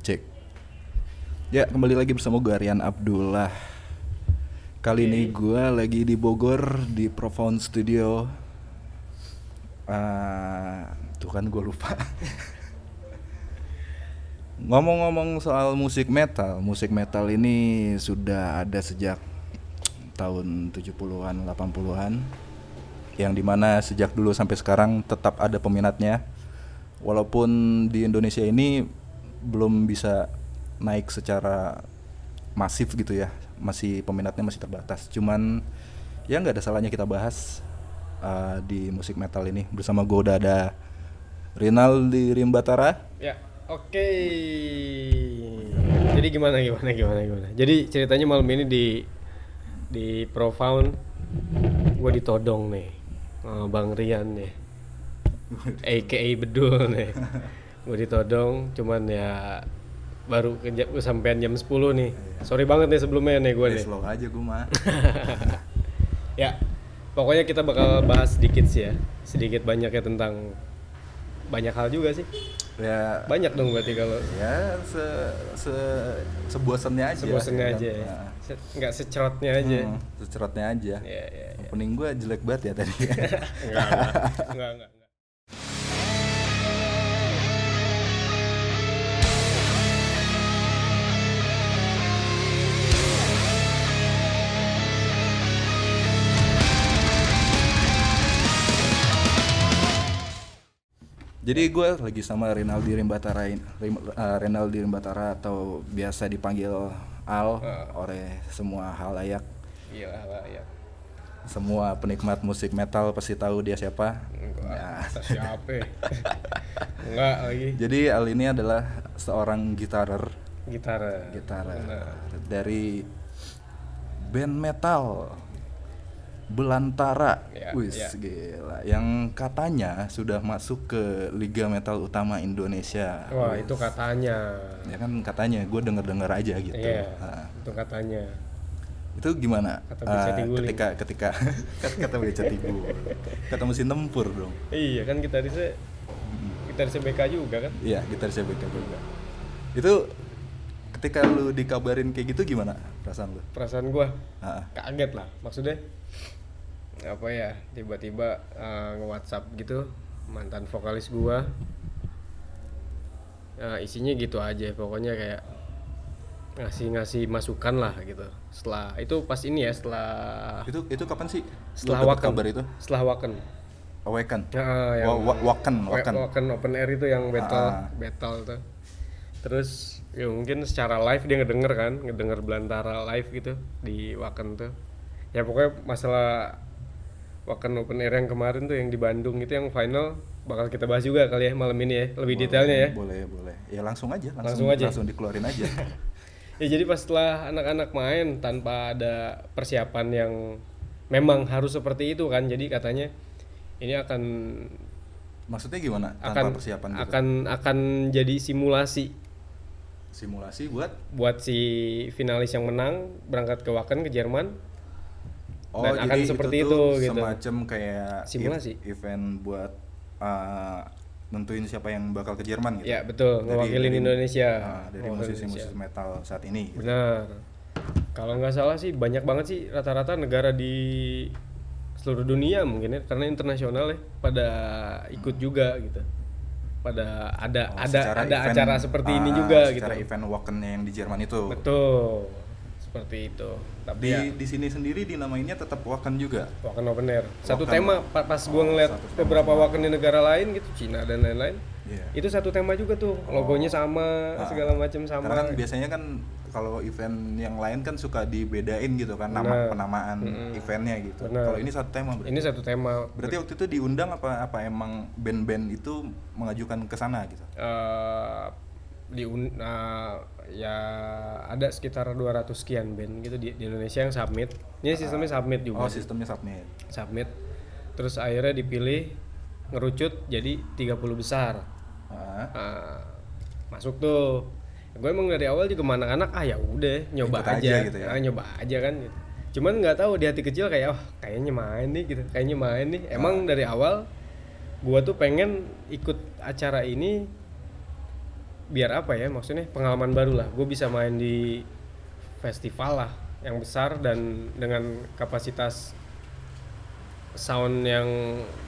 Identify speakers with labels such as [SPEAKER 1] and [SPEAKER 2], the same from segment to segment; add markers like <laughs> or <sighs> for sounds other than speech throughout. [SPEAKER 1] Cek. Ya, kembali lagi bersama gue Aryan Abdullah. Kali ini gue lagi di Bogor di Profound Studio. Ah, tuh kan gue lupa. <laughs> Ngomong-ngomong soal musik metal, musik metal ini sudah ada sejak tahun 70-an, 80-an yang dimana sejak dulu sampai sekarang tetap ada peminatnya walaupun di Indonesia ini belum bisa naik secara masif gitu ya masih peminatnya masih terbatas cuman ya nggak ada salahnya kita bahas uh, di musik metal ini bersama gue udah ada Rinaldi Rimbatara
[SPEAKER 2] Ya, oke. Jadi gimana gimana gimana gimana. Jadi ceritanya malam ini di di Profound gue ditodong nih. sama Bang Rian nih. AKA Bedul nih. gue ditodong cuman ya baru ke jam, sampean jam 10 nih. Sorry banget nih sebelumnya nih gue
[SPEAKER 1] Eh,
[SPEAKER 2] nih.
[SPEAKER 1] slow aja gue mah <laughs>
[SPEAKER 2] Ya, pokoknya kita bakal bahas sedikit sih ya. Sedikit banyaknya tentang banyak hal juga sih.
[SPEAKER 1] ya
[SPEAKER 2] Banyak dong berarti kalau
[SPEAKER 1] ya se se sebosannya aja
[SPEAKER 2] sebosennya
[SPEAKER 1] ya kan?
[SPEAKER 2] aja ya.
[SPEAKER 1] Nah,
[SPEAKER 2] Se- nggak secerotnya aja
[SPEAKER 1] hmm, secerotnya aja
[SPEAKER 2] ya ya ya.
[SPEAKER 1] opening gue jelek banget ya tadi <laughs>
[SPEAKER 2] <laughs> enggak enggak enggak, enggak, enggak.
[SPEAKER 1] Jadi gue lagi sama Rinaldi Rimbatara in- Rim, eh, Rinaldi Rimbatara atau biasa dipanggil Al
[SPEAKER 2] Ah.
[SPEAKER 1] oleh semua halayak,
[SPEAKER 2] iya lah ya
[SPEAKER 1] semua penikmat musik metal pasti tahu dia siapa.
[SPEAKER 2] Hmm.
[SPEAKER 1] Nah,
[SPEAKER 2] enggak siapa
[SPEAKER 1] <laughs>
[SPEAKER 2] ya? enggak lagi
[SPEAKER 1] jadi Al ini adalah seorang gitarer,
[SPEAKER 2] gitar
[SPEAKER 1] gitarer dari band metal Belantara.
[SPEAKER 2] Ya,
[SPEAKER 1] Wis
[SPEAKER 2] ya.
[SPEAKER 1] gila, yang katanya sudah masuk ke Liga Metal Utama Indonesia.
[SPEAKER 2] wah itu katanya
[SPEAKER 1] ya kan katanya gue denger dengar aja gitu
[SPEAKER 2] iya
[SPEAKER 1] Nah,
[SPEAKER 2] itu katanya
[SPEAKER 1] itu gimana
[SPEAKER 2] Kata
[SPEAKER 1] Eh,
[SPEAKER 2] Beceti Guling.
[SPEAKER 1] ketika ketika <laughs> kata kata beceti Guling. kata mesin tempur dong
[SPEAKER 2] iya kan gitarisnya
[SPEAKER 1] Hmm.
[SPEAKER 2] gitarisnya BK juga kan
[SPEAKER 1] iya gitar saya BK juga itu ketika lu dikabarin kayak gitu gimana perasaan lu
[SPEAKER 2] perasaan gua
[SPEAKER 1] Ah,
[SPEAKER 2] kaget lah maksudnya apa ya tiba-tiba eh, nge WhatsApp gitu mantan vokalis gua Nah, isinya gitu aja pokoknya kayak ngasih-ngasih masukan lah gitu setelah itu pas ini ya setelah
[SPEAKER 1] itu itu kapan sih lu
[SPEAKER 2] setelah
[SPEAKER 1] dapet
[SPEAKER 2] waken
[SPEAKER 1] kabar itu
[SPEAKER 2] setelah waken
[SPEAKER 1] awaken
[SPEAKER 2] Nah, yang-
[SPEAKER 1] Wa- wa- waken waken
[SPEAKER 2] Waken. open air itu yang battle
[SPEAKER 1] Ah.
[SPEAKER 2] battle tuh terus ya mungkin secara live dia ngedenger kan ngedenger belantara live gitu di Waken tuh ya pokoknya masalah Waken open air yang kemarin tuh yang di Bandung itu yang final bakal kita bahas juga kali ya malam ini ya lebih detailnya ya
[SPEAKER 1] boleh boleh ya langsung aja
[SPEAKER 2] Langsung
[SPEAKER 1] langsung
[SPEAKER 2] aja.
[SPEAKER 1] langsung dikeluarin
[SPEAKER 2] <laughs>
[SPEAKER 1] aja
[SPEAKER 2] ya jadi pas setelah anak-anak main tanpa ada persiapan yang memang harus seperti itu kan jadi katanya ini akan
[SPEAKER 1] maksudnya gimana tanpa
[SPEAKER 2] akan
[SPEAKER 1] persiapan gitu
[SPEAKER 2] akan akan jadi simulasi
[SPEAKER 1] simulasi buat
[SPEAKER 2] buat si finalis yang menang berangkat ke Waken ke Jerman.
[SPEAKER 1] Oh,
[SPEAKER 2] Dan
[SPEAKER 1] jadi
[SPEAKER 2] akan seperti itu,
[SPEAKER 1] tuh
[SPEAKER 2] gitu.
[SPEAKER 1] Semacam kayak
[SPEAKER 2] Simulasi.
[SPEAKER 1] ev- event buat uh, nentuin siapa yang bakal ke Jerman gitu.
[SPEAKER 2] Ya betul,
[SPEAKER 1] Dari-
[SPEAKER 2] ngewakilin
[SPEAKER 1] dari-
[SPEAKER 2] Indonesia.
[SPEAKER 1] Ah, dari
[SPEAKER 2] Ngewakilin
[SPEAKER 1] musisi-musisi
[SPEAKER 2] Indonesia.
[SPEAKER 1] metal saat ini. gitu.
[SPEAKER 2] Benar. Kalau nggak salah sih banyak banget sih rata-rata negara di seluruh dunia mungkin ya karena internasional ya pada ikut juga gitu. Pada ada
[SPEAKER 1] Hmm. Oh,
[SPEAKER 2] ada
[SPEAKER 1] secara
[SPEAKER 2] ada
[SPEAKER 1] event-
[SPEAKER 2] acara seperti ini
[SPEAKER 1] ah,
[SPEAKER 2] juga gitu.
[SPEAKER 1] Secara event wakennya yang di Jerman itu.
[SPEAKER 2] Betul. Seperti itu. Tapi
[SPEAKER 1] Di
[SPEAKER 2] ya,
[SPEAKER 1] di sini sendiri dinamainnya tetap waken juga.
[SPEAKER 2] Waken Open Air. Satu
[SPEAKER 1] Waken.
[SPEAKER 2] tema pa- pas gua ngeliat
[SPEAKER 1] satu tema
[SPEAKER 2] beberapa Waken di negara lain gitu, Cina dan lain-lain.
[SPEAKER 1] Iya.
[SPEAKER 2] Itu satu tema juga tuh, logonya sama,
[SPEAKER 1] Ah.
[SPEAKER 2] segala macam sama. ya.
[SPEAKER 1] Karena kan biasanya kan kalau event yang lain kan suka dibedain gitu kan nama
[SPEAKER 2] Benar.
[SPEAKER 1] penamaan eventnya gitu.
[SPEAKER 2] Benar.
[SPEAKER 1] Kalau ini satu tema berarti.
[SPEAKER 2] Ini satu tema
[SPEAKER 1] Berarti waktu itu diundang apa apa emang band-band itu mengajukan ke sana gitu.
[SPEAKER 2] eh di un- eh, ya ada sekitar 200 sekian band gitu di, di Indonesia yang submit. Ini sistemnya submit juga.
[SPEAKER 1] Oh, sistemnya submit.
[SPEAKER 2] Submit. Terus akhirnya dipilih ngerucut jadi 30 besar.
[SPEAKER 1] Ah,
[SPEAKER 2] Ah, masuk tuh gue emang dari awal juga sama anak-anak ah ya udah nyoba
[SPEAKER 1] Ikut
[SPEAKER 2] aja,
[SPEAKER 1] aja gitu ya.
[SPEAKER 2] Ah, nyoba aja kan gitu. cuman nggak tahu di hati kecil kayak oh kayaknya main nih gitu kayaknya main nih
[SPEAKER 1] Ah.
[SPEAKER 2] emang dari awal gue tuh pengen ikut acara ini biar apa ya maksudnya pengalaman baru lah gue bisa main di festival lah yang besar dan dengan kapasitas sound yang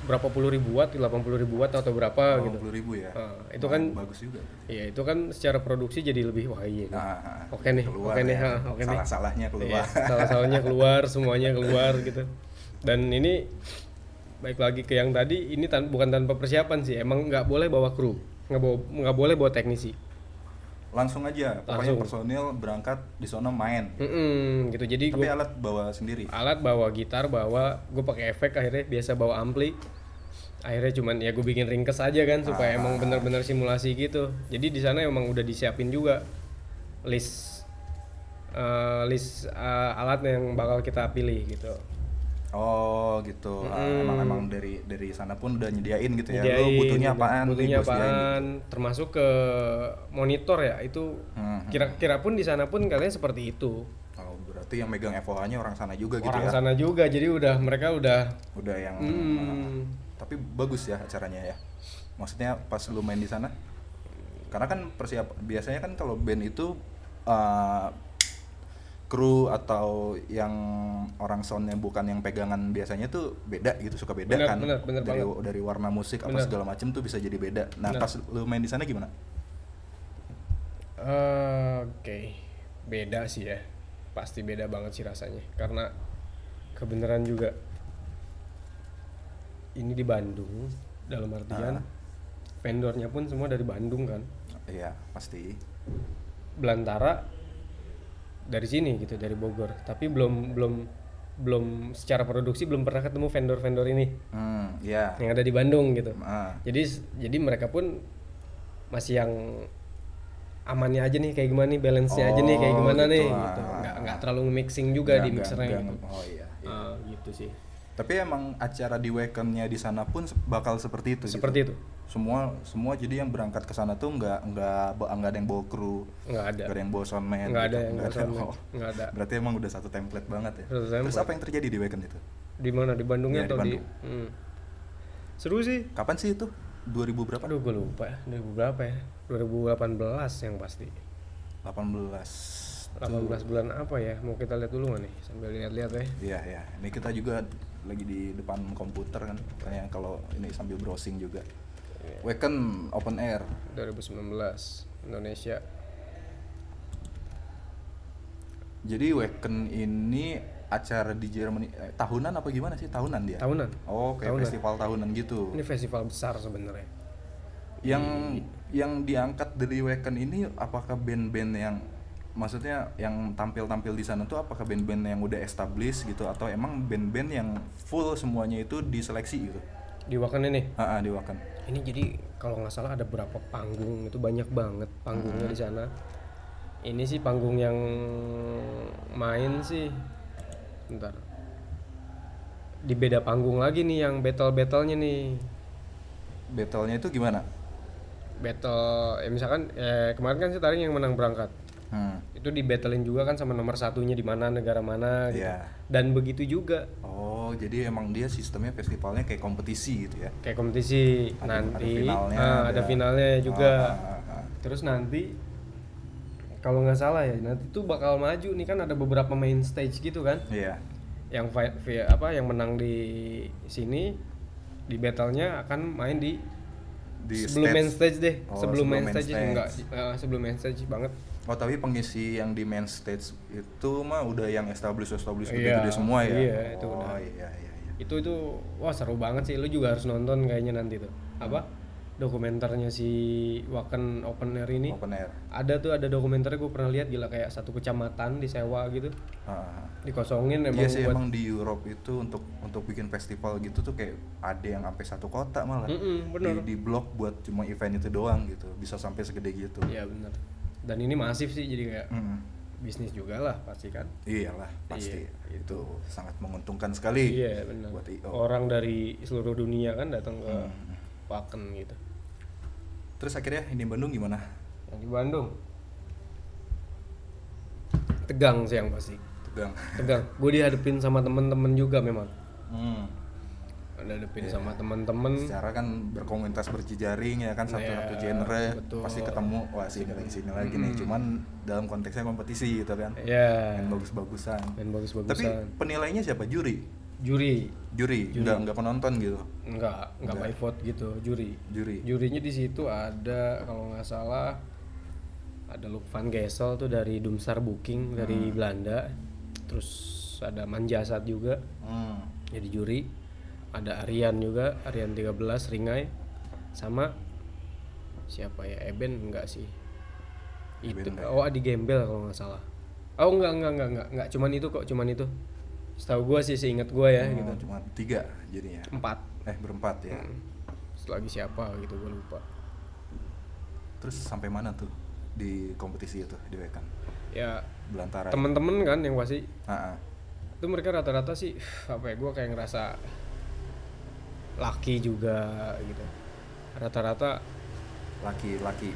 [SPEAKER 2] berapa puluh ribu watt 80 ribu watt atau berapa gitu
[SPEAKER 1] ribu ya.
[SPEAKER 2] Ah, itu kan
[SPEAKER 1] bagus juga.
[SPEAKER 2] ya itu kan secara produksi jadi lebih wah iya nih.
[SPEAKER 1] Nah,
[SPEAKER 2] oke nih
[SPEAKER 1] keluar
[SPEAKER 2] oke nih
[SPEAKER 1] ya.
[SPEAKER 2] ha, oke nih
[SPEAKER 1] Salah-salahnya keluar.
[SPEAKER 2] salah salahnya Iya, keluar semuanya keluar gitu dan ini baik lagi ke yang tadi ini tan- bukan tanpa persiapan sih emang nggak boleh bawa kru nggak bawa nggak boleh bawa teknisi
[SPEAKER 1] Langsung aja, pokoknya
[SPEAKER 2] Langsung.
[SPEAKER 1] personil berangkat di sana main.
[SPEAKER 2] Mm-mm, gitu jadi
[SPEAKER 1] Tapi
[SPEAKER 2] gue
[SPEAKER 1] alat bawa sendiri.
[SPEAKER 2] alat bawa gitar bawa gue pakai efek akhirnya biasa bawa ampli akhirnya cuman ya gue bikin ringkes aja kan
[SPEAKER 1] Ah.
[SPEAKER 2] supaya emang bener-bener simulasi gitu jadi di sana emang udah disiapin juga list eh, list eh, alat yang bakal kita pilih gitu
[SPEAKER 1] Oh gitu. Ah, emang emang dari dari sana pun udah nyediain gitu ya. Lo
[SPEAKER 2] Hmm. Nyediain,
[SPEAKER 1] butuhnya apaan?
[SPEAKER 2] butuhnya
[SPEAKER 1] nih, gua sediain gitu.
[SPEAKER 2] apaan termasuk ke monitor ya itu
[SPEAKER 1] Hmm.
[SPEAKER 2] kira-kira pun di sana pun katanya seperti itu
[SPEAKER 1] Oh, berarti yang megang FOA-nya orang sana juga gitu
[SPEAKER 2] orang
[SPEAKER 1] ya.
[SPEAKER 2] sana juga jadi udah mereka udah
[SPEAKER 1] Udah yang
[SPEAKER 2] hmm,
[SPEAKER 1] tapi bagus ya acaranya ya. Maksudnya pas lu main di sana. Karena kan persiap biasanya kan kalau band itu eh, kru atau yang orang soundnya bukan yang pegangan biasanya tuh beda gitu suka beda
[SPEAKER 2] Bener,
[SPEAKER 1] kan
[SPEAKER 2] bener, bener
[SPEAKER 1] dari dari warna musik apa segala macem tuh bisa jadi beda. Nah pas lu main di sana gimana?
[SPEAKER 2] eh, oke beda sih ya pasti beda banget sih rasanya karena kebenaran juga ini di Bandung dalam artian vendornya pun semua dari Bandung kan
[SPEAKER 1] Iya pasti.
[SPEAKER 2] belantara dari sini gitu dari Bogor tapi belum belum belum secara produksi belum pernah ketemu vendor-vendor ini
[SPEAKER 1] Hmm iya.
[SPEAKER 2] yang ada di Bandung gitu
[SPEAKER 1] Ah,
[SPEAKER 2] jadi s- jadi mereka pun masih yang amannya aja nih kayak gimana nih balance-nya aja nih kayak
[SPEAKER 1] Oh,
[SPEAKER 2] gimana
[SPEAKER 1] gitu,
[SPEAKER 2] nih
[SPEAKER 1] ah.
[SPEAKER 2] gitu nggak nggak terlalu mixing juga di
[SPEAKER 1] nggak-
[SPEAKER 2] mixernya
[SPEAKER 1] nggak-
[SPEAKER 2] gitu
[SPEAKER 1] Oh iya. iya.
[SPEAKER 2] Ah, gitu sih
[SPEAKER 1] Tapi emang acara di weekendnya di sana pun se- bakal seperti itu. gitu?
[SPEAKER 2] seperti itu
[SPEAKER 1] semua semua jadi yang berangkat ke sana tuh nggak nggak ba- nggak ada yang bawa kru
[SPEAKER 2] nggak ada
[SPEAKER 1] nggak ada yang bawa soundman
[SPEAKER 2] nggak
[SPEAKER 1] gitu,
[SPEAKER 2] ada yang
[SPEAKER 1] nggak ada
[SPEAKER 2] bosan
[SPEAKER 1] yang- oh.
[SPEAKER 2] nggak ada
[SPEAKER 1] berarti emang udah satu template banget ya
[SPEAKER 2] Satu
[SPEAKER 1] terus apa yang terjadi di weekend itu
[SPEAKER 2] di mana di
[SPEAKER 1] Iya,
[SPEAKER 2] Bandungnya
[SPEAKER 1] di
[SPEAKER 2] atau di,
[SPEAKER 1] Bandung.
[SPEAKER 2] Hmm. seru sih
[SPEAKER 1] kapan sih itu 2000 berapa
[SPEAKER 2] Aduh gue lupa ya, 2000 berapa ya? 2018 yang pasti
[SPEAKER 1] 18
[SPEAKER 2] 18 bulan apa ya? Mau kita lihat dulu nggak nih? Sambil lihat-lihat ya
[SPEAKER 1] iya iya ini kita juga lagi di depan komputer kan kayak kalau ini sambil browsing juga weekend open air
[SPEAKER 2] 2019 Indonesia
[SPEAKER 1] jadi weekend ini acara di Jerman eh, tahunan apa gimana sih tahunan dia
[SPEAKER 2] Tahunan
[SPEAKER 1] oh kayak
[SPEAKER 2] Tahunan.
[SPEAKER 1] festival tahunan gitu
[SPEAKER 2] Ini festival besar sebenarnya
[SPEAKER 1] yang yang diangkat dari Weekend ini apakah band-band yang maksudnya yang tampil-tampil di sana tuh apakah band-band yang udah established gitu atau emang band-band yang full semuanya itu diseleksi gitu
[SPEAKER 2] Di Wakan ini
[SPEAKER 1] ah ah, di Wakan
[SPEAKER 2] Ini jadi kalau nggak salah ada berapa panggung Itu banyak banget panggungnya di sana Ini sih panggung yang main sih Bentar Di beda panggung lagi nih yang battle-battlenya nih
[SPEAKER 1] battle-nya itu gimana
[SPEAKER 2] battle ya misalkan eh, kemarin kan si Taring yang menang berangkat
[SPEAKER 1] hmm
[SPEAKER 2] itu di battlein juga kan sama nomor satunya di mana negara mana gitu
[SPEAKER 1] Iya.
[SPEAKER 2] dan begitu juga
[SPEAKER 1] oh jadi emang dia sistemnya festivalnya kayak kompetisi gitu ya
[SPEAKER 2] kayak kompetisi nanti ah,
[SPEAKER 1] finalnya,
[SPEAKER 2] ada Oh. finalnya,
[SPEAKER 1] ada-
[SPEAKER 2] Iya juga
[SPEAKER 1] Ah, ah, ah, ah.
[SPEAKER 2] terus nanti kalau nggak salah ya nanti tuh bakal maju nih kan ada beberapa main stage gitu kan
[SPEAKER 1] iya
[SPEAKER 2] yang fi- fi- apa yang menang di sini di battlenya akan main di,
[SPEAKER 1] di
[SPEAKER 2] sebelum main
[SPEAKER 1] stage
[SPEAKER 2] stage deh
[SPEAKER 1] Oh,
[SPEAKER 2] sebelum, main stage, sih, enggak
[SPEAKER 1] stage.
[SPEAKER 2] eh, sebelum main stage banget
[SPEAKER 1] oh tapi pengisi yang di main stage itu mah udah yang established established
[SPEAKER 2] Iya,
[SPEAKER 1] gede-gede semua ya
[SPEAKER 2] iya, itu
[SPEAKER 1] oh
[SPEAKER 2] udah.
[SPEAKER 1] iya iya iya
[SPEAKER 2] itu itu wah seru banget sih lu juga harus nonton kayaknya nanti tuh apa dokumenternya si Waken Open Air ini
[SPEAKER 1] open air
[SPEAKER 2] ada tuh ada dokumenternya gue pernah lihat gila kayak satu kecamatan disewa gitu
[SPEAKER 1] Ah.
[SPEAKER 2] dikosongin emang
[SPEAKER 1] Iya sih
[SPEAKER 2] buat
[SPEAKER 1] emang di Europe itu untuk untuk bikin festival gitu tuh kayak ada yang sampai satu kota malah
[SPEAKER 2] Mm-mm, bener
[SPEAKER 1] di di blok buat cuma event itu doang gitu bisa sampai segede gitu.
[SPEAKER 2] iya bener dan ini masif sih jadi kayak
[SPEAKER 1] Mm.
[SPEAKER 2] bisnis juga lah pasti kan
[SPEAKER 1] Iyalah pasti itu sangat menguntungkan sekali.
[SPEAKER 2] iya bener
[SPEAKER 1] buat IO.
[SPEAKER 2] orang dari seluruh dunia kan datang ke
[SPEAKER 1] Hmm.
[SPEAKER 2] Waken gitu
[SPEAKER 1] Terus akhirnya ini Bandung gimana?
[SPEAKER 2] yang di Bandung tegang sih yang pasti
[SPEAKER 1] Tegang.
[SPEAKER 2] tegang gue dihadapin sama temen-temen juga memang
[SPEAKER 1] Hmm.
[SPEAKER 2] dihadapin sama teman-teman
[SPEAKER 1] secara kan berkomunitas berjejaring ya kan satu
[SPEAKER 2] Iya,
[SPEAKER 1] satu genre
[SPEAKER 2] betul.
[SPEAKER 1] pasti ketemu wah sini lagi sini lagi nih cuman dalam konteksnya kompetisi gitu kan
[SPEAKER 2] ya
[SPEAKER 1] main bagus-bagusan
[SPEAKER 2] main
[SPEAKER 1] tapi
[SPEAKER 2] bagus-bagusan
[SPEAKER 1] penilainya siapa juri
[SPEAKER 2] juri
[SPEAKER 1] juri, nggak nggak penonton gitu
[SPEAKER 2] enggak enggak by vote gitu juri
[SPEAKER 1] juri
[SPEAKER 2] jurinya di situ ada kalau nggak salah ada Luke van Gesel tuh dari Dumstar Booking dari Belanda terus ada Manjasat juga
[SPEAKER 1] hmm.
[SPEAKER 2] jadi juri ada Aryan juga Aryan 13 Ringai sama siapa ya Eben enggak sih itu
[SPEAKER 1] Eben enggak
[SPEAKER 2] oh Adi Gembel kalau nggak salah oh enggak enggak enggak enggak enggak cuman itu kok cuman itu setahu gua sih seingat gua ya
[SPEAKER 1] Oh,
[SPEAKER 2] gitu
[SPEAKER 1] cuma tiga jadinya
[SPEAKER 2] empat
[SPEAKER 1] eh berempat ya
[SPEAKER 2] Terus lagi siapa gitu gua lupa
[SPEAKER 1] terus sampai mana tuh di kompetisi itu di Wekan
[SPEAKER 2] ya
[SPEAKER 1] belantara
[SPEAKER 2] temen-temen kan yang pasti
[SPEAKER 1] Ah, ah.
[SPEAKER 2] itu mereka rata-rata sih <sighs> apa ya gue kayak ngerasa laki juga gitu rata-rata
[SPEAKER 1] laki laki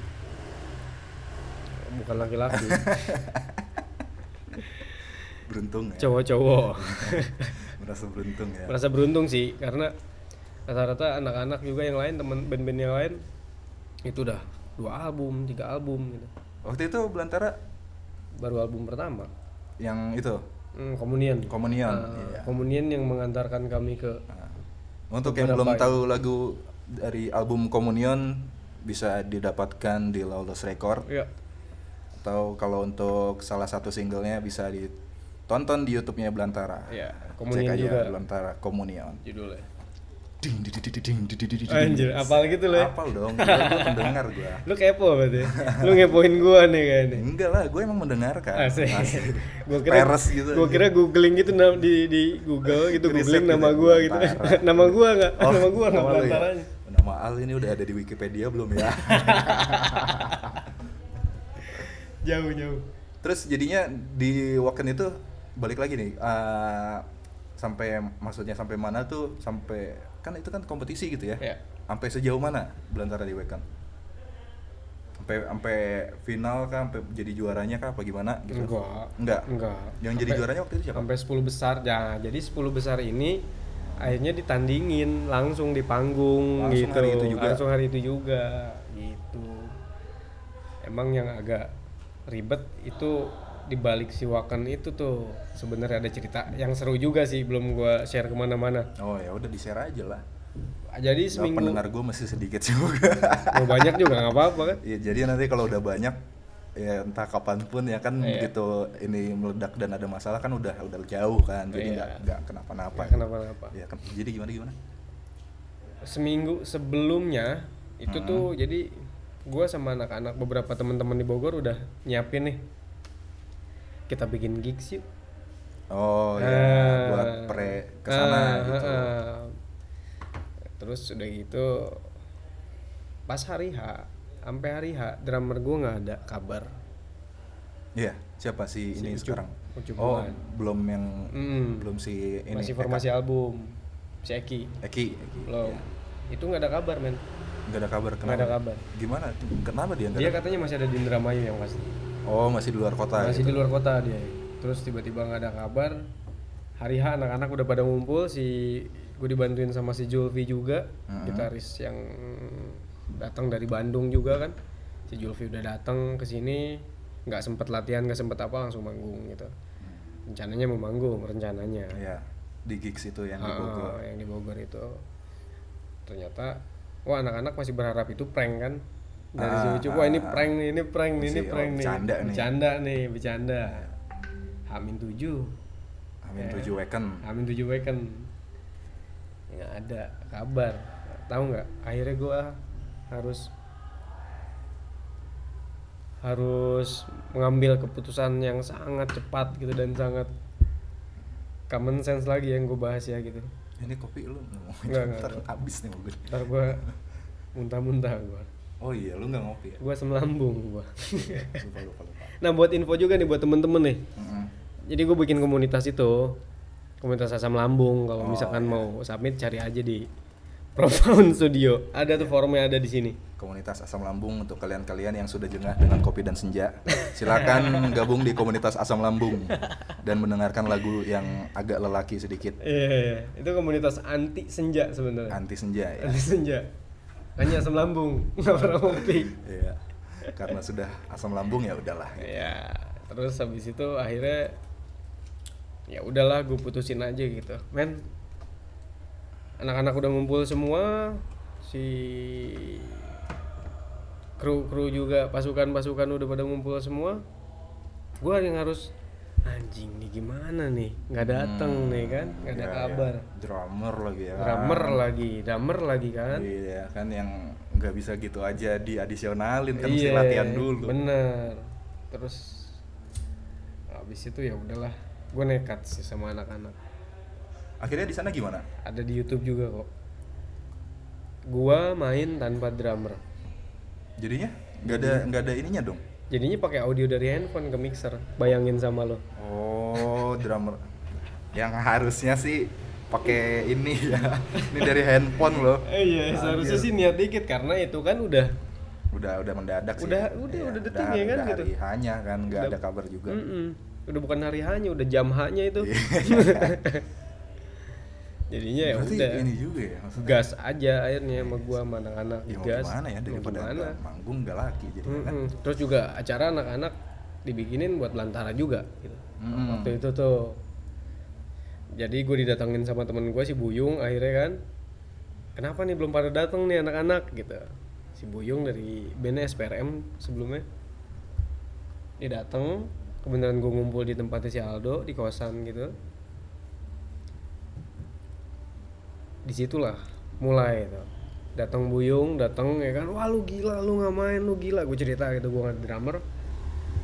[SPEAKER 2] bukan
[SPEAKER 1] <laughs>
[SPEAKER 2] laki-laki
[SPEAKER 1] beruntung ya
[SPEAKER 2] cowok-cowok
[SPEAKER 1] merasa beruntung <laughs> ya
[SPEAKER 2] merasa beruntung sih karena rata-rata anak-anak juga yang lain temen band-band yang lain itu udah dua album tiga album gitu
[SPEAKER 1] waktu itu belantara
[SPEAKER 2] baru album pertama
[SPEAKER 1] yang itu
[SPEAKER 2] hmm, Komunian
[SPEAKER 1] komunion
[SPEAKER 2] Nah,
[SPEAKER 1] iya.
[SPEAKER 2] Komunian yang mengantarkan kami ke
[SPEAKER 1] Ah. untuk yang belum
[SPEAKER 2] ya?
[SPEAKER 1] tahu lagu dari album komunion bisa didapatkan di Lawless Record
[SPEAKER 2] ya
[SPEAKER 1] atau kalau untuk salah satu singlenya bisa ditonton di YouTube-nya Belantara
[SPEAKER 2] Iya,
[SPEAKER 1] cek
[SPEAKER 2] Komunion
[SPEAKER 1] aja
[SPEAKER 2] juga.
[SPEAKER 1] Belantara Komunion
[SPEAKER 2] judulnya
[SPEAKER 1] ding ding ding ding ding ding ding, ding, ding.
[SPEAKER 2] anjir apal gitu loh ya.
[SPEAKER 1] Apal dong, gua gua pendengar
[SPEAKER 2] <laughs>
[SPEAKER 1] gua.
[SPEAKER 2] lu kepo berarti lu ngepoin gua nih kayaknya
[SPEAKER 1] Enggak lah, gue emang mendengarkan.
[SPEAKER 2] Asik. Gua kira
[SPEAKER 1] Peres gitu.
[SPEAKER 2] Gua kira googling gitu na- di di Google gitu
[SPEAKER 1] Riset
[SPEAKER 2] googling
[SPEAKER 1] gitu,
[SPEAKER 2] nama gua gitu.
[SPEAKER 1] Belantara.
[SPEAKER 2] <laughs> nama gua enggak,
[SPEAKER 1] Oh,
[SPEAKER 2] nama gua enggak
[SPEAKER 1] nama lu ya?
[SPEAKER 2] belantaranya.
[SPEAKER 1] Nama Al ini udah ada di Wikipedia belum
[SPEAKER 2] <laughs>
[SPEAKER 1] ya?
[SPEAKER 2] Jauh jauh.
[SPEAKER 1] Terus jadinya di Waken itu balik lagi nih. eh, sampai maksudnya sampai mana tuh? Sampai kan itu kan kompetisi gitu ya.
[SPEAKER 2] Ya.
[SPEAKER 1] Sampai sejauh mana Belantara di Waken? Sampai sampai final kah? Sampai jadi juaranya kah? Apa gimana gitu?
[SPEAKER 2] Enggak.
[SPEAKER 1] Enggak.
[SPEAKER 2] Enggak.
[SPEAKER 1] Yang jadi
[SPEAKER 2] Sampai-
[SPEAKER 1] juaranya waktu itu siapa?
[SPEAKER 2] Ya, Sampai 10 besar. Nah, jadi 10 besar ini akhirnya ditandingin langsung di panggung
[SPEAKER 1] Langsung
[SPEAKER 2] gitu.
[SPEAKER 1] hari itu juga.
[SPEAKER 2] Langsung hari itu juga gitu. Emang yang agak ribet itu di balik si Wakan itu tuh sebenarnya ada cerita yang seru juga sih belum gua share kemana-mana.
[SPEAKER 1] Oh ya udah di share aja lah.
[SPEAKER 2] Jadi
[SPEAKER 1] Nah,
[SPEAKER 2] seminggu
[SPEAKER 1] pendengar gue masih sedikit
[SPEAKER 2] <laughs>
[SPEAKER 1] juga.
[SPEAKER 2] mau banyak juga nggak apa-apa kan?
[SPEAKER 1] Iya, jadi nanti kalau udah banyak ya entah kapanpun ya kan
[SPEAKER 2] Iya.
[SPEAKER 1] begitu ini meledak dan ada masalah kan udah udah jauh kan jadi
[SPEAKER 2] Iya.
[SPEAKER 1] nggak nggak kenapa-napa
[SPEAKER 2] Nggak kenapa-napa.
[SPEAKER 1] ya kan jadi gimana gimana
[SPEAKER 2] Seminggu sebelumnya itu
[SPEAKER 1] Hmm.
[SPEAKER 2] tuh jadi gua sama anak-anak beberapa teman-teman di Bogor udah nyiapin nih kita bikin gigs yuk.
[SPEAKER 1] oh ya
[SPEAKER 2] Ah.
[SPEAKER 1] buat pre kesana
[SPEAKER 2] Ah,
[SPEAKER 1] gitu
[SPEAKER 2] ah, ah. Terus udah gitu pas hari H sampai hari H drummer gua nggak ada kabar.
[SPEAKER 1] iya siapa sih
[SPEAKER 2] Si
[SPEAKER 1] ini
[SPEAKER 2] Ucup.
[SPEAKER 1] sekarang
[SPEAKER 2] Ucup
[SPEAKER 1] oh
[SPEAKER 2] Bulan.
[SPEAKER 1] belum yang
[SPEAKER 2] Mm.
[SPEAKER 1] belum si ini eh,
[SPEAKER 2] Masih
[SPEAKER 1] Eka.
[SPEAKER 2] formasi album si Eki
[SPEAKER 1] Eki Eki
[SPEAKER 2] belum. Itu nggak ada kabar men.
[SPEAKER 1] nggak ada kabar
[SPEAKER 2] Nggak
[SPEAKER 1] Iya. kenapa
[SPEAKER 2] ada kabar. Iya. Dia
[SPEAKER 1] gimana tuh? kenapa dia nggak
[SPEAKER 2] Dia
[SPEAKER 1] ada-
[SPEAKER 2] katanya masih ada di Indramayu yang pasti.
[SPEAKER 1] oh masih di luar kota
[SPEAKER 2] masih
[SPEAKER 1] gitu.
[SPEAKER 2] di luar kota dia terus tiba-tiba nggak ada kabar hari H anak-anak udah pada ngumpul si gue dibantuin sama si Julfi juga gitaris yang datang dari Bandung juga kan si Julfi udah datang ke sini nggak sempet latihan nggak sempet apa langsung manggung gitu rencananya mau manggung rencananya
[SPEAKER 1] Iya, di gigs itu yang di
[SPEAKER 2] Ah,
[SPEAKER 1] Bogor
[SPEAKER 2] yang di Bogor itu ternyata wah anak-anak masih berharap itu prank kan dari si
[SPEAKER 1] Ah,
[SPEAKER 2] Ucup, wah ini
[SPEAKER 1] ah,
[SPEAKER 2] prank nih ini prank nih ini
[SPEAKER 1] Si, oh,
[SPEAKER 2] prank nih
[SPEAKER 1] bercanda nih.
[SPEAKER 2] bercanda nih bercanda Hamin tujuh
[SPEAKER 1] Amin tujuh
[SPEAKER 2] Iya.
[SPEAKER 1] weekend
[SPEAKER 2] Hamin tujuh weekend nggak ada kabar tahu nggak akhirnya gua harus harus mengambil keputusan yang sangat cepat gitu dan sangat common sense lagi yang gue bahas ya gitu
[SPEAKER 1] ini kopi lu nggak mau
[SPEAKER 2] Nggak, nggak,
[SPEAKER 1] ntar habis nih mobil
[SPEAKER 2] Ntar gue muntah-muntah gue
[SPEAKER 1] oh iya lu nggak ngopi ya
[SPEAKER 2] Gue selambung gue Iya.
[SPEAKER 1] lupa lupa lupa
[SPEAKER 2] <laughs> Nah buat info juga nih buat temen-temen nih
[SPEAKER 1] Mm-mm.
[SPEAKER 2] Jadi gue bikin komunitas itu Komunitas asam lambung Kalau
[SPEAKER 1] Oh,
[SPEAKER 2] misalkan mau submit cari aja di <laughs> Profound Studio. Ada tuh forumnya ada di sini.
[SPEAKER 1] komunitas asam lambung untuk kalian-kalian yang sudah jengah dengan kopi dan senja silakan gabung di komunitas asam lambung dan mendengarkan lagu yang agak lelaki sedikit
[SPEAKER 2] Iya, iya, iya. itu komunitas anti senja sebenarnya.
[SPEAKER 1] anti senja ya
[SPEAKER 2] Anti senja. Hanya asam lambung, <laughs> nggak pernah ngopi.
[SPEAKER 1] Iya. karena sudah asam lambung ya udahlah
[SPEAKER 2] Ya, terus habis itu akhirnya ya udahlah gue putusin aja gitu. Men anak-anak udah ngumpul semua si kru-kru juga pasukan-pasukan udah pada ngumpul semua. Gue yang harus anjing nih gimana nih? nggak datang nih kan, nggak ada
[SPEAKER 1] Ya, ya.
[SPEAKER 2] kabar.
[SPEAKER 1] drummer lagi ya kan.
[SPEAKER 2] Drummer lagi, drummer lagi kan.
[SPEAKER 1] iya kan yang nggak bisa gitu aja diadisionalin kan mesti latihan dulu
[SPEAKER 2] Iya, Bener. Terus habis itu ya udahlah, gue nekat sih sama anak-anak.
[SPEAKER 1] akhirnya di sana gimana
[SPEAKER 2] Ada di YouTube juga kok. Gua main tanpa drummer.
[SPEAKER 1] jadinya nggak ada nggak ada ininya dong
[SPEAKER 2] Jadinya pakai audio dari handphone ke mixer. Bayangin sama lo.
[SPEAKER 1] oh drummer yang harusnya sih pakai ini ya ini dari handphone loh
[SPEAKER 2] iya, seharusnya sih niat dikit karena itu kan udah
[SPEAKER 1] udah udah mendadak sih Iya,
[SPEAKER 2] Udah- udah- udah detik ya kan
[SPEAKER 1] udah
[SPEAKER 2] gitu. Mm,
[SPEAKER 1] hari hanya kan nggak ada kabar juga
[SPEAKER 2] Mm-mm. udah bukan hari hanya, udah jam hanya itu. <laughs> Jadinya ya
[SPEAKER 1] Iya. berarti
[SPEAKER 2] udah.
[SPEAKER 1] ini juga ya maksudnya
[SPEAKER 2] gas aja akhirnya sama gua sama anak-anak
[SPEAKER 1] ya mau
[SPEAKER 2] gas
[SPEAKER 1] gimana ya
[SPEAKER 2] mau
[SPEAKER 1] daripada
[SPEAKER 2] gimana. Mm.
[SPEAKER 1] nggak manggung nggak laki jadi kan
[SPEAKER 2] Mm-mm. terus juga acara anak-anak dibikinin buat lantara juga gitu
[SPEAKER 1] Mm-mm.
[SPEAKER 2] waktu itu tuh jadi gue didatengin sama temen gue si Buyung akhirnya kan kenapa nih belum pada datang nih anak-anak gitu si Buyung dari band SPRM sebelumnya dia datang kebenaran gue ngumpul di tempatnya si Aldo di kosan gitu disitulah mulai tuh datang Buyung datang ya kan wah lu gila lu nggak main lu gila gue cerita gitu gue nggak drummer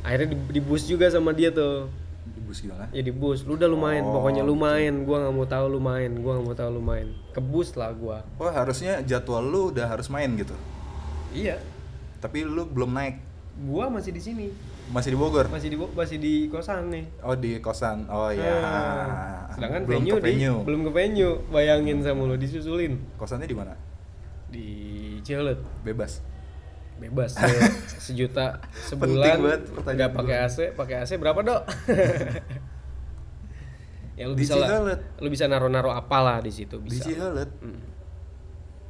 [SPEAKER 2] akhirnya di, di bus juga sama dia tuh
[SPEAKER 1] di bus gimana
[SPEAKER 2] ya di bus lu udah lu main pokoknya lu main gua nggak mau tahu lu main gua nggak mau tahu lu main ke bus lah gua
[SPEAKER 1] Wah Oh, harusnya jadwal lu udah harus main gitu
[SPEAKER 2] iya
[SPEAKER 1] Tapi lu belum naik
[SPEAKER 2] gua masih di sini
[SPEAKER 1] Masih di Bogor
[SPEAKER 2] masih di masih di kosan nih
[SPEAKER 1] Oh di kosan Oh iya
[SPEAKER 2] Nah, sedangkan
[SPEAKER 1] belum
[SPEAKER 2] venue,
[SPEAKER 1] ke venue.
[SPEAKER 2] Di, belum ke venue bayangin sama lu disusulin
[SPEAKER 1] Kosannya di mana?
[SPEAKER 2] di Cihelet
[SPEAKER 1] Bebas <laughs>
[SPEAKER 2] bebas se- sejuta sebulan
[SPEAKER 1] banget pertanyaan
[SPEAKER 2] nggak
[SPEAKER 1] gua.
[SPEAKER 2] pakai AC pakai AC berapa dok <laughs> ya lu
[SPEAKER 1] Di
[SPEAKER 2] bisa lah
[SPEAKER 1] Cihelet.
[SPEAKER 2] lu bisa naro-naro apalah di situ
[SPEAKER 1] Di
[SPEAKER 2] bisa Hmm.
[SPEAKER 1] Cihelet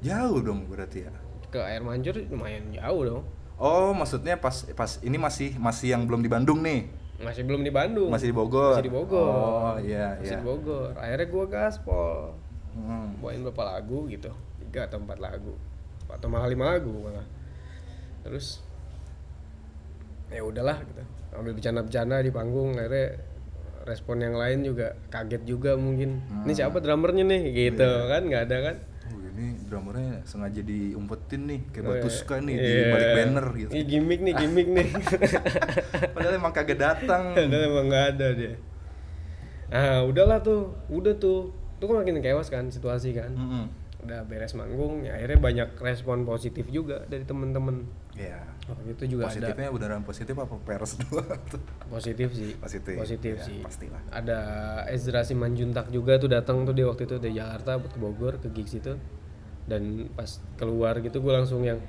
[SPEAKER 1] Jauh dong berarti ya
[SPEAKER 2] ke air mancur lumayan jauh dong
[SPEAKER 1] Oh maksudnya pas pas ini masih masih yang belum di Bandung nih
[SPEAKER 2] masih belum di Bandung
[SPEAKER 1] Masih di Bogor
[SPEAKER 2] Masih di Bogor.
[SPEAKER 1] Oh iya
[SPEAKER 2] Masih
[SPEAKER 1] iya
[SPEAKER 2] di Bogor. Akhirnya gue gaspol,
[SPEAKER 1] Hmm.
[SPEAKER 2] bawain beberapa lagu gitu, tiga atau empat lagu, Empat atau malah lima lagu malah. Terus ya udahlah gitu, ambil bercanda-bercanda di panggung. Akhirnya respon yang lain juga kaget juga mungkin. Ini siapa
[SPEAKER 1] Hmm.
[SPEAKER 2] drummernya nih?
[SPEAKER 1] Iya.
[SPEAKER 2] Gitu kan, nggak ada kan?
[SPEAKER 1] Oh, ini drummernya sengaja diumpetin nih kayak
[SPEAKER 2] Oh, iya.
[SPEAKER 1] batu suka nih
[SPEAKER 2] Iya.
[SPEAKER 1] di balik banner gitu.
[SPEAKER 2] Ini gimmick nih, gimmick
[SPEAKER 1] <laughs>
[SPEAKER 2] nih.
[SPEAKER 1] Padahal emang kagak datang.
[SPEAKER 2] <laughs> Padahal emang nggak ada dia. Ah, udahlah tuh, udah tuh. Itu kan makin kewas kan situasi kan.
[SPEAKER 1] Mm-mm.
[SPEAKER 2] udah beres manggung ya akhirnya banyak respon positif juga dari temen-temen
[SPEAKER 1] Iya.
[SPEAKER 2] waktu itu juga
[SPEAKER 1] positifnya beneran positif ya? apa <laughs> pers doang tuh
[SPEAKER 2] ada positif sih
[SPEAKER 1] Positif, ya,
[SPEAKER 2] sih
[SPEAKER 1] pastilah.
[SPEAKER 2] ada Ezra Simanjuntak juga tuh datang tuh dia waktu itu dari Jakarta buat ke Bogor ke gigs itu dan pas keluar gitu gue langsung yang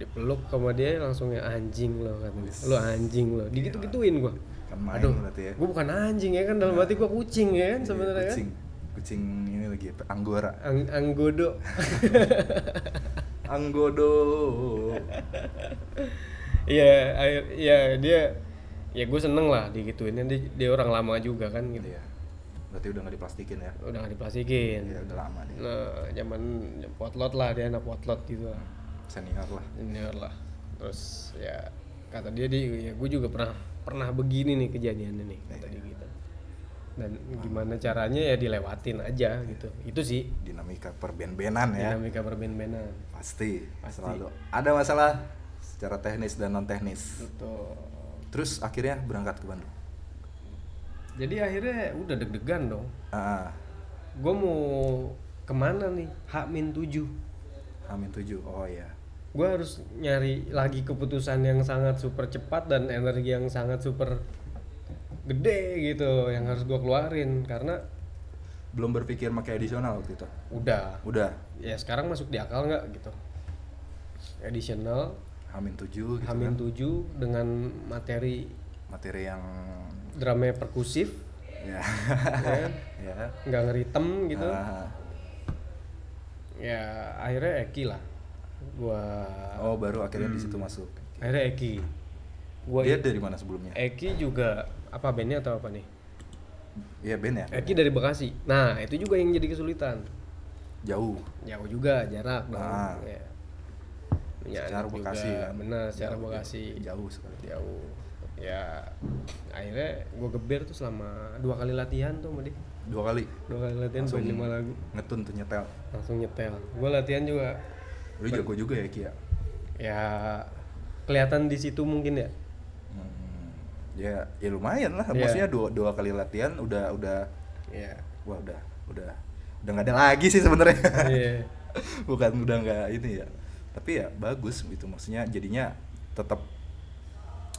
[SPEAKER 2] dipeluk sama dia langsung yang anjing lo kan lo anjing lo digitu gituin gue
[SPEAKER 1] kan main berarti ya Nah. Iya,
[SPEAKER 2] gue bukan anjing ya kan dalam hati gue kucing ya kan sebenarnya kan
[SPEAKER 1] kucing kucing ini lagi apa? anggora
[SPEAKER 2] Ang anggodo <laughs>
[SPEAKER 1] anggodo
[SPEAKER 2] Iya, akhir, ya dia, ya gue seneng lah digituinnya dia, dia orang lama juga kan gitu.
[SPEAKER 1] Iya. berarti udah nggak diplastikin ya
[SPEAKER 2] Udah gak diplastikin.
[SPEAKER 1] ya udah lama nih
[SPEAKER 2] Nah, zaman potlot lah dia anak potlot gitu lah,
[SPEAKER 1] senior lah
[SPEAKER 2] senior lah. Terus ya kata dia dia, ya gue juga pernah pernah begini nih kejadiannya nih kata dia gitu. Dan gimana caranya ya dilewatin aja gitu. Itu sih
[SPEAKER 1] dinamika perben-benan ya
[SPEAKER 2] dinamika perben-benan.
[SPEAKER 1] pasti, selalu ada masalah secara teknis dan non teknis
[SPEAKER 2] Gitu. Betul.
[SPEAKER 1] terus akhirnya berangkat ke Bandung
[SPEAKER 2] Jadi akhirnya udah deg-degan dong.
[SPEAKER 1] ah
[SPEAKER 2] gue mau kemana nih H-7
[SPEAKER 1] Amin 7 oh iya
[SPEAKER 2] gue harus nyari lagi keputusan yang sangat super cepat dan energi yang sangat super gede gitu yang harus gue keluarin karena
[SPEAKER 1] belum berpikir pakai additional waktu itu
[SPEAKER 2] udah
[SPEAKER 1] udah
[SPEAKER 2] ya sekarang masuk di akal nggak gitu additional
[SPEAKER 1] hamin tujuh gitu
[SPEAKER 2] hamin
[SPEAKER 1] kan.
[SPEAKER 2] 7 dengan materi
[SPEAKER 1] materi yang
[SPEAKER 2] drama
[SPEAKER 1] <laughs>
[SPEAKER 2] perkusif <laughs>
[SPEAKER 1] ya
[SPEAKER 2] ya,
[SPEAKER 1] ya
[SPEAKER 2] nggak ngeritem gitu
[SPEAKER 1] Ah.
[SPEAKER 2] ya akhirnya Eki lah gua
[SPEAKER 1] oh baru akhirnya di situ
[SPEAKER 2] Hmm.
[SPEAKER 1] masuk
[SPEAKER 2] akhirnya Eki gua
[SPEAKER 1] dia dari mana sebelumnya
[SPEAKER 2] Eki juga apa bandnya atau apa nih
[SPEAKER 1] Iya Ben ya
[SPEAKER 2] Eki dari Bekasi nah itu juga yang jadi kesulitan
[SPEAKER 1] jauh
[SPEAKER 2] jauh juga jarak dong
[SPEAKER 1] Ah.
[SPEAKER 2] ya.
[SPEAKER 1] Secara
[SPEAKER 2] Nyanet
[SPEAKER 1] Bekasi
[SPEAKER 2] juga,
[SPEAKER 1] kan.
[SPEAKER 2] bener secara
[SPEAKER 1] Jauh,
[SPEAKER 2] Bekasi
[SPEAKER 1] jauh sekali
[SPEAKER 2] jauh ya akhirnya gua geber tuh selama dua kali latihan tuh sama dia
[SPEAKER 1] dua kali
[SPEAKER 2] dua kali latihan
[SPEAKER 1] Langsung.
[SPEAKER 2] bawain lima lagu
[SPEAKER 1] ngetun tuh nyetel
[SPEAKER 2] langsung nyetel gua latihan juga
[SPEAKER 1] lu jago juga ya Kia
[SPEAKER 2] ya kelihatan di situ mungkin ya
[SPEAKER 1] Hmm, ya ya lumayan lah
[SPEAKER 2] Iya.
[SPEAKER 1] maksudnya dua dua kali latihan udah udah <laughs>
[SPEAKER 2] ya
[SPEAKER 1] wah udah udah udah nggak ada lagi sih sebenarnya <laughs>
[SPEAKER 2] Iya.
[SPEAKER 1] bukan udah nggak ini ya tapi ya bagus gitu maksudnya jadinya tetap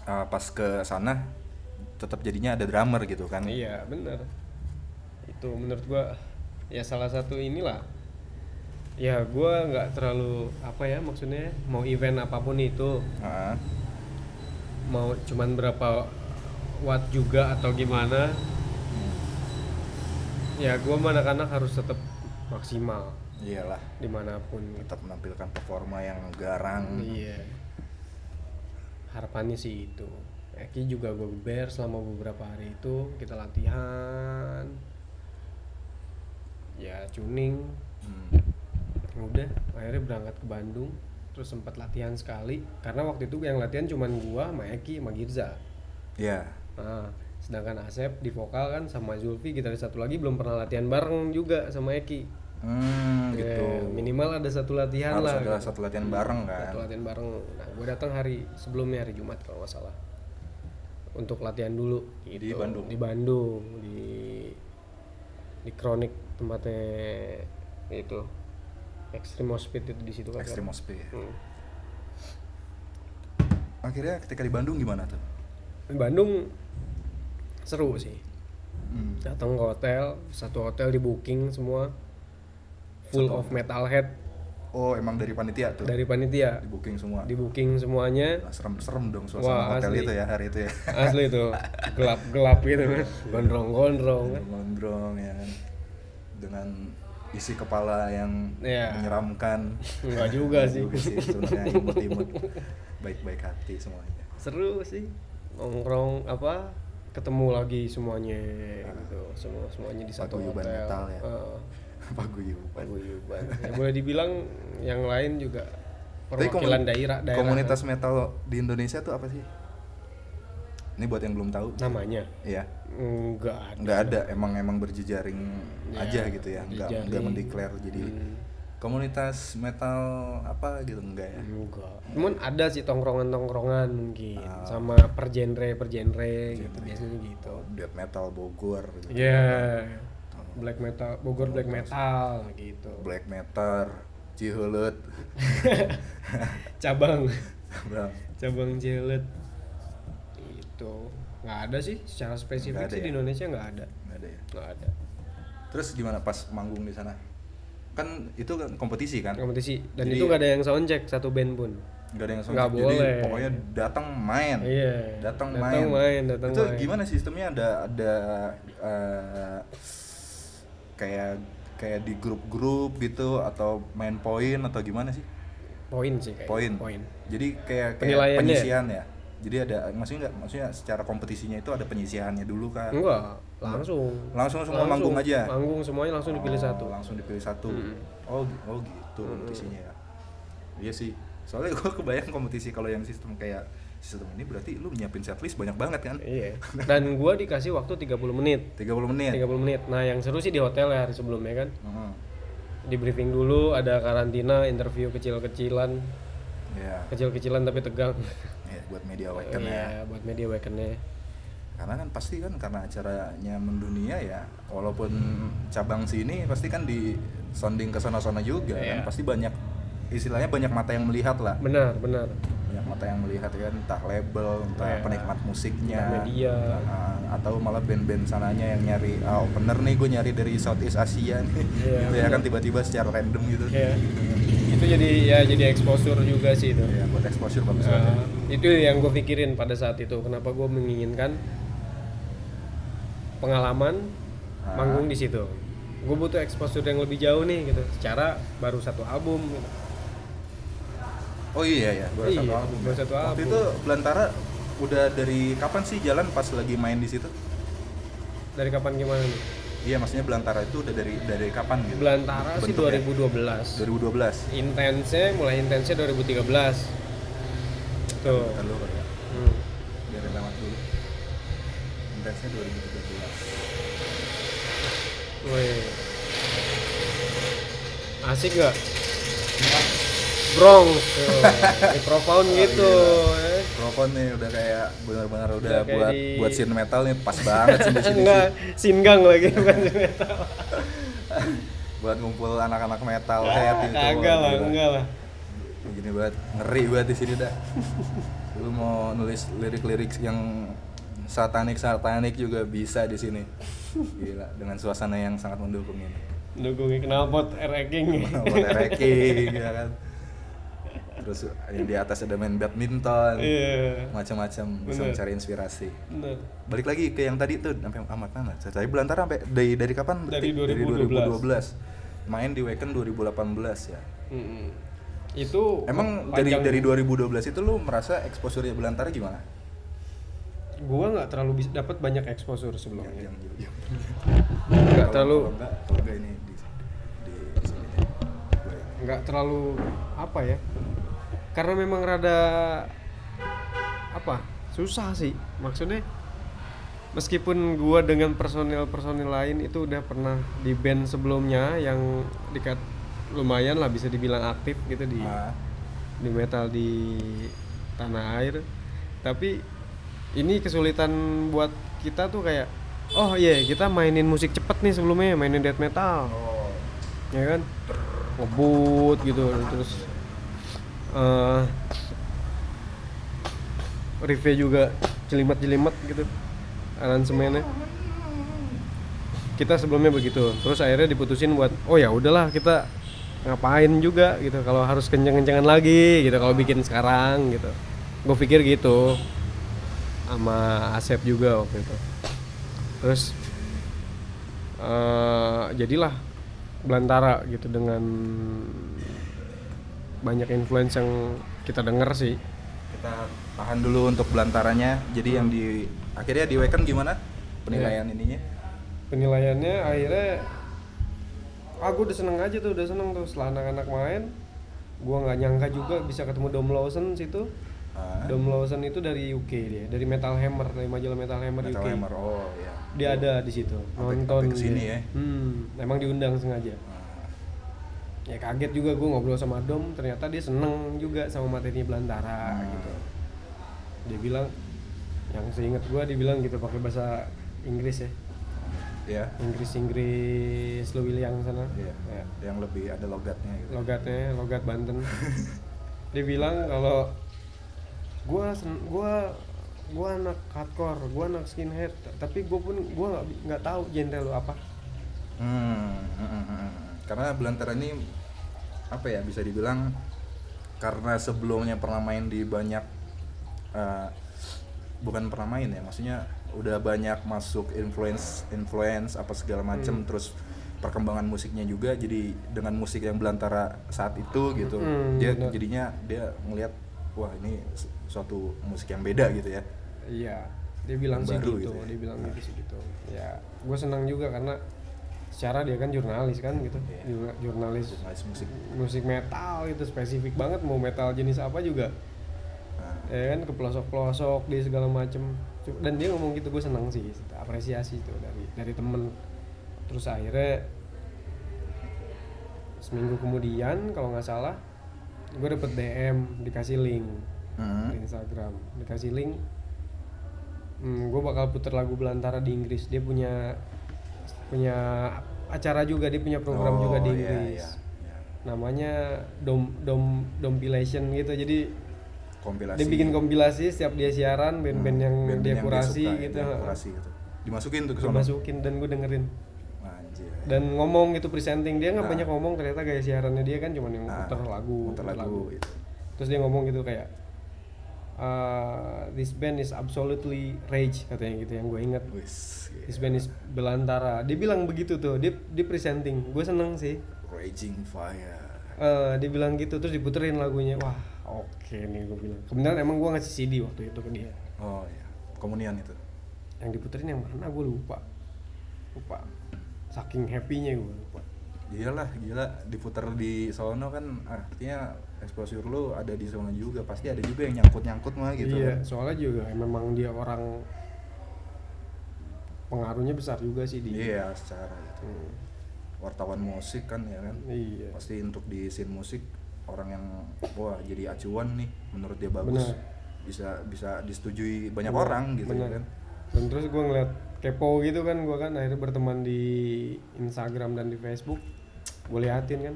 [SPEAKER 1] uh, pas ke sana tetap jadinya ada drummer gitu kan
[SPEAKER 2] Iya bener Itu menurut gua ya salah satu inilah Ya gua nggak terlalu apa ya maksudnya mau event apapun itu
[SPEAKER 1] Heeh.
[SPEAKER 2] mau cuman berapa watt juga atau gimana ya gua sama anak-anak harus tetap maksimal
[SPEAKER 1] iyalah
[SPEAKER 2] dimanapun gitu.
[SPEAKER 1] tetap menampilkan performa yang garang
[SPEAKER 2] Iya. Harapannya sih itu. Eki juga gue geber selama beberapa hari itu kita latihan. Ya tuning.
[SPEAKER 1] Hmm.
[SPEAKER 2] Udah, akhirnya berangkat ke Bandung. Terus sempat latihan sekali karena waktu itu yang latihan cuman gua sama Eki sama Girza.
[SPEAKER 1] ya
[SPEAKER 2] Nah, sedangkan Asep di vokal kan sama Zulfi gitaris satu lagi belum pernah latihan bareng juga sama Eki.
[SPEAKER 1] Hmm, gitu
[SPEAKER 2] Ya, minimal ada satu latihan
[SPEAKER 1] harus
[SPEAKER 2] lah.
[SPEAKER 1] ada
[SPEAKER 2] gitu.
[SPEAKER 1] satu latihan bareng kan
[SPEAKER 2] Satu latihan bareng. Nah, gue datang hari sebelumnya hari Jumat kalau nggak salah. Untuk latihan dulu
[SPEAKER 1] Di
[SPEAKER 2] gitu.
[SPEAKER 1] Bandung?
[SPEAKER 2] Di Bandung di di Kronik tempatnya itu Extreme Hospital itu di situ kan.
[SPEAKER 1] Extreme Ospea.
[SPEAKER 2] Hmm.
[SPEAKER 1] akhirnya ketika di Bandung gimana tuh
[SPEAKER 2] Di Bandung seru sih.
[SPEAKER 1] Hmm.
[SPEAKER 2] Datang ke hotel, satu hotel di booking semua full
[SPEAKER 1] Satu
[SPEAKER 2] of metalhead
[SPEAKER 1] oh emang dari panitia tuh
[SPEAKER 2] dari panitia.
[SPEAKER 1] di booking semua
[SPEAKER 2] Di booking
[SPEAKER 1] <laughs>
[SPEAKER 2] semuanya.
[SPEAKER 1] Nah, serem-serem dong suasana
[SPEAKER 2] Wah,
[SPEAKER 1] hotel
[SPEAKER 2] asli.
[SPEAKER 1] itu ya hari itu ya
[SPEAKER 2] Asli itu gelap-gelap gitu kan. Gondrong-gondrong kan.
[SPEAKER 1] gondrong ya kan dengan isi kepala yang
[SPEAKER 2] Iya.
[SPEAKER 1] menyeramkan
[SPEAKER 2] Enggak juga
[SPEAKER 1] Enggak
[SPEAKER 2] sih.
[SPEAKER 1] sih sebenarnya imut-imut baik-baik hati semuanya
[SPEAKER 2] Seru sih. Nongkrong apa? Ketemu lagi semuanya gitu. Semua semuanya di satu
[SPEAKER 1] Paguyuban
[SPEAKER 2] hotel.
[SPEAKER 1] metal ya.
[SPEAKER 2] Heeh,
[SPEAKER 1] paguyuban
[SPEAKER 2] paguyuban. Ya, boleh dibilang yang lain juga
[SPEAKER 1] Tapi
[SPEAKER 2] perwakilan
[SPEAKER 1] komuni-
[SPEAKER 2] daerah daerah.
[SPEAKER 1] komunitas metal di Indonesia tuh apa sih ini buat yang belum tahu
[SPEAKER 2] namanya
[SPEAKER 1] Iya
[SPEAKER 2] enggak ada.
[SPEAKER 1] nggak ada emang emang berjejaring
[SPEAKER 2] Ya,
[SPEAKER 1] aja gitu ya nggak nggak
[SPEAKER 2] berjejaring.
[SPEAKER 1] mendeklar jadi
[SPEAKER 2] Hmm.
[SPEAKER 1] komunitas metal apa gitu enggak ya
[SPEAKER 2] Enggak. Cuman ada sih tongkrongan-tongkrongan mungkin
[SPEAKER 1] Ah.
[SPEAKER 2] sama per genre per genre gitu biasanya gitu.
[SPEAKER 1] death metal Bogor gitu.
[SPEAKER 2] Ya. Black metal, Bogor black metal gitu.
[SPEAKER 1] Black Matter, Cihulut, <laughs>
[SPEAKER 2] Cabang.
[SPEAKER 1] Bang.
[SPEAKER 2] cabang jelet itu nggak ada sih secara
[SPEAKER 1] Nggak
[SPEAKER 2] spesifik
[SPEAKER 1] ada
[SPEAKER 2] sih di
[SPEAKER 1] ya?
[SPEAKER 2] Indonesia nggak ada
[SPEAKER 1] Nggak ada ya.
[SPEAKER 2] nggak ada
[SPEAKER 1] Terus gimana pas manggung di sana? Kan itu kan kompetisi kan?
[SPEAKER 2] kompetisi dan
[SPEAKER 1] Jadi-
[SPEAKER 2] itu nggak ada yang soundcheck satu band pun
[SPEAKER 1] Gak ada yang
[SPEAKER 2] Nggak
[SPEAKER 1] soundcheck, jadi
[SPEAKER 2] boleh.
[SPEAKER 1] pokoknya datang main.
[SPEAKER 2] Iya.
[SPEAKER 1] Datang
[SPEAKER 2] Datang
[SPEAKER 1] main.
[SPEAKER 2] main, datang
[SPEAKER 1] itu
[SPEAKER 2] main.
[SPEAKER 1] gimana sistemnya ada ada eh, kayak kayak di grup-grup gitu atau main poin atau gimana sih?
[SPEAKER 2] poin sih kayak
[SPEAKER 1] Poin.
[SPEAKER 2] poin
[SPEAKER 1] Jadi kayak kayak
[SPEAKER 2] Penilaiannya.
[SPEAKER 1] penyisian ya. Jadi ada maksudnya nggak maksudnya secara kompetisinya itu ada penyisiannya dulu kan?
[SPEAKER 2] enggak langsung
[SPEAKER 1] Langsung semua manggung aja?
[SPEAKER 2] manggung semuanya langsung dipilih
[SPEAKER 1] Oh,
[SPEAKER 2] Hmm, satu Hmm.
[SPEAKER 1] langsung dipilih satu oh gi- oh gitu kompetisinya ya iya sih soalnya <laughs> gue kebayang kompetisi kalau yang sistem kayak sistem ini berarti lu nyiapin setlist banyak banget kan
[SPEAKER 2] iya dan gua dikasih waktu 30 menit
[SPEAKER 1] 30 menit
[SPEAKER 2] 30 menit nah yang seru sih di hotel ya hari sebelumnya kan
[SPEAKER 1] Heeh.
[SPEAKER 2] di briefing dulu ada karantina interview kecil-kecilan
[SPEAKER 1] ya
[SPEAKER 2] kecil-kecilan tapi tegang
[SPEAKER 1] ya, buat media awaken ya
[SPEAKER 2] iya buat media awakennya
[SPEAKER 1] karena kan pasti kan karena acaranya mendunia ya walaupun cabang sini pasti kan di sounding ke sana-sana juga
[SPEAKER 2] Iya.
[SPEAKER 1] kan pasti banyak istilahnya banyak mata yang melihat lah
[SPEAKER 2] benar benar
[SPEAKER 1] banyak mata mata yang melihat kan entah label entah
[SPEAKER 2] Ya.
[SPEAKER 1] penikmat musiknya
[SPEAKER 2] Entah media.
[SPEAKER 1] Nah, atau malah band-band sananya yang nyari ah opener nih gue nyari dari Southeast Asia nih
[SPEAKER 2] Iya,
[SPEAKER 1] gitu ya
[SPEAKER 2] bener.
[SPEAKER 1] kan tiba-tiba secara random gitu
[SPEAKER 2] Iya. itu jadi ya jadi exposure juga sih itu
[SPEAKER 1] ya buat exposure bagus banget
[SPEAKER 2] Uh, itu yang gue pikirin pada saat itu kenapa gue menginginkan pengalaman
[SPEAKER 1] Ah.
[SPEAKER 2] manggung di situ gue butuh exposure yang lebih jauh nih gitu secara baru satu album gitu.
[SPEAKER 1] oh iya ya baru
[SPEAKER 2] Iya,
[SPEAKER 1] satu album
[SPEAKER 2] baru
[SPEAKER 1] ya.
[SPEAKER 2] satu
[SPEAKER 1] waktu
[SPEAKER 2] album.
[SPEAKER 1] itu Belantara udah dari kapan sih jalan pas lagi main di situ
[SPEAKER 2] dari kapan gimana nih
[SPEAKER 1] iya maksudnya Belantara itu udah dari dari kapan gitu
[SPEAKER 2] Belantara sih
[SPEAKER 1] Bentuknya? 2012
[SPEAKER 2] 2012 intensnya mulai intensnya 2013 tuh
[SPEAKER 1] Bentar dulu, Pak, ya.
[SPEAKER 2] Hmm.
[SPEAKER 1] biar lewat dulu Intensnya 2013
[SPEAKER 2] Wih. asik gak?
[SPEAKER 1] <laughs>
[SPEAKER 2] Brong, tuh. Di profound
[SPEAKER 1] Oh,
[SPEAKER 2] gitu.
[SPEAKER 1] iya.
[SPEAKER 2] ya.
[SPEAKER 1] Rokok nih udah kayak benar-benar udah,
[SPEAKER 2] kayak
[SPEAKER 1] buat
[SPEAKER 2] di-
[SPEAKER 1] buat scene metal nih pas banget sih di sini
[SPEAKER 2] Eh, <laughs> Enggak,
[SPEAKER 1] sih.
[SPEAKER 2] singgang lagi bukan metal.
[SPEAKER 1] buat ngumpul anak-anak metal head gitu.
[SPEAKER 2] Kagak lah,
[SPEAKER 1] Gila.
[SPEAKER 2] enggak lah.
[SPEAKER 1] Begini banget, ngeri banget di sini dah. Lu mau nulis lirik-lirik yang satanik-satanik juga bisa di sini. Gila, dengan suasana yang sangat mendukung ini.
[SPEAKER 2] Dukungi knalpot ranking.
[SPEAKER 1] Buat
[SPEAKER 2] <laughs>
[SPEAKER 1] racking ya kan. Terus yang di atas ada main badminton.
[SPEAKER 2] Iya.
[SPEAKER 1] macam-macam bisa
[SPEAKER 2] Bener.
[SPEAKER 1] mencari inspirasi
[SPEAKER 2] Bener.
[SPEAKER 1] balik lagi ke yang tadi tuh sampai amat mana tadi belantara sampai dari dari kapan berarti?
[SPEAKER 2] Dari
[SPEAKER 1] 2012.
[SPEAKER 2] 2012.
[SPEAKER 1] main di Weekend 2018 ya
[SPEAKER 2] Mm-mm. Itu
[SPEAKER 1] emang
[SPEAKER 2] panjang-
[SPEAKER 1] dari dari 2012 itu lu merasa exposure belantara gimana
[SPEAKER 2] gua nggak terlalu bisa dapat banyak exposure
[SPEAKER 1] Yang-
[SPEAKER 2] sebelumnya.
[SPEAKER 1] yang- yang- kalau-
[SPEAKER 2] Nggak terlalu
[SPEAKER 1] Iya, kalau enggak kalau enggak ini di di, di sini deh. Gua ini.
[SPEAKER 2] nggak terlalu apa ya karena memang rada apa susah sih maksudnya meskipun gua dengan personil personil lain itu udah pernah di band sebelumnya yang dekat lumayan lah bisa dibilang aktif gitu di
[SPEAKER 1] Ah,
[SPEAKER 2] di metal di tanah air tapi ini kesulitan buat kita tuh kayak oh iya kita mainin musik cepet nih sebelumnya mainin death metal
[SPEAKER 1] oh,
[SPEAKER 2] ya kan ngebut gitu terus eh review juga jelimet-jelimet gitu aransemennya kita sebelumnya begitu terus akhirnya diputusin buat oh ya udahlah kita ngapain juga gitu kalau harus kenceng-kencengan lagi gitu kalau bikin sekarang gitu gue pikir gitu sama Asep juga waktu itu terus eh jadilah belantara gitu dengan banyak influence yang kita denger sih
[SPEAKER 1] kita tahan dulu untuk belantaranya jadi yang di akhirnya di Weekend gimana penilaian ininya
[SPEAKER 2] penilaiannya akhirnya ah gue udah seneng aja tuh udah seneng tuh setelah anak-anak main gua nggak nyangka juga bisa ketemu Dom Lawson situ
[SPEAKER 1] Ah,
[SPEAKER 2] Dom Lawson itu dari UK dia dari Metal Hammer dari majalah Metal Hammer
[SPEAKER 1] Metal
[SPEAKER 2] UK
[SPEAKER 1] Hammer oh ya
[SPEAKER 2] dia ada di situ
[SPEAKER 1] Sampai-
[SPEAKER 2] nonton
[SPEAKER 1] sampai kesini ya.
[SPEAKER 2] dia.
[SPEAKER 1] Ah.
[SPEAKER 2] Hmm, emang diundang sengaja ya kaget juga gue ngobrol sama Dom ternyata dia seneng juga sama materinya
[SPEAKER 1] Ah,
[SPEAKER 2] Belantara gitu dia bilang yang seingat gue dia bilang gitu pakai bahasa Inggris ya
[SPEAKER 1] ya
[SPEAKER 2] Inggris Inggris lu yang sana
[SPEAKER 1] Iya.
[SPEAKER 2] Ya.
[SPEAKER 1] yang lebih ada logatnya gitu.
[SPEAKER 2] logatnya logat
[SPEAKER 1] <laughs>
[SPEAKER 2] Banten dia bilang kalau gua sen- gua gua anak hardcore gua anak skinhead tapi gua pun gua nggak bi- nggak tahu genre lu apa
[SPEAKER 1] Hmm, mm, mm, mm. Karena Belantara ini apa ya bisa dibilang karena sebelumnya pernah main di banyak eh, bukan pernah main ya, maksudnya udah banyak masuk influence influence apa segala
[SPEAKER 2] Hmm.
[SPEAKER 1] macem terus perkembangan musiknya juga jadi dengan musik yang Belantara saat itu gitu.
[SPEAKER 2] Mm,
[SPEAKER 1] dia
[SPEAKER 2] bener.
[SPEAKER 1] jadinya dia ngelihat wah ini su- suatu musik yang beda gitu ya.
[SPEAKER 2] Iya, dia bilang sih
[SPEAKER 1] Baru
[SPEAKER 2] gitu,
[SPEAKER 1] gitu ya.
[SPEAKER 2] dia bilang gitu sih gitu. Ya, gue senang juga karena secara dia kan jurnalis kan gitu,
[SPEAKER 1] Iya.
[SPEAKER 2] Jur- jurnalis
[SPEAKER 1] Nice musik.
[SPEAKER 2] musik metal gitu spesifik banget mau metal jenis apa juga,
[SPEAKER 1] Nah,
[SPEAKER 2] ya kan ke pelosok pelosok di segala macem. Cu- Dan dia ngomong gitu gue senang sih, apresiasi itu dari dari temen. Terus akhirnya seminggu kemudian kalau nggak salah gue dapet DM dikasih link
[SPEAKER 1] mm.
[SPEAKER 2] di Instagram dikasih link hmm, gue bakal puter lagu Belantara di Inggris dia punya punya acara juga dia punya
[SPEAKER 1] Oh,
[SPEAKER 2] program juga di
[SPEAKER 1] iya,
[SPEAKER 2] Inggris
[SPEAKER 1] iya, iya.
[SPEAKER 2] namanya dom dom dompilation gitu jadi
[SPEAKER 1] kompilasi Hmm.
[SPEAKER 2] Dia bikin kompilasi setiap dia siaran band-band yang
[SPEAKER 1] band-band
[SPEAKER 2] dia
[SPEAKER 1] yang
[SPEAKER 2] kurasi
[SPEAKER 1] suka,
[SPEAKER 2] gitu.
[SPEAKER 1] yang dia kurasi gitu dimasukin tuh ke
[SPEAKER 2] Gue
[SPEAKER 1] sono
[SPEAKER 2] masukin dan gue dengerin
[SPEAKER 1] anjir
[SPEAKER 2] dan ngomong gitu presenting dia nggak
[SPEAKER 1] Nah.
[SPEAKER 2] banyak ngomong ternyata gaya siarannya dia kan cuman yang
[SPEAKER 1] Nah,
[SPEAKER 2] putar lagu,
[SPEAKER 1] muter
[SPEAKER 2] puter
[SPEAKER 1] lagu gitu.
[SPEAKER 2] terus dia ngomong gitu kayak "Uh, this band is absolutely rage katanya gitu yang gue inget
[SPEAKER 1] wis yeah.
[SPEAKER 2] this band is belantara dia bilang begitu tuh dia dia presenting gue seneng sih
[SPEAKER 1] raging fire
[SPEAKER 2] Eh, dia bilang gitu terus diputerin lagunya wah oke nih gue bilang kemudian emang gue ngasih CD waktu itu ke dia
[SPEAKER 1] oh ya komunian itu
[SPEAKER 2] yang diputerin yang mana gue lupa lupa saking happy-nya gue lupa
[SPEAKER 1] iyalah gila diputar di sono kan artinya exposure lu ada di sono juga pasti ada juga yang nyangkut nyangkut mah gitu kan.
[SPEAKER 2] iya, soalnya juga memang dia orang pengaruhnya besar juga sih di
[SPEAKER 1] iya secara gitu
[SPEAKER 2] Hmm,
[SPEAKER 1] wartawan musik kan ya kan
[SPEAKER 2] iya.
[SPEAKER 1] pasti untuk di scene musik orang yang wah jadi acuan nih menurut dia bagus
[SPEAKER 2] Benar.
[SPEAKER 1] bisa bisa disetujui banyak
[SPEAKER 2] Benar,
[SPEAKER 1] orang gitu ya
[SPEAKER 2] benar.
[SPEAKER 1] kan
[SPEAKER 2] Dan terus gue ngeliat kepo gitu kan, gue kan akhirnya berteman di Instagram dan di Facebook, gue liatin kan,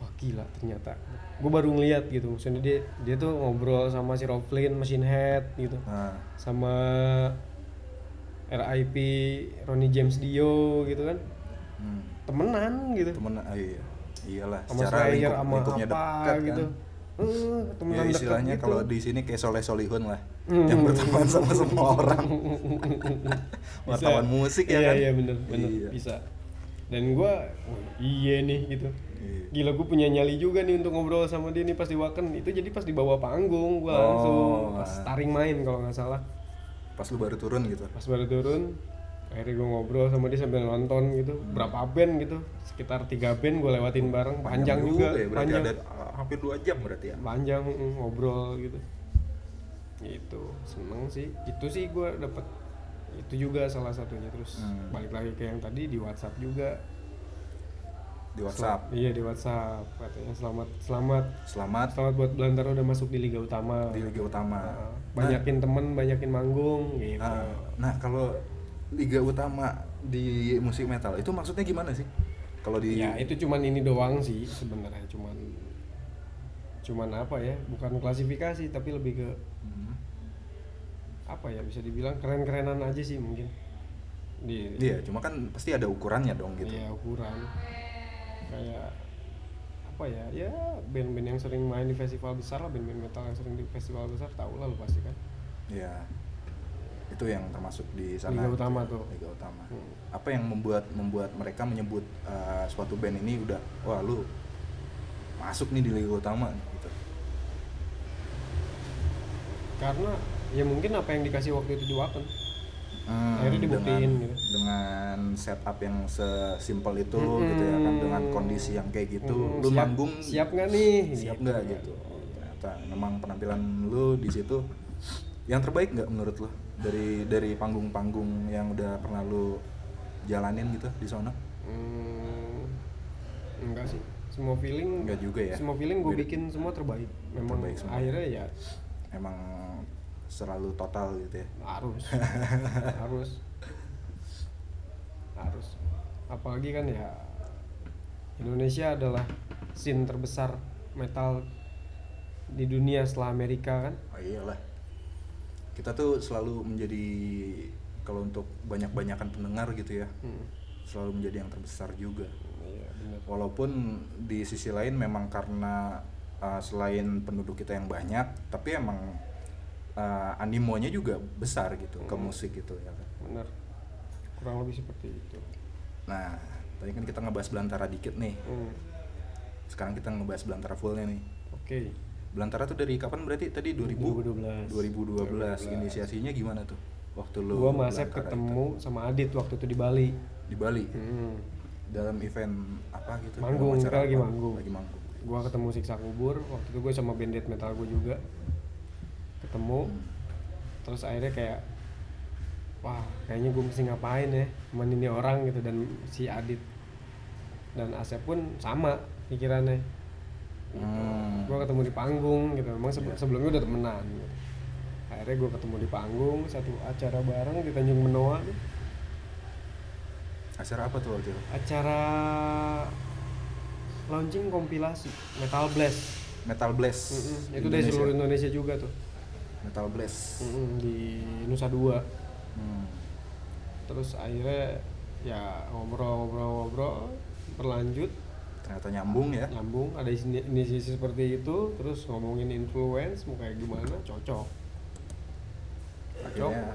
[SPEAKER 2] wah gila ternyata. Gue baru ngeliat gitu, maksudnya dia dia tuh ngobrol sama si Roflin, Machine Head gitu,
[SPEAKER 1] nah
[SPEAKER 2] sama RIP Ronnie James Dio gitu kan,
[SPEAKER 1] hmm,
[SPEAKER 2] temenan gitu.
[SPEAKER 1] temen ah, iya iyalah
[SPEAKER 2] sama
[SPEAKER 1] secara
[SPEAKER 2] Slayer
[SPEAKER 1] lingkup,
[SPEAKER 2] sama apa
[SPEAKER 1] lingkupnya dekat
[SPEAKER 2] gitu.
[SPEAKER 1] kan
[SPEAKER 2] Eh,
[SPEAKER 1] Ya,
[SPEAKER 2] temenan dekat
[SPEAKER 1] istilahnya
[SPEAKER 2] gitu.
[SPEAKER 1] kalau di sini kayak soleh solihun lah
[SPEAKER 2] Hmm.
[SPEAKER 1] yang berteman sama semua
[SPEAKER 2] <laughs>
[SPEAKER 1] orang wartawan musik ya
[SPEAKER 2] iya,
[SPEAKER 1] kan
[SPEAKER 2] Iya bener bener
[SPEAKER 1] Iya.
[SPEAKER 2] bisa. Dan gua oh, iya nih gitu.
[SPEAKER 1] Iya.
[SPEAKER 2] Gila gue punya nyali juga nih untuk ngobrol sama dia nih pas di Waken itu jadi pas di bawah panggung gua
[SPEAKER 1] Oh,
[SPEAKER 2] langsung pas
[SPEAKER 1] ah.
[SPEAKER 2] taring main kalau nggak salah.
[SPEAKER 1] pas lu baru turun gitu
[SPEAKER 2] Pas baru turun akhirnya gue ngobrol sama dia sambil nonton gitu berapa band gitu sekitar tiga band gue lewatin bareng panjang, juga,
[SPEAKER 1] ya, berarti
[SPEAKER 2] panjang
[SPEAKER 1] ada ah, hampir dua jam berarti ya
[SPEAKER 2] panjang mm, ngobrol gitu gitu seneng sih itu sih gue dapet itu juga salah satunya terus
[SPEAKER 1] Hmm.
[SPEAKER 2] balik lagi ke yang tadi di WhatsApp juga
[SPEAKER 1] di WhatsApp
[SPEAKER 2] Sel- iya di WhatsApp katanya selamat selamat
[SPEAKER 1] selamat
[SPEAKER 2] selamat buat Belantara udah masuk di Liga Utama
[SPEAKER 1] di Liga Utama Nah,
[SPEAKER 2] Nah, banyakin temen banyakin manggung gitu
[SPEAKER 1] Nah, nah kalau liga utama di musik metal itu maksudnya gimana sih? Kalau di
[SPEAKER 2] ya itu cuman ini doang sih sebenarnya cuman cuman apa ya bukan klasifikasi tapi lebih ke
[SPEAKER 1] Hmm.
[SPEAKER 2] apa ya bisa dibilang keren-kerenan aja sih mungkin di
[SPEAKER 1] Iya, cuma kan pasti ada ukurannya dong gitu.
[SPEAKER 2] Iya ukuran kayak apa ya ya band-band yang sering main di festival besar lah band-band metal yang sering di festival besar tau lah lu pasti kan
[SPEAKER 1] Iya. Itu yang termasuk di sana.
[SPEAKER 2] Liga
[SPEAKER 1] gitu
[SPEAKER 2] utama
[SPEAKER 1] ya,
[SPEAKER 2] tuh.
[SPEAKER 1] Liga utama.
[SPEAKER 2] Hmm.
[SPEAKER 1] Apa yang membuat membuat mereka menyebut eh, suatu band ini udah wah lu masuk nih di liga utama gitu.
[SPEAKER 2] karena ya mungkin apa yang dikasih waktu itu di Wapen
[SPEAKER 1] Hmm,
[SPEAKER 2] Akhirnya dibuktiin
[SPEAKER 1] dengan,
[SPEAKER 2] gitu.
[SPEAKER 1] dengan setup yang sesimpel itu gitu ya kan
[SPEAKER 2] Mm-mm.
[SPEAKER 1] dengan kondisi yang kayak gitu
[SPEAKER 2] Hmm,
[SPEAKER 1] lu
[SPEAKER 2] siap-
[SPEAKER 1] manggung
[SPEAKER 2] siap nggak nih
[SPEAKER 1] siap nggak
[SPEAKER 2] kan.
[SPEAKER 1] gitu Oh, ternyata memang penampilan lu di situ yang terbaik nggak menurut lu dari dari panggung-panggung yang udah pernah lu jalanin gitu di sana
[SPEAKER 2] Hmm, enggak sih semua feeling
[SPEAKER 1] Enggak juga ya.
[SPEAKER 2] semua feeling gue
[SPEAKER 1] Beda.
[SPEAKER 2] bikin semua terbaik memang
[SPEAKER 1] Terbaik semua.
[SPEAKER 2] akhirnya ya
[SPEAKER 1] emang selalu total gitu ya <laughs>
[SPEAKER 2] harus harus harus apalagi kan ya Indonesia adalah scene terbesar metal di dunia setelah Amerika kan
[SPEAKER 1] oh, iyalah kita tuh selalu menjadi kalau untuk banyak-banyakan pendengar gitu ya
[SPEAKER 2] Hmm,
[SPEAKER 1] selalu menjadi yang terbesar juga
[SPEAKER 2] iya benar
[SPEAKER 1] walaupun di sisi lain memang karena uh, selain penduduk kita yang banyak tapi emang uh, animonya juga besar gitu ke
[SPEAKER 2] Hmm.
[SPEAKER 1] musik gitu ya kan
[SPEAKER 2] benar kurang lebih seperti itu
[SPEAKER 1] nah tadi kan kita ngebahas belantara dikit nih
[SPEAKER 2] Hmm,
[SPEAKER 1] sekarang kita ngebahas belantara fullnya nih
[SPEAKER 2] oke
[SPEAKER 1] belantara tuh dari kapan berarti tadi 2000
[SPEAKER 2] 2012.
[SPEAKER 1] 2012. inisiasinya gimana tuh waktu lu
[SPEAKER 2] gua sama Asep
[SPEAKER 1] Belantara
[SPEAKER 2] ketemu sama Adit waktu itu di Bali
[SPEAKER 1] itu? di Bali
[SPEAKER 2] Hmm,
[SPEAKER 1] dalam event apa gitu
[SPEAKER 2] Manggung,
[SPEAKER 1] Dalam acara
[SPEAKER 2] kita lagi
[SPEAKER 1] apa?
[SPEAKER 2] manggung.
[SPEAKER 1] lagi manggung
[SPEAKER 2] gua ketemu siksa kubur waktu itu gue sama band death metal gue juga ketemu terus akhirnya kayak wah kayaknya gue mesti ngapain ya temen ini orang gitu dan si Adit dan Asep pun sama pikirannya Gitu.
[SPEAKER 1] Hmm.
[SPEAKER 2] gue ketemu di panggung gitu memang sebe-
[SPEAKER 1] Iya.
[SPEAKER 2] sebelumnya udah temenan gitu. akhirnya gue ketemu di panggung satu acara bareng di Tanjung Benoa tuh.
[SPEAKER 1] acara apa tuh waktu itu
[SPEAKER 2] acara launching kompilasi Metal Blast
[SPEAKER 1] Metal Blast.
[SPEAKER 2] Mm-mm, itu dari seluruh Indonesia juga tuh
[SPEAKER 1] Metal Blast.
[SPEAKER 2] Mm-mm, di Nusa Dua
[SPEAKER 1] Hmm.
[SPEAKER 2] terus akhirnya ya ngobrol-ngobrol-ngobrol berlanjut
[SPEAKER 1] Ternyata nyambung ya.
[SPEAKER 2] nyambung ada isi- inisiasi seperti itu terus ngomongin influence mau kayak gimana cocok cocok
[SPEAKER 1] Akhirnya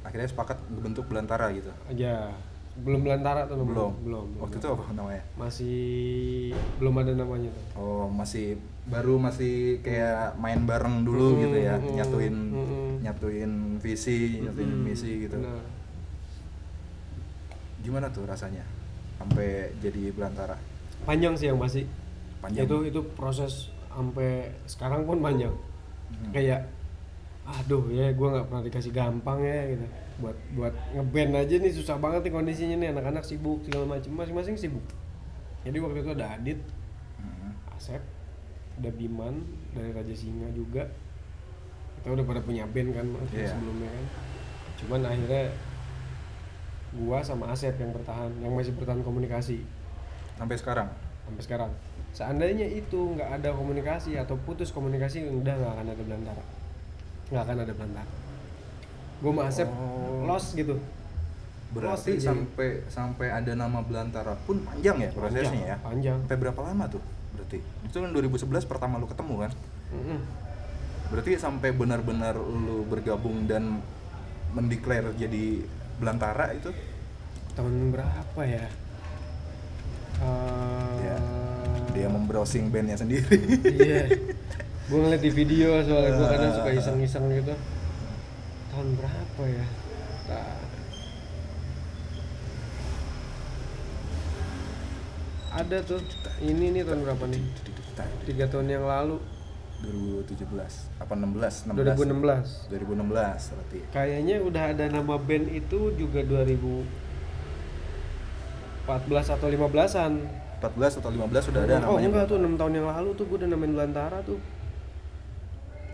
[SPEAKER 1] akhirnya sepakat membentuk Belantara gitu.
[SPEAKER 2] aja belum belantara tuh namanya.
[SPEAKER 1] Belum.
[SPEAKER 2] belum belum.
[SPEAKER 1] Waktu itu apa namanya?
[SPEAKER 2] masih belum ada namanya tuh
[SPEAKER 1] Oh, masih baru masih
[SPEAKER 2] Hmm.
[SPEAKER 1] kayak main bareng dulu
[SPEAKER 2] Mm,
[SPEAKER 1] gitu ya,
[SPEAKER 2] mm,
[SPEAKER 1] nyatuin
[SPEAKER 2] mm.
[SPEAKER 1] nyatuin visi, nyatuin
[SPEAKER 2] Mm-mm,
[SPEAKER 1] misi gitu.
[SPEAKER 2] Hmm, benar.
[SPEAKER 1] Gimana tuh rasanya sampai jadi Belantara?
[SPEAKER 2] panjang sih yang masih
[SPEAKER 1] Panjang.
[SPEAKER 2] itu itu proses sampai sekarang pun panjang
[SPEAKER 1] Hmm.
[SPEAKER 2] kayak aduh ya gua nggak pernah dikasih gampang ya gitu buat buat ngeband aja nih susah banget nih kondisinya nih anak-anak sibuk segala macam masing-masing sibuk jadi waktu itu ada Adit
[SPEAKER 1] Mm.
[SPEAKER 2] Asep ada Biman dari Raja Singa juga kita udah pada punya band kan waktu
[SPEAKER 1] Iya.
[SPEAKER 2] sebelumnya kan cuman akhirnya gua sama Asep yang bertahan yang masih bertahan komunikasi
[SPEAKER 1] Sampai sekarang.
[SPEAKER 2] sampai sekarang seandainya itu nggak ada komunikasi atau putus komunikasi udah nggak akan ada belantara nggak akan ada belantara gue sama Asep
[SPEAKER 1] Oh.
[SPEAKER 2] los gitu
[SPEAKER 1] Berarti
[SPEAKER 2] Masih jadi-
[SPEAKER 1] sampai sampai ada nama Belantara pun panjang ya prosesnya ya.
[SPEAKER 2] panjang
[SPEAKER 1] Sampai berapa lama tuh? Berarti itu kan 2011 pertama lu ketemu kan?
[SPEAKER 2] Mm-mm.
[SPEAKER 1] Berarti ya sampai benar-benar lu bergabung dan mendeklar jadi Belantara itu
[SPEAKER 2] tahun berapa ya Eh,
[SPEAKER 1] Ya, dia membrowsing bandnya sendiri. <laughs>
[SPEAKER 2] iya gue ngeliat di video soalnya gue kadang
[SPEAKER 1] Ah.
[SPEAKER 2] suka iseng-iseng gitu tahun berapa ya Nah. ada tuh ini nih tahun berapa nih tiga tahun yang lalu
[SPEAKER 1] 2017 apa 16 16
[SPEAKER 2] 2016
[SPEAKER 1] 2016 berarti
[SPEAKER 2] kayaknya udah ada nama band itu juga 2014 atau 15-an
[SPEAKER 1] 14 atau 15 sudah ada
[SPEAKER 2] oh
[SPEAKER 1] namanya
[SPEAKER 2] enggak tuh 6 tahun yang lalu tuh gue udah namain Belantara tuh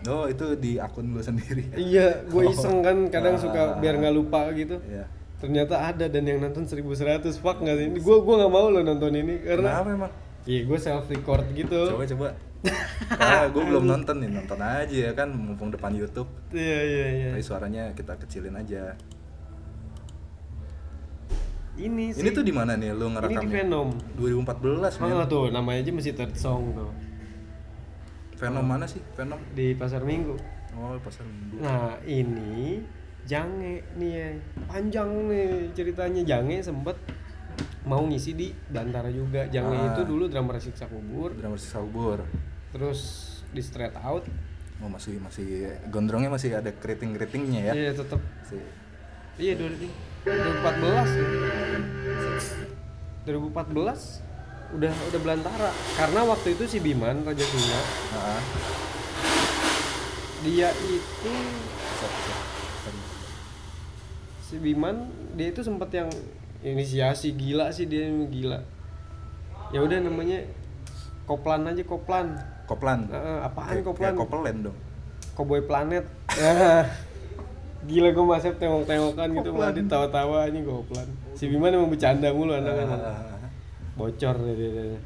[SPEAKER 1] oh itu di akun lu
[SPEAKER 2] <laughs>
[SPEAKER 1] sendiri
[SPEAKER 2] iya gue iseng kan kadang
[SPEAKER 1] Ah.
[SPEAKER 2] suka biar nggak lupa gitu
[SPEAKER 1] ya
[SPEAKER 2] ternyata ada dan yang nonton 1100 fuck nggak sih ini gue gua nggak mau lo nonton ini karena
[SPEAKER 1] kenapa emang
[SPEAKER 2] iya gue self record gitu
[SPEAKER 1] Nah. coba
[SPEAKER 2] <laughs>
[SPEAKER 1] coba karena gue belum nonton nih nonton aja ya kan mumpung depan YouTube
[SPEAKER 2] iya iya iya
[SPEAKER 1] tapi suaranya kita kecilin aja
[SPEAKER 2] ini sih
[SPEAKER 1] ini tuh Iya. di mana nih lu
[SPEAKER 2] ini di
[SPEAKER 1] ngerekamnya
[SPEAKER 2] Venom Oh.
[SPEAKER 1] 2014 men
[SPEAKER 2] mana tuh namanya aja masih third song tuh
[SPEAKER 1] Venom mana sih Venom
[SPEAKER 2] di pasar minggu
[SPEAKER 1] oh pasar minggu
[SPEAKER 2] nah ini Jange nih ya panjang nih ceritanya Jange sempet mau ngisi di Bantara juga Jange
[SPEAKER 1] Ah.
[SPEAKER 2] itu dulu drummer siksa kubur
[SPEAKER 1] drummer sisa ubur
[SPEAKER 2] terus di straight out
[SPEAKER 1] oh masih masih gondrongnya masih ada keriting keritingnya ya
[SPEAKER 2] iya tetep
[SPEAKER 1] Si-
[SPEAKER 2] Iya 2000 2014 ya. 2014 udah udah belantara karena waktu itu si Biman Raja Singa
[SPEAKER 1] Ah,
[SPEAKER 2] dia itu
[SPEAKER 1] bisa, bisa. Tadi.
[SPEAKER 2] si Biman dia itu sempat yang inisiasi gila sih dia gila ya udah namanya koplan aja koplan
[SPEAKER 1] Koplan.
[SPEAKER 2] Eh, eh, apaan
[SPEAKER 1] Kayak-
[SPEAKER 2] koplan
[SPEAKER 1] Kayak Koplan dong.
[SPEAKER 2] Cowboy Planet <laughs> Ah, gila gue masih tengok-tengokan gitu
[SPEAKER 1] Koplan.
[SPEAKER 2] malah ditawa-tawa aja koplan si Biman emang bercanda mulu anak-anak
[SPEAKER 1] Ah,
[SPEAKER 2] bocor deh dia, dia.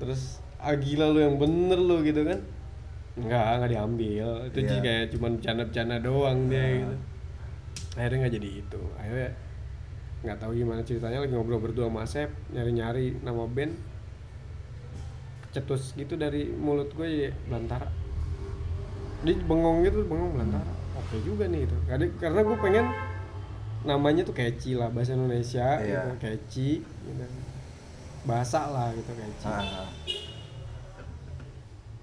[SPEAKER 2] terus ah gila lu yang bener lu gitu kan nggak nggak diambil itu
[SPEAKER 1] Iya.
[SPEAKER 2] sih kayak cuman bercanda-bercanda doang dia
[SPEAKER 1] Nah.
[SPEAKER 2] gitu akhirnya nggak jadi itu akhirnya nggak tahu gimana ceritanya lagi ngobrol berdua sama Asep nyari-nyari nama band cetus gitu dari mulut gue ya belantara dia bengong gitu bengong belantara oke juga nih itu Karena- karena gue pengen namanya tuh catchy lah bahasa
[SPEAKER 1] Iya.
[SPEAKER 2] Indonesia gitu catchy gitu. bahasa lah gitu catchy
[SPEAKER 1] ah, ah.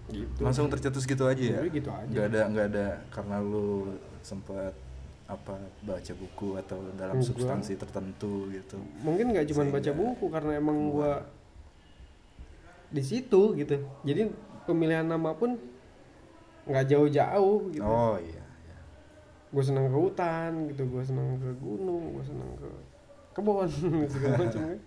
[SPEAKER 2] gitu
[SPEAKER 1] Langsung tercetus gitu aja ya.
[SPEAKER 2] Jadi gitu aja.
[SPEAKER 1] Nggak ada nggak ada karena lu sempat apa baca buku atau dalam
[SPEAKER 2] Enggak.
[SPEAKER 1] substansi tertentu gitu.
[SPEAKER 2] mungkin nggak cuma baca
[SPEAKER 1] Sehingga-
[SPEAKER 2] buku karena emang gua di situ gitu jadi pemilihan nama pun nggak jauh-jauh gitu
[SPEAKER 1] Oh iya. iya.
[SPEAKER 2] gue senang ke hutan gitu gue senang ke gunung gue senang ke kebun <laughs> segala macam kan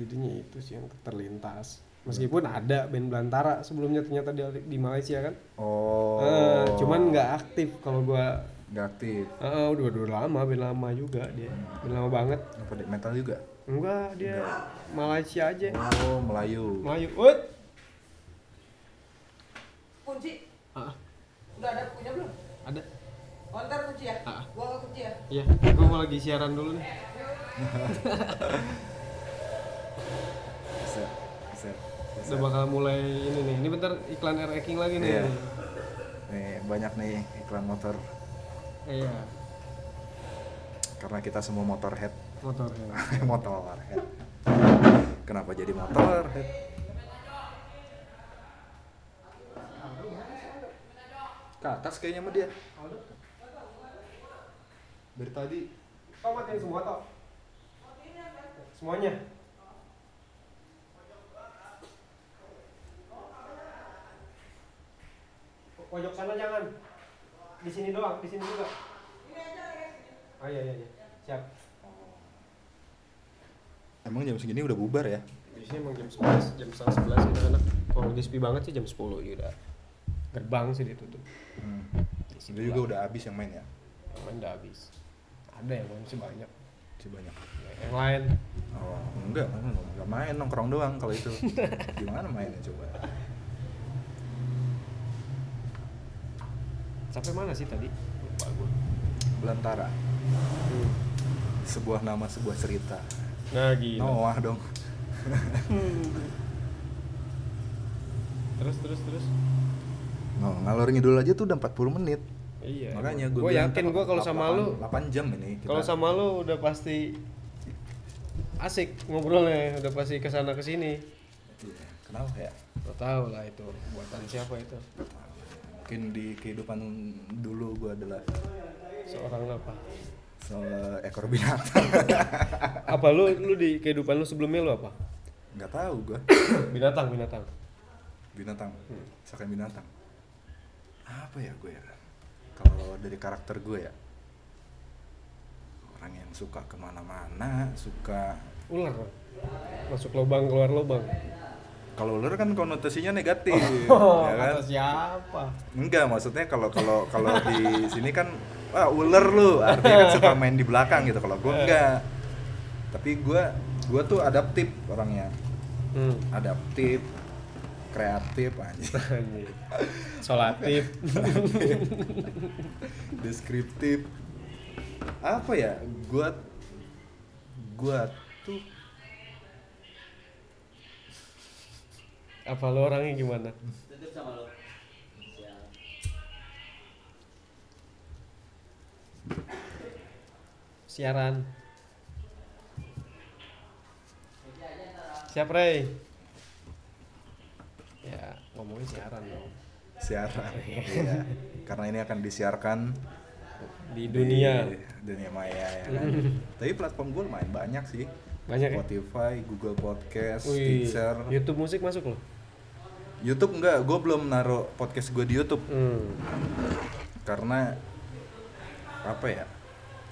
[SPEAKER 2] jadinya itu sih yang terlintas meskipun ada band Belantara sebelumnya ternyata di, di Malaysia kan
[SPEAKER 1] Oh.
[SPEAKER 2] Eh, cuman nggak aktif kalau gue
[SPEAKER 1] nggak aktif.
[SPEAKER 2] eh udah udah lama band lama juga dia band lama banget
[SPEAKER 1] Apa death metal juga?
[SPEAKER 2] enggak dia Malaysia aja
[SPEAKER 1] Oh Melayu.
[SPEAKER 2] Melayu Ut!
[SPEAKER 3] kunci
[SPEAKER 2] Ah,
[SPEAKER 3] udah ada punya belum
[SPEAKER 2] ada.
[SPEAKER 3] oh, ntar kunci ya
[SPEAKER 2] Ah.
[SPEAKER 3] gua nggak kunci ya
[SPEAKER 2] Iya, gue mau lagi siaran dulu nih.
[SPEAKER 1] Set, set,
[SPEAKER 2] Udah
[SPEAKER 1] set.
[SPEAKER 2] bakal mulai ini nih. Ini bentar iklan air King lagi nih.
[SPEAKER 1] Iya. Nih, banyak nih iklan motor
[SPEAKER 2] Iya.
[SPEAKER 1] karena kita semua motorhead. <laughs>
[SPEAKER 2] Motor. ya.
[SPEAKER 1] motorhead. Kenapa jadi motorhead? Ke atas kayaknya sama dia. Dari tadi
[SPEAKER 2] Kau matiin semua toh? Semuanya. Pojok sana jangan. Di sini doang, di sini juga. Oh iya iya iya. Siap.
[SPEAKER 1] Emang jam segini udah bubar ya?
[SPEAKER 2] Di sini emang jam 11, jam setengah 11 gitu anak. Kalau udah sepi banget sih jam 10 ya udah. Gerbang sih ditutup.
[SPEAKER 1] Hmm.
[SPEAKER 2] Di sini
[SPEAKER 1] Itu juga udah habis yang main ya?
[SPEAKER 2] Cuman udah habis. Ada yang masih banyak. Ya,
[SPEAKER 1] Si banyak.
[SPEAKER 2] Yang lain.
[SPEAKER 1] Oh, enggak, enggak, enggak main nongkrong doang kalau itu. Gimana mainnya coba?
[SPEAKER 2] Sampai mana sih tadi? Lupa gue.
[SPEAKER 1] Belantara, sebuah nama sebuah cerita.
[SPEAKER 2] Nah, gila.
[SPEAKER 1] Noah dong.
[SPEAKER 2] Terus terus terus.
[SPEAKER 1] No, ngalor ngidul aja tuh udah 40 menit.
[SPEAKER 2] Iya.
[SPEAKER 1] Makanya gue
[SPEAKER 2] Gua yakin gue kalau sama lu
[SPEAKER 1] 8 jam ini kita.
[SPEAKER 2] kalau sama lu udah pasti asik ngobrolnya, udah pasti kesana kesini.
[SPEAKER 1] Iya, kenapa ya?
[SPEAKER 2] Gak tau lah itu buatan siapa itu.
[SPEAKER 1] Mungkin di kehidupan dulu gue adalah
[SPEAKER 2] Seorang apa?
[SPEAKER 1] seekor binatang. <laughs>
[SPEAKER 2] Apa lu lu di kehidupan lu sebelumnya lu apa?
[SPEAKER 1] Nggak tahu gue.
[SPEAKER 2] Binatang, binatang.
[SPEAKER 1] Binatang. Misalkan binatang. Apa ya gue ya? Kalau dari karakter gue ya. Orang yang suka kemana-mana, suka
[SPEAKER 2] Ular. Masuk lubang keluar lubang.
[SPEAKER 1] kalau ular kan konotasinya
[SPEAKER 2] <laughs>
[SPEAKER 1] negatif,
[SPEAKER 2] Oh,
[SPEAKER 1] ya kan?
[SPEAKER 2] kata siapa?
[SPEAKER 1] Enggak, maksudnya kalau kalau kalau di sini kan wah ular lu, artinya kan suka main di belakang gitu. Kalau
[SPEAKER 2] Eh.
[SPEAKER 1] gua enggak. Tapi gua gua tuh adaptif orangnya.
[SPEAKER 2] Hmm.
[SPEAKER 1] Adaptif, kreatif anjir.
[SPEAKER 2] Anjir. Solatif.
[SPEAKER 1] <laughs> Deskriptif. Apa ya? Gua gua tuh
[SPEAKER 2] Apa lu orangnya gimana?
[SPEAKER 4] Tutup sama lo. Siap.
[SPEAKER 2] Siaran. Siap Rey? Ya ngomongin siaran dong.
[SPEAKER 1] siaran.
[SPEAKER 2] Oh,
[SPEAKER 1] Iya. Karena ini akan disiarkan
[SPEAKER 2] Di dunia
[SPEAKER 1] di dunia maya ya kan.
[SPEAKER 2] <laughs>
[SPEAKER 1] Tapi platform gue lumayan banyak sih.
[SPEAKER 2] banyak ya.
[SPEAKER 1] Spotify, Google Podcast,
[SPEAKER 2] Wih,
[SPEAKER 1] Stitcher,
[SPEAKER 2] YouTube musik masuk loh.
[SPEAKER 1] YouTube enggak, gue belum naruh podcast gue di YouTube
[SPEAKER 2] Hmm.
[SPEAKER 1] karena apa ya?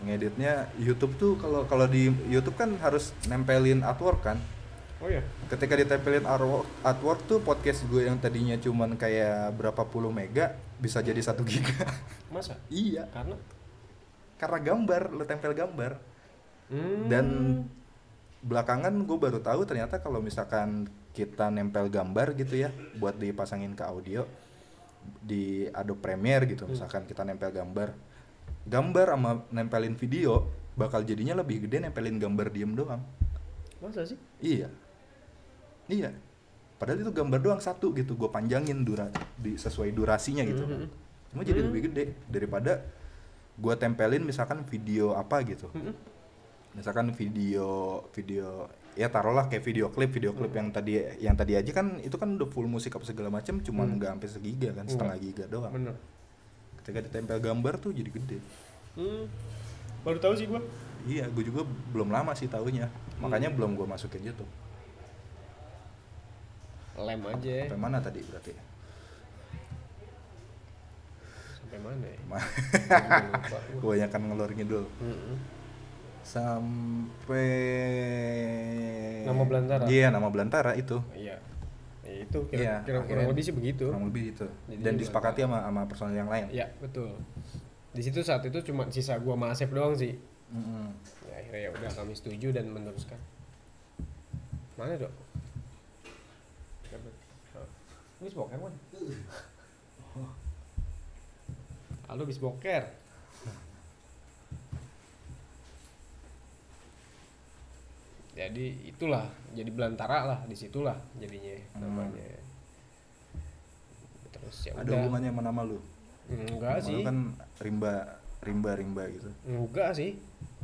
[SPEAKER 1] Ngeditnya YouTube tuh kalau kalau di YouTube kan harus nempelin artwork kan.
[SPEAKER 2] Oh ya.
[SPEAKER 1] Ketika ditempelin artwork, artwork tuh podcast gue yang tadinya cuman kayak berapa puluh mega bisa jadi satu giga. <laughs>
[SPEAKER 2] Masa?
[SPEAKER 1] iya,
[SPEAKER 2] Karena
[SPEAKER 1] karena gambar, lo tempel gambar.
[SPEAKER 2] Hmm.
[SPEAKER 1] Dan belakangan gue baru tahu ternyata kalau misalkan kita nempel gambar gitu ya buat dipasangin ke audio di Adobe Premiere gitu misalkan kita nempel gambar gambar sama nempelin video bakal jadinya lebih gede nempelin gambar diem doang
[SPEAKER 2] masa sih?
[SPEAKER 1] iya iya padahal itu gambar doang satu gitu gue panjangin dura di sesuai durasinya gitu
[SPEAKER 2] Mhm.
[SPEAKER 1] cuma jadi lebih gede daripada gue tempelin misalkan video apa gitu
[SPEAKER 2] Mm-mm.
[SPEAKER 1] misalkan video video ya taruhlah kayak video klip video klip yang tadi yang tadi aja kan itu kan udah full musik apa segala macam cuman nggak sampai segiga kan setengah giga doang
[SPEAKER 2] Hmm. Bener.
[SPEAKER 1] ketika ditempel gambar tuh jadi gede
[SPEAKER 2] Hmm. Baru tahu sih gua.
[SPEAKER 1] iya gue juga belum lama sih tahunya
[SPEAKER 2] Hmm.
[SPEAKER 1] makanya belum gue masukin YouTube
[SPEAKER 2] Lem aja.
[SPEAKER 1] sampai mana tadi berarti
[SPEAKER 2] Sampai mana ya? <laughs>
[SPEAKER 1] Ma-
[SPEAKER 2] Lupa gua. Hmm,
[SPEAKER 1] kebanyakan ngelor ngidul
[SPEAKER 2] Mm-mm.
[SPEAKER 1] sampai
[SPEAKER 2] Nama Belantara?
[SPEAKER 1] iya nama Belantara itu
[SPEAKER 2] Iya. Ya, itu
[SPEAKER 1] Iya,
[SPEAKER 2] kira- kira kurang
[SPEAKER 1] akhirnya.
[SPEAKER 2] lebih sih begitu.
[SPEAKER 1] kurang lebih itu
[SPEAKER 2] Jadi
[SPEAKER 1] dan
[SPEAKER 2] ini
[SPEAKER 1] disepakati sama sama personal yang lain
[SPEAKER 2] Ya, betul. Di situ saat itu cuma sisa gua sama Asep doang sih.
[SPEAKER 1] Mm-mm.
[SPEAKER 2] Ya, akhirnya ya udah kami setuju dan meneruskan. Mana, Dok? Dapat. Wis bokeh, Mon. lu habis boker. Jadi itulah, jadi belantara lah disitulah jadinya namanya. Terus ya
[SPEAKER 1] Hmm. Ada
[SPEAKER 2] udah.
[SPEAKER 1] hubungannya sama nama lu?
[SPEAKER 2] Enggak
[SPEAKER 1] Nama
[SPEAKER 2] sih.
[SPEAKER 1] Lu kan rimba, rimba, rimba gitu.
[SPEAKER 2] Enggak sih.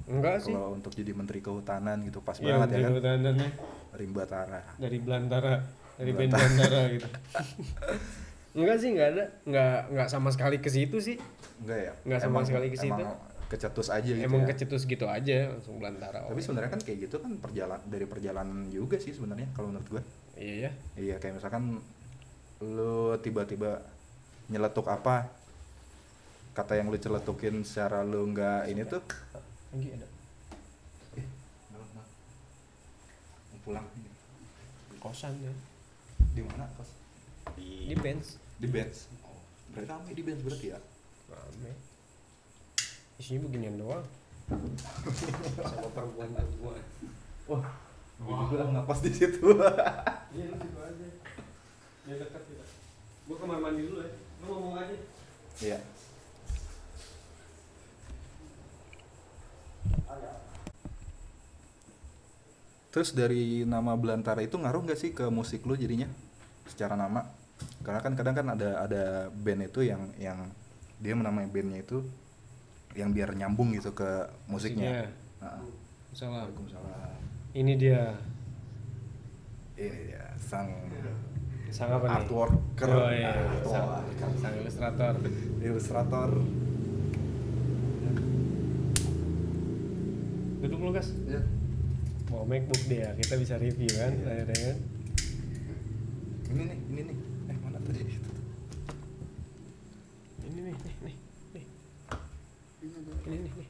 [SPEAKER 2] Enggak sih.
[SPEAKER 1] Kalau untuk jadi menteri kehutanan gitu pas
[SPEAKER 2] Iya,
[SPEAKER 1] banget ya kan?
[SPEAKER 2] pertanyaannya
[SPEAKER 1] Rimba Tara.
[SPEAKER 2] dari Belantara, dari band Belantara gitu. <laughs> enggak sih, enggak ada. Enggak enggak sama sekali ke situ sih.
[SPEAKER 1] Enggak ya?
[SPEAKER 2] Nggak sama sekali ke situ.
[SPEAKER 1] Emang kecetus aja gitu
[SPEAKER 2] Emang
[SPEAKER 1] ya.
[SPEAKER 2] kecetus gitu aja langsung Belantara.
[SPEAKER 1] Tapi sebenarnya kan kayak gitu kan perjalan dari perjalanan juga sih sebenarnya kalau menurut gua.
[SPEAKER 2] Iya ya.
[SPEAKER 1] Iya kayak misalkan lu tiba-tiba nyeletuk apa kata yang lu celetukin secara lu nggak ini tuh
[SPEAKER 2] ada.
[SPEAKER 1] eh, malam, malam. Mau pulang
[SPEAKER 2] Kosan ya.
[SPEAKER 1] di mana kos
[SPEAKER 2] Di Benz.
[SPEAKER 1] di Benz oh, berarti kami di Benz berarti ya
[SPEAKER 2] Rame. Isinya beginian doang. Sama perempuan-perempuan.
[SPEAKER 1] wah gue juga nggak pas di
[SPEAKER 2] <laughs>
[SPEAKER 1] situ
[SPEAKER 2] Iya, lu situ aja. Ya dekat kita. Gua kamar mandi dulu ya. Lu ngomong aja.
[SPEAKER 1] iya Terus dari nama Belantara itu ngaruh nggak sih ke musik lu jadinya secara nama? Karena kan kadang kan ada ada band itu yang yang dia menamai bandnya itu yang biar nyambung gitu ke musiknya. Nah,
[SPEAKER 2] Salam.
[SPEAKER 1] Waalaikumsalam.
[SPEAKER 2] Ini dia.
[SPEAKER 1] Ini dia sang
[SPEAKER 2] Sang apa nih?
[SPEAKER 1] artworker,
[SPEAKER 2] Oh, iya.
[SPEAKER 1] artworker.
[SPEAKER 2] Sang, sang ilustrator.
[SPEAKER 1] ilustrator.
[SPEAKER 2] Duduk lu, Gas. Mau MacBook dia, kita bisa review kan
[SPEAKER 1] Iya.
[SPEAKER 2] akhirnya kan.
[SPEAKER 1] Ini nih, ini nih. Eh mana tadi?
[SPEAKER 2] Ini nih, nih, nih. nih. Ini nih, nih.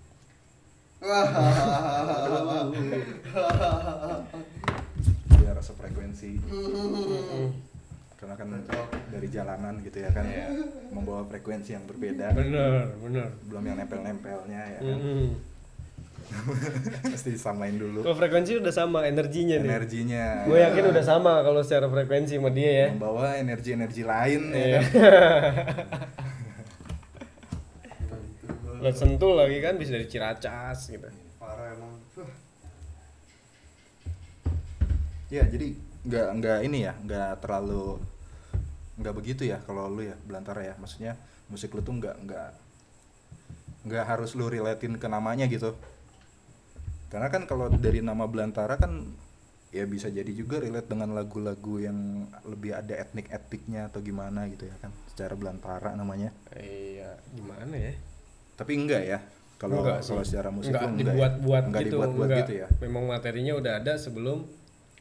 [SPEAKER 1] Biar sefrekuensi. Karena kan dari jalanan gitu ya kan
[SPEAKER 2] Iya.
[SPEAKER 1] membawa frekuensi yang berbeda.
[SPEAKER 2] Bener, bener.
[SPEAKER 1] belum yang nempel-nempelnya ya kan
[SPEAKER 2] Mm-mm. Hmm.
[SPEAKER 1] <laughs> mesti disamain dulu
[SPEAKER 2] Kalau frekuensi udah sama energinya nih.
[SPEAKER 1] energinya Iya.
[SPEAKER 2] Gue yakin udah sama kalau secara frekuensi sama dia ya.
[SPEAKER 1] membawa energi-energi lain ya
[SPEAKER 2] Iya.
[SPEAKER 1] kan
[SPEAKER 2] Lo sentul lagi kan bisa dari Ciracas gitu.
[SPEAKER 5] parah emang Huh.
[SPEAKER 1] ya jadi nggak nggak ini ya nggak terlalu nggak begitu ya kalau lu ya belantara ya maksudnya musik lu tuh nggak nggak nggak harus lu relatein ke namanya gitu karena kan kalau dari nama belantara kan ya bisa jadi juga relate dengan lagu-lagu yang lebih ada etnik etniknya atau gimana gitu ya kan secara belantara namanya
[SPEAKER 2] Iya, gimana ya?
[SPEAKER 1] tapi enggak ya kalau
[SPEAKER 2] Enggak sih.
[SPEAKER 1] kalau secara musik
[SPEAKER 2] enggak
[SPEAKER 1] tuh
[SPEAKER 2] dibuat-buat
[SPEAKER 1] ya? enggak
[SPEAKER 2] gitu,
[SPEAKER 1] dibuat-buat
[SPEAKER 2] enggak.
[SPEAKER 1] gitu ya
[SPEAKER 2] Memang materinya udah ada sebelum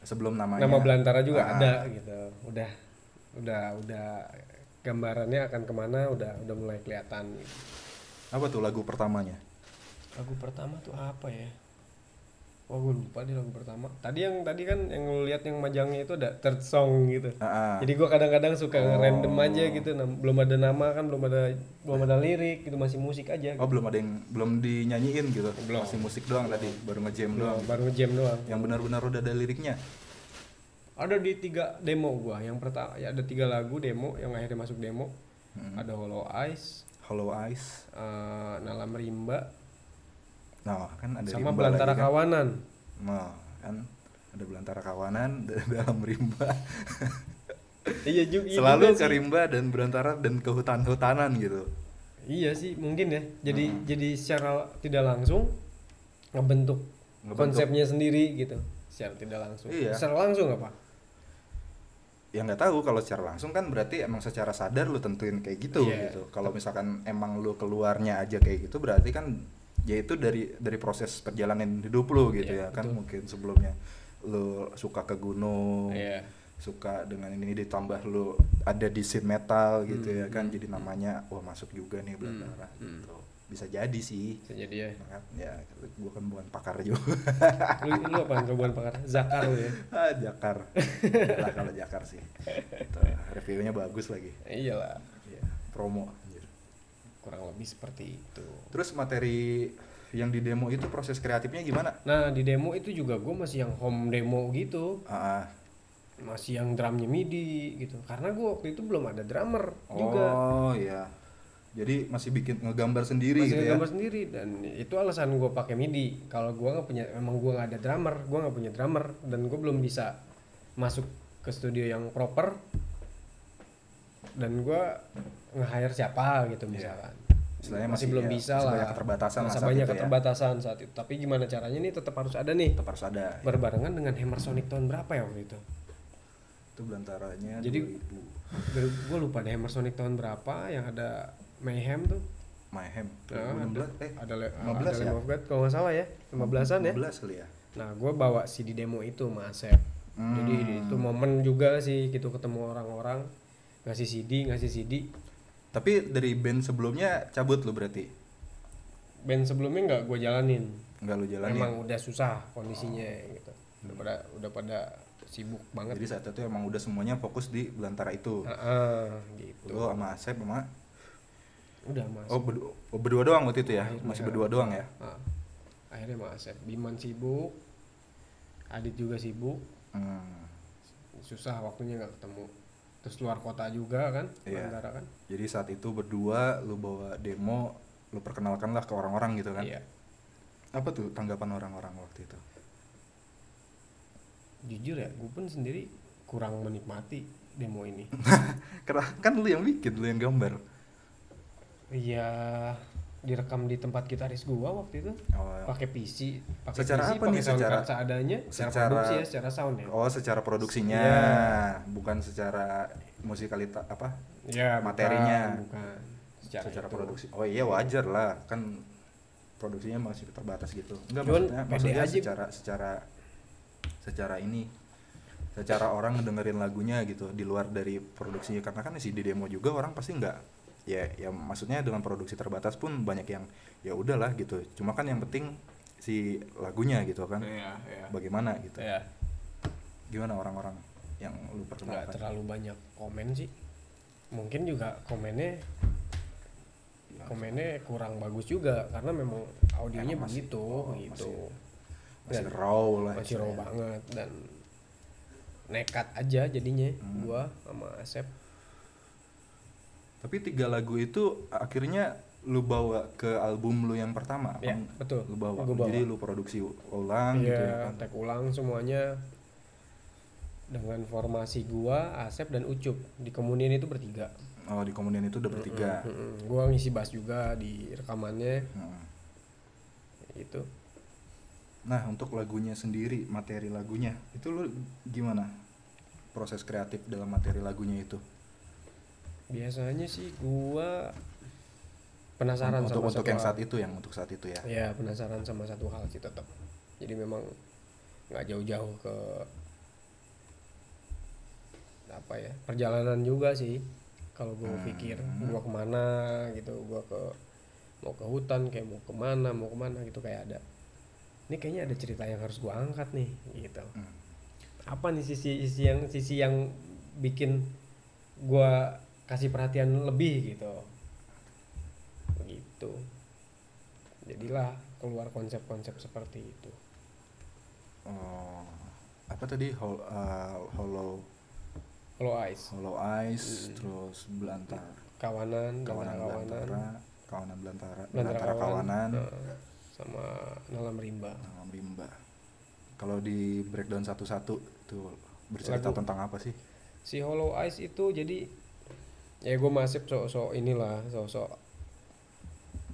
[SPEAKER 1] sebelum namanya
[SPEAKER 2] nama Belantara juga
[SPEAKER 1] Ah,
[SPEAKER 2] ada gitu. Udah udah udah gambarannya akan kemana udah udah mulai kelihatan gitu.
[SPEAKER 1] apa tuh lagu pertamanya
[SPEAKER 2] Lagu pertama tuh apa ya? Wah gue lupa deh lagu pertama. Tadi yang tadi kan yang lu lihat yang majangnya itu ada third song gitu.
[SPEAKER 1] Ah, ah.
[SPEAKER 2] Jadi gua kadang-kadang suka
[SPEAKER 1] Oh.
[SPEAKER 2] random aja gitu, nam- belum ada nama kan, belum ada belum ada lirik gitu, masih musik aja.
[SPEAKER 1] oh belum ada yang belum dinyanyiin gitu
[SPEAKER 2] Belum.
[SPEAKER 1] masih musik doang tadi baru ngejam doang
[SPEAKER 2] Belum, baru jam doang.
[SPEAKER 1] yang benar-benar udah ada liriknya
[SPEAKER 2] Ada di tiga demo gua. Yang pertama ya ada tiga lagu demo yang akhirnya masuk demo.
[SPEAKER 1] Hmm.
[SPEAKER 2] Ada Hollow Eyes,
[SPEAKER 1] Hollow Eyes
[SPEAKER 2] eh, Nalam Rimba,
[SPEAKER 1] nah kan ada
[SPEAKER 2] sama
[SPEAKER 1] rimba
[SPEAKER 2] Belantara
[SPEAKER 1] lagi, kan?
[SPEAKER 2] Kawanan.
[SPEAKER 1] nah kan ada belantara kawanan <laughs> da- dalam rimba
[SPEAKER 2] <laughs> iya juga. iya
[SPEAKER 1] selalu
[SPEAKER 2] juga
[SPEAKER 1] ke
[SPEAKER 2] sih.
[SPEAKER 1] rimba dan belantara dan ke hutan-hutanan gitu
[SPEAKER 2] Iya sih, mungkin ya. Jadi
[SPEAKER 1] Hmm.
[SPEAKER 2] jadi secara tidak langsung ngebentuk,
[SPEAKER 1] Ngebentuk.
[SPEAKER 2] konsepnya sendiri gitu. Secara tidak langsung.
[SPEAKER 1] Iya.
[SPEAKER 2] Secara langsung apa?
[SPEAKER 1] ya nggak tahu kalau secara langsung kan berarti emang secara sadar lu tentuin kayak gitu
[SPEAKER 2] Iya.
[SPEAKER 1] gitu kalau misalkan emang lu keluarnya aja kayak gitu berarti kan ya itu dari dari proses perjalanan hidup lu gitu ya
[SPEAKER 2] Iya,
[SPEAKER 1] kan
[SPEAKER 2] betul.
[SPEAKER 1] mungkin sebelumnya lu suka ke gunung
[SPEAKER 2] Iya.
[SPEAKER 1] suka dengan ini ini ditambah lu ada di scene metal gitu ya
[SPEAKER 2] Hmm,
[SPEAKER 1] kan jadi namanya wah masuk juga nih belantara gitu bisa jadi sih
[SPEAKER 2] Bisa jadi ya.
[SPEAKER 1] Maka, ya gua kan bukan pakar juga
[SPEAKER 2] lu, lu apa coba pakar zakar lu ya
[SPEAKER 1] ah jakar lah kalau jakar sih Gitu. reviewnya bagus lagi
[SPEAKER 2] iyalah
[SPEAKER 1] Iya, promo.
[SPEAKER 2] kurang lebih seperti itu
[SPEAKER 1] Terus materi yang di demo itu proses kreatifnya gimana?
[SPEAKER 2] nah di demo itu juga gue masih yang home demo gitu
[SPEAKER 1] Ah, ah.
[SPEAKER 2] masih yang drumnya midi gitu karena gue waktu itu belum ada drummer juga
[SPEAKER 1] Oh iya. Jadi masih bikin ngegambar sendiri
[SPEAKER 2] Masih
[SPEAKER 1] gitu ya.
[SPEAKER 2] gambar sendiri dan itu alasan gue pakai MIDI. Kalau gue nggak punya, emang gue nggak ada drummer, gue nggak punya drummer dan gue belum bisa masuk ke studio yang proper. Dan gue nge-hire siapa gitu misalkan.
[SPEAKER 1] Iya. Istilahnya
[SPEAKER 2] masih,
[SPEAKER 1] masih-
[SPEAKER 2] belum
[SPEAKER 1] ya,
[SPEAKER 2] bisa
[SPEAKER 1] masih
[SPEAKER 2] lah.
[SPEAKER 1] banyak keterbatasan lah
[SPEAKER 2] Masih
[SPEAKER 1] saat
[SPEAKER 2] banyak
[SPEAKER 1] itu ya.
[SPEAKER 2] keterbatasan saat itu. Tapi gimana caranya nih tetap harus ada nih.
[SPEAKER 1] Tetap harus ada.
[SPEAKER 2] Berbarengan dengan Hammer Sonic tahun berapa ya waktu itu?
[SPEAKER 1] Itu belantaranya
[SPEAKER 2] Jadi-
[SPEAKER 1] 2000.
[SPEAKER 2] gue lupa deh Hammer Sonic tahun berapa yang ada Mayhem tuh.
[SPEAKER 1] Mayhem.
[SPEAKER 2] Nah,
[SPEAKER 1] 2016 eh
[SPEAKER 2] ada le-
[SPEAKER 1] 15
[SPEAKER 2] ada
[SPEAKER 1] ya?
[SPEAKER 2] Lamb of God, kalau nggak salah ya 15an ya
[SPEAKER 1] 15 kali ya.
[SPEAKER 2] nah gue bawa CD demo itu sama Asep
[SPEAKER 1] Hmm.
[SPEAKER 2] jadi itu momen juga sih gitu ketemu orang-orang ngasih CD ngasih CD
[SPEAKER 1] Tapi dari band sebelumnya cabut lu berarti.
[SPEAKER 2] band sebelumnya nggak gue jalanin
[SPEAKER 1] Enggak lu jalanin. Oh.
[SPEAKER 2] emang udah susah kondisinya gitu udah pada udah pada sibuk banget
[SPEAKER 1] Jadi saat itu emang udah semuanya fokus di belantara itu.
[SPEAKER 2] Ah, ah, gitu
[SPEAKER 1] Lu sama Asep sama
[SPEAKER 2] udah mas
[SPEAKER 1] Oh, berdu- oh, berdua doang waktu itu ya?
[SPEAKER 2] Iya.
[SPEAKER 1] Masih berdua doang ya?
[SPEAKER 2] Ah. akhirnya sama Asep Biman sibuk Adit juga sibuk
[SPEAKER 1] Hmm.
[SPEAKER 2] susah waktunya nggak ketemu terus luar kota juga kan
[SPEAKER 1] Iya.
[SPEAKER 2] Bandara kan
[SPEAKER 1] Jadi saat itu berdua lu bawa demo, lu perkenalkan lah ke orang-orang gitu kan?
[SPEAKER 2] iya
[SPEAKER 1] Apa tuh tanggapan orang-orang waktu itu?
[SPEAKER 2] jujur ya gue pun sendiri kurang menikmati demo
[SPEAKER 1] <laughs>
[SPEAKER 2] ini
[SPEAKER 1] <laughs> Karena kan lu yang bikin, lu yang gambar.
[SPEAKER 2] iya direkam di tempat gitaris gua waktu itu
[SPEAKER 1] Oh,
[SPEAKER 2] pakai PC pakai
[SPEAKER 1] Secara
[SPEAKER 2] PC,
[SPEAKER 1] apa
[SPEAKER 2] pakai
[SPEAKER 1] nih?
[SPEAKER 2] soundcard
[SPEAKER 1] Secara-
[SPEAKER 2] seadanya secara,
[SPEAKER 1] secara-
[SPEAKER 2] produksi ya secara sound ya
[SPEAKER 1] oh secara produksinya,
[SPEAKER 2] Iya.
[SPEAKER 1] bukan secara musikalitas apa?
[SPEAKER 2] Iya, bukan,
[SPEAKER 1] materinya.
[SPEAKER 2] bukan secara,
[SPEAKER 1] secara
[SPEAKER 2] itu.
[SPEAKER 1] produksi. Oh iya wajar lah, kan produksinya masih terbatas gitu. Enggak
[SPEAKER 2] Cuman
[SPEAKER 1] maksudnya,
[SPEAKER 2] pede
[SPEAKER 1] maksudnya
[SPEAKER 2] aja.
[SPEAKER 1] secara secara secara ini secara orang ngedengerin lagunya gitu di luar dari produksinya karena kan si di demo juga orang pasti nggak ya ya maksudnya dengan produksi terbatas pun banyak yang ya udahlah gitu cuma kan yang penting si lagunya gitu kan
[SPEAKER 2] Iya, iya.
[SPEAKER 1] bagaimana gitu
[SPEAKER 2] Iya.
[SPEAKER 1] gimana orang-orang yang lu
[SPEAKER 2] nggak
[SPEAKER 1] perkenalkan
[SPEAKER 2] terlalu banyak komen sih mungkin juga komennya komennya kurang bagus juga karena memang audionya
[SPEAKER 1] Emang masih-
[SPEAKER 2] begitu
[SPEAKER 1] oh, ya.
[SPEAKER 2] gitu
[SPEAKER 1] masih
[SPEAKER 2] Dan-
[SPEAKER 1] raw lah
[SPEAKER 2] masih raw
[SPEAKER 1] istilahnya.
[SPEAKER 2] banget dan nekat aja jadinya
[SPEAKER 1] Hmm.
[SPEAKER 2] gua sama Asep
[SPEAKER 1] Tapi tiga lagu itu akhirnya lu bawa ke album lu yang pertama.
[SPEAKER 2] ya
[SPEAKER 1] kan?
[SPEAKER 2] betul
[SPEAKER 1] Lu bawa.
[SPEAKER 2] Gua bawa.
[SPEAKER 1] Jadi lu produksi ulang
[SPEAKER 2] Iya,
[SPEAKER 1] gitu ya kan.
[SPEAKER 2] tag ulang semuanya dengan formasi gua Asep dan Ucup di kemunian itu bertiga
[SPEAKER 1] Oh, di komunian itu udah bertiga.
[SPEAKER 2] Mm-mm. gua ngisi bass juga di rekamannya gitu.
[SPEAKER 1] Heeh.
[SPEAKER 2] itu
[SPEAKER 1] Nah, untuk lagunya sendiri, materi lagunya itu lu gimana? Proses kreatif dalam materi lagunya itu.
[SPEAKER 2] biasanya sih gua penasaran
[SPEAKER 1] untuk
[SPEAKER 2] sama
[SPEAKER 1] untuk
[SPEAKER 2] satu
[SPEAKER 1] yang
[SPEAKER 2] hal.
[SPEAKER 1] saat itu, yang untuk saat itu ya.
[SPEAKER 2] ya penasaran sama satu hal sih tetap jadi memang nggak jauh-jauh ke apa ya perjalanan juga sih kalau gue
[SPEAKER 1] Hmm.
[SPEAKER 2] pikir gua kemana gitu gua ke mau ke hutan kayak mau kemana mau kemana gitu kayak ada ini kayaknya ada cerita yang harus gua angkat nih gitu
[SPEAKER 1] Hmm.
[SPEAKER 2] apa nih sisi sisi yang sisi yang bikin gua kasih perhatian lebih gitu gitu jadilah keluar konsep-konsep seperti itu
[SPEAKER 1] Oh, apa tadi Hol- eh, Hollow
[SPEAKER 2] Hollow Eyes
[SPEAKER 1] Hollow Eyes,
[SPEAKER 2] Mm.
[SPEAKER 1] terus Belantar,
[SPEAKER 2] kawanan
[SPEAKER 1] kawanan
[SPEAKER 2] kawanan kawanan
[SPEAKER 1] Belantara, kawanan Belantara,
[SPEAKER 2] Belantara
[SPEAKER 1] Belantara kawanan.
[SPEAKER 2] eh, sama nalam rimba
[SPEAKER 1] Nama Bimba. Kalau di breakdown satu-satu tuh bercerita
[SPEAKER 2] Lagu.
[SPEAKER 1] tentang apa sih?
[SPEAKER 2] si Hollow Eyes itu jadi ya gue masih sosok inilah sosok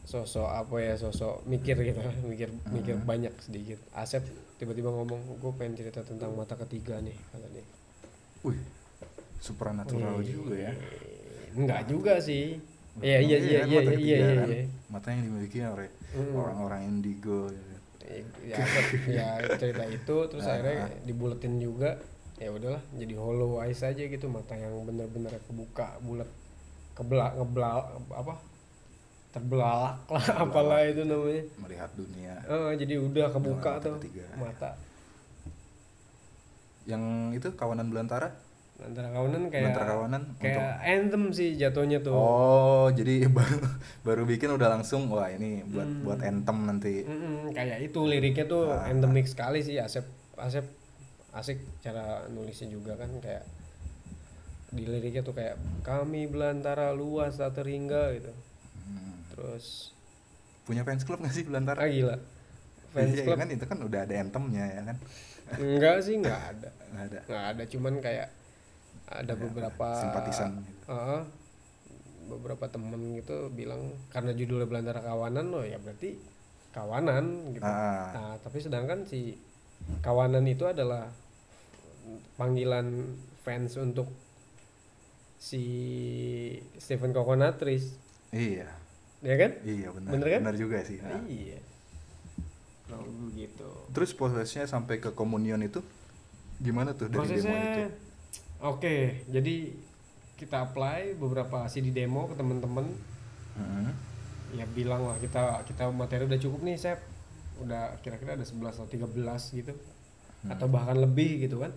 [SPEAKER 2] sosok apa ya sosok mikir gitu <laughs> mikir mikir
[SPEAKER 1] Mhm.
[SPEAKER 2] banyak sedikit Asep tiba-tiba ngomong gue pengen cerita tentang mata ketiga nih kata dia
[SPEAKER 1] Wih, supranatural
[SPEAKER 2] Wih,
[SPEAKER 1] juga ya.
[SPEAKER 2] enggak juga sih iya iya
[SPEAKER 1] Iya
[SPEAKER 2] iya
[SPEAKER 1] kan, mata
[SPEAKER 2] iya iya iya
[SPEAKER 1] ketiga
[SPEAKER 2] iya
[SPEAKER 1] kan. Mata yang dimiliki oleh
[SPEAKER 2] Mm.
[SPEAKER 1] orang-orang indigo. ya.
[SPEAKER 2] ya, Asep- ya cerita itu terus
[SPEAKER 1] Nah.
[SPEAKER 2] akhirnya dibuletin juga ya udahlah jadi hollow eyes aja gitu mata yang bener-bener kebuka bulat kebelak ngebelak apa terbelalak lah apalah itu namanya
[SPEAKER 1] Melihat dunia.
[SPEAKER 2] Eh, jadi udah
[SPEAKER 1] Nah,
[SPEAKER 2] kebuka
[SPEAKER 1] mata
[SPEAKER 2] tuh
[SPEAKER 1] ketiga.
[SPEAKER 2] mata
[SPEAKER 1] Yang itu kawanan belantara?
[SPEAKER 2] antara kawanan kayak
[SPEAKER 1] Belantara kawanan?
[SPEAKER 2] kayak anthem sih jatuhnya
[SPEAKER 1] untuk-
[SPEAKER 2] tuh
[SPEAKER 1] Oh, jadi <laughs> baru baru bikin udah langsung wah ini buat
[SPEAKER 2] Hmm.
[SPEAKER 1] buat anthem nanti.
[SPEAKER 2] Mm-mm, kayak itu liriknya tuh
[SPEAKER 1] Ah.
[SPEAKER 2] endemik sekali sih Asep Asep asik cara nulisnya juga kan kayak di liriknya tuh kayak kami belantara luas tak terhingga gitu
[SPEAKER 1] Hmm.
[SPEAKER 2] terus
[SPEAKER 1] Punya fans club gak sih Belantara?
[SPEAKER 2] ah gila fans
[SPEAKER 1] Iya,
[SPEAKER 2] club
[SPEAKER 1] kan itu kan udah ada anthemnya ya kan?
[SPEAKER 2] enggak sih enggak ada
[SPEAKER 1] Nggak ada.
[SPEAKER 2] nggak ada cuman kayak ada
[SPEAKER 1] Ada apa,
[SPEAKER 2] beberapa
[SPEAKER 1] Iya, simpatisan gitu.
[SPEAKER 2] Heeh. beberapa temen gitu bilang karena judulnya Belantara Kawanan loh ya berarti kawanan gitu
[SPEAKER 1] Ah.
[SPEAKER 2] nah tapi sedangkan si kawanan itu adalah panggilan fans untuk si Stephen Coconutris
[SPEAKER 1] Iya.
[SPEAKER 2] ya kan
[SPEAKER 1] Iya benar.
[SPEAKER 2] Bener kan?
[SPEAKER 1] Benar juga sih. Nah.
[SPEAKER 2] iya nah, gitu
[SPEAKER 1] Terus prosesnya sampai ke komunion itu gimana tuh dari
[SPEAKER 2] prosesnya
[SPEAKER 1] demo itu?
[SPEAKER 2] oke jadi kita apply beberapa CD demo ke temen-temen
[SPEAKER 1] Heeh.
[SPEAKER 2] ya bilang lah kita kita materi udah cukup nih Sep udah kira-kira ada 11 atau 13 gitu
[SPEAKER 1] Hmm.
[SPEAKER 2] atau bahkan lebih gitu kan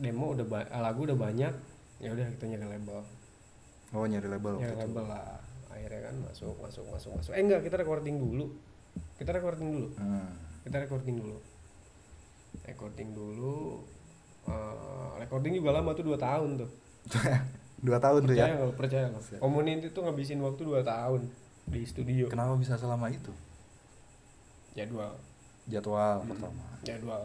[SPEAKER 2] demo udah ba- lagu udah banyak ya udah kita nyari label
[SPEAKER 1] Oh nyari label
[SPEAKER 2] nyari
[SPEAKER 1] waktu itu.
[SPEAKER 2] label lah akhirnya kan masuk masuk masuk masuk eh enggak kita recording dulu kita recording dulu
[SPEAKER 1] Hmm. <laughs>
[SPEAKER 2] kita recording dulu recording dulu eh, recording juga lama tuh dua tahun tuh
[SPEAKER 1] Dua tahun tuh ya.
[SPEAKER 2] percaya nggak percaya nggak Komunin itu ngabisin waktu dua tahun di studio
[SPEAKER 1] Kenapa bisa selama itu?
[SPEAKER 2] jadwal Hmm.
[SPEAKER 1] Jadwal pertama.
[SPEAKER 2] jadwal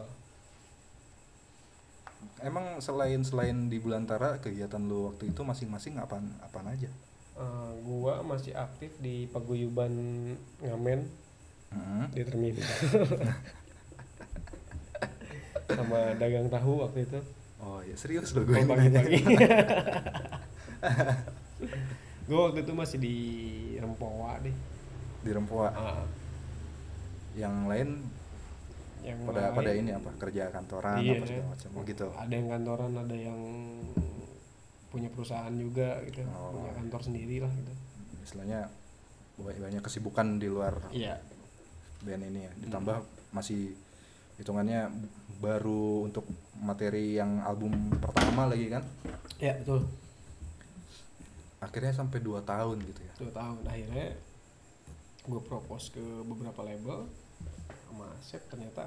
[SPEAKER 1] Emang selain selain di Bulantara kegiatan lu waktu itu masing-masing apaan apaan aja?
[SPEAKER 2] Eh, gua masih aktif di paguyuban ngamen
[SPEAKER 1] Heeh.
[SPEAKER 2] di terminal <laughs> sama dagang tahu waktu itu
[SPEAKER 1] Oh ya serius lo gue
[SPEAKER 2] Gua
[SPEAKER 1] ini
[SPEAKER 2] pagi-pagi. <laughs>
[SPEAKER 1] nanya.
[SPEAKER 2] gue waktu itu masih di Rempowa deh.
[SPEAKER 1] di Rempoa.
[SPEAKER 2] Ah,
[SPEAKER 1] Yang lain
[SPEAKER 2] yang
[SPEAKER 1] pada pada ini
[SPEAKER 2] lain-
[SPEAKER 1] apa kerja kantoran
[SPEAKER 2] Iya.
[SPEAKER 1] apa segala macam oh, gitu.
[SPEAKER 2] Ada yang kantoran, ada yang punya perusahaan juga gitu,
[SPEAKER 1] Oh.
[SPEAKER 2] punya kantor sendiri lah gitu.
[SPEAKER 1] Istilahnya banyak banyak kesibukan di luar
[SPEAKER 2] Iya.
[SPEAKER 1] band ini ya. Ditambah masih hitungannya baru untuk materi yang album pertama lagi kan.
[SPEAKER 2] Iya betul.
[SPEAKER 1] Akhirnya sampai 2 tahun gitu ya.
[SPEAKER 2] Dua tahun akhirnya gue propose ke beberapa label sama Asep ternyata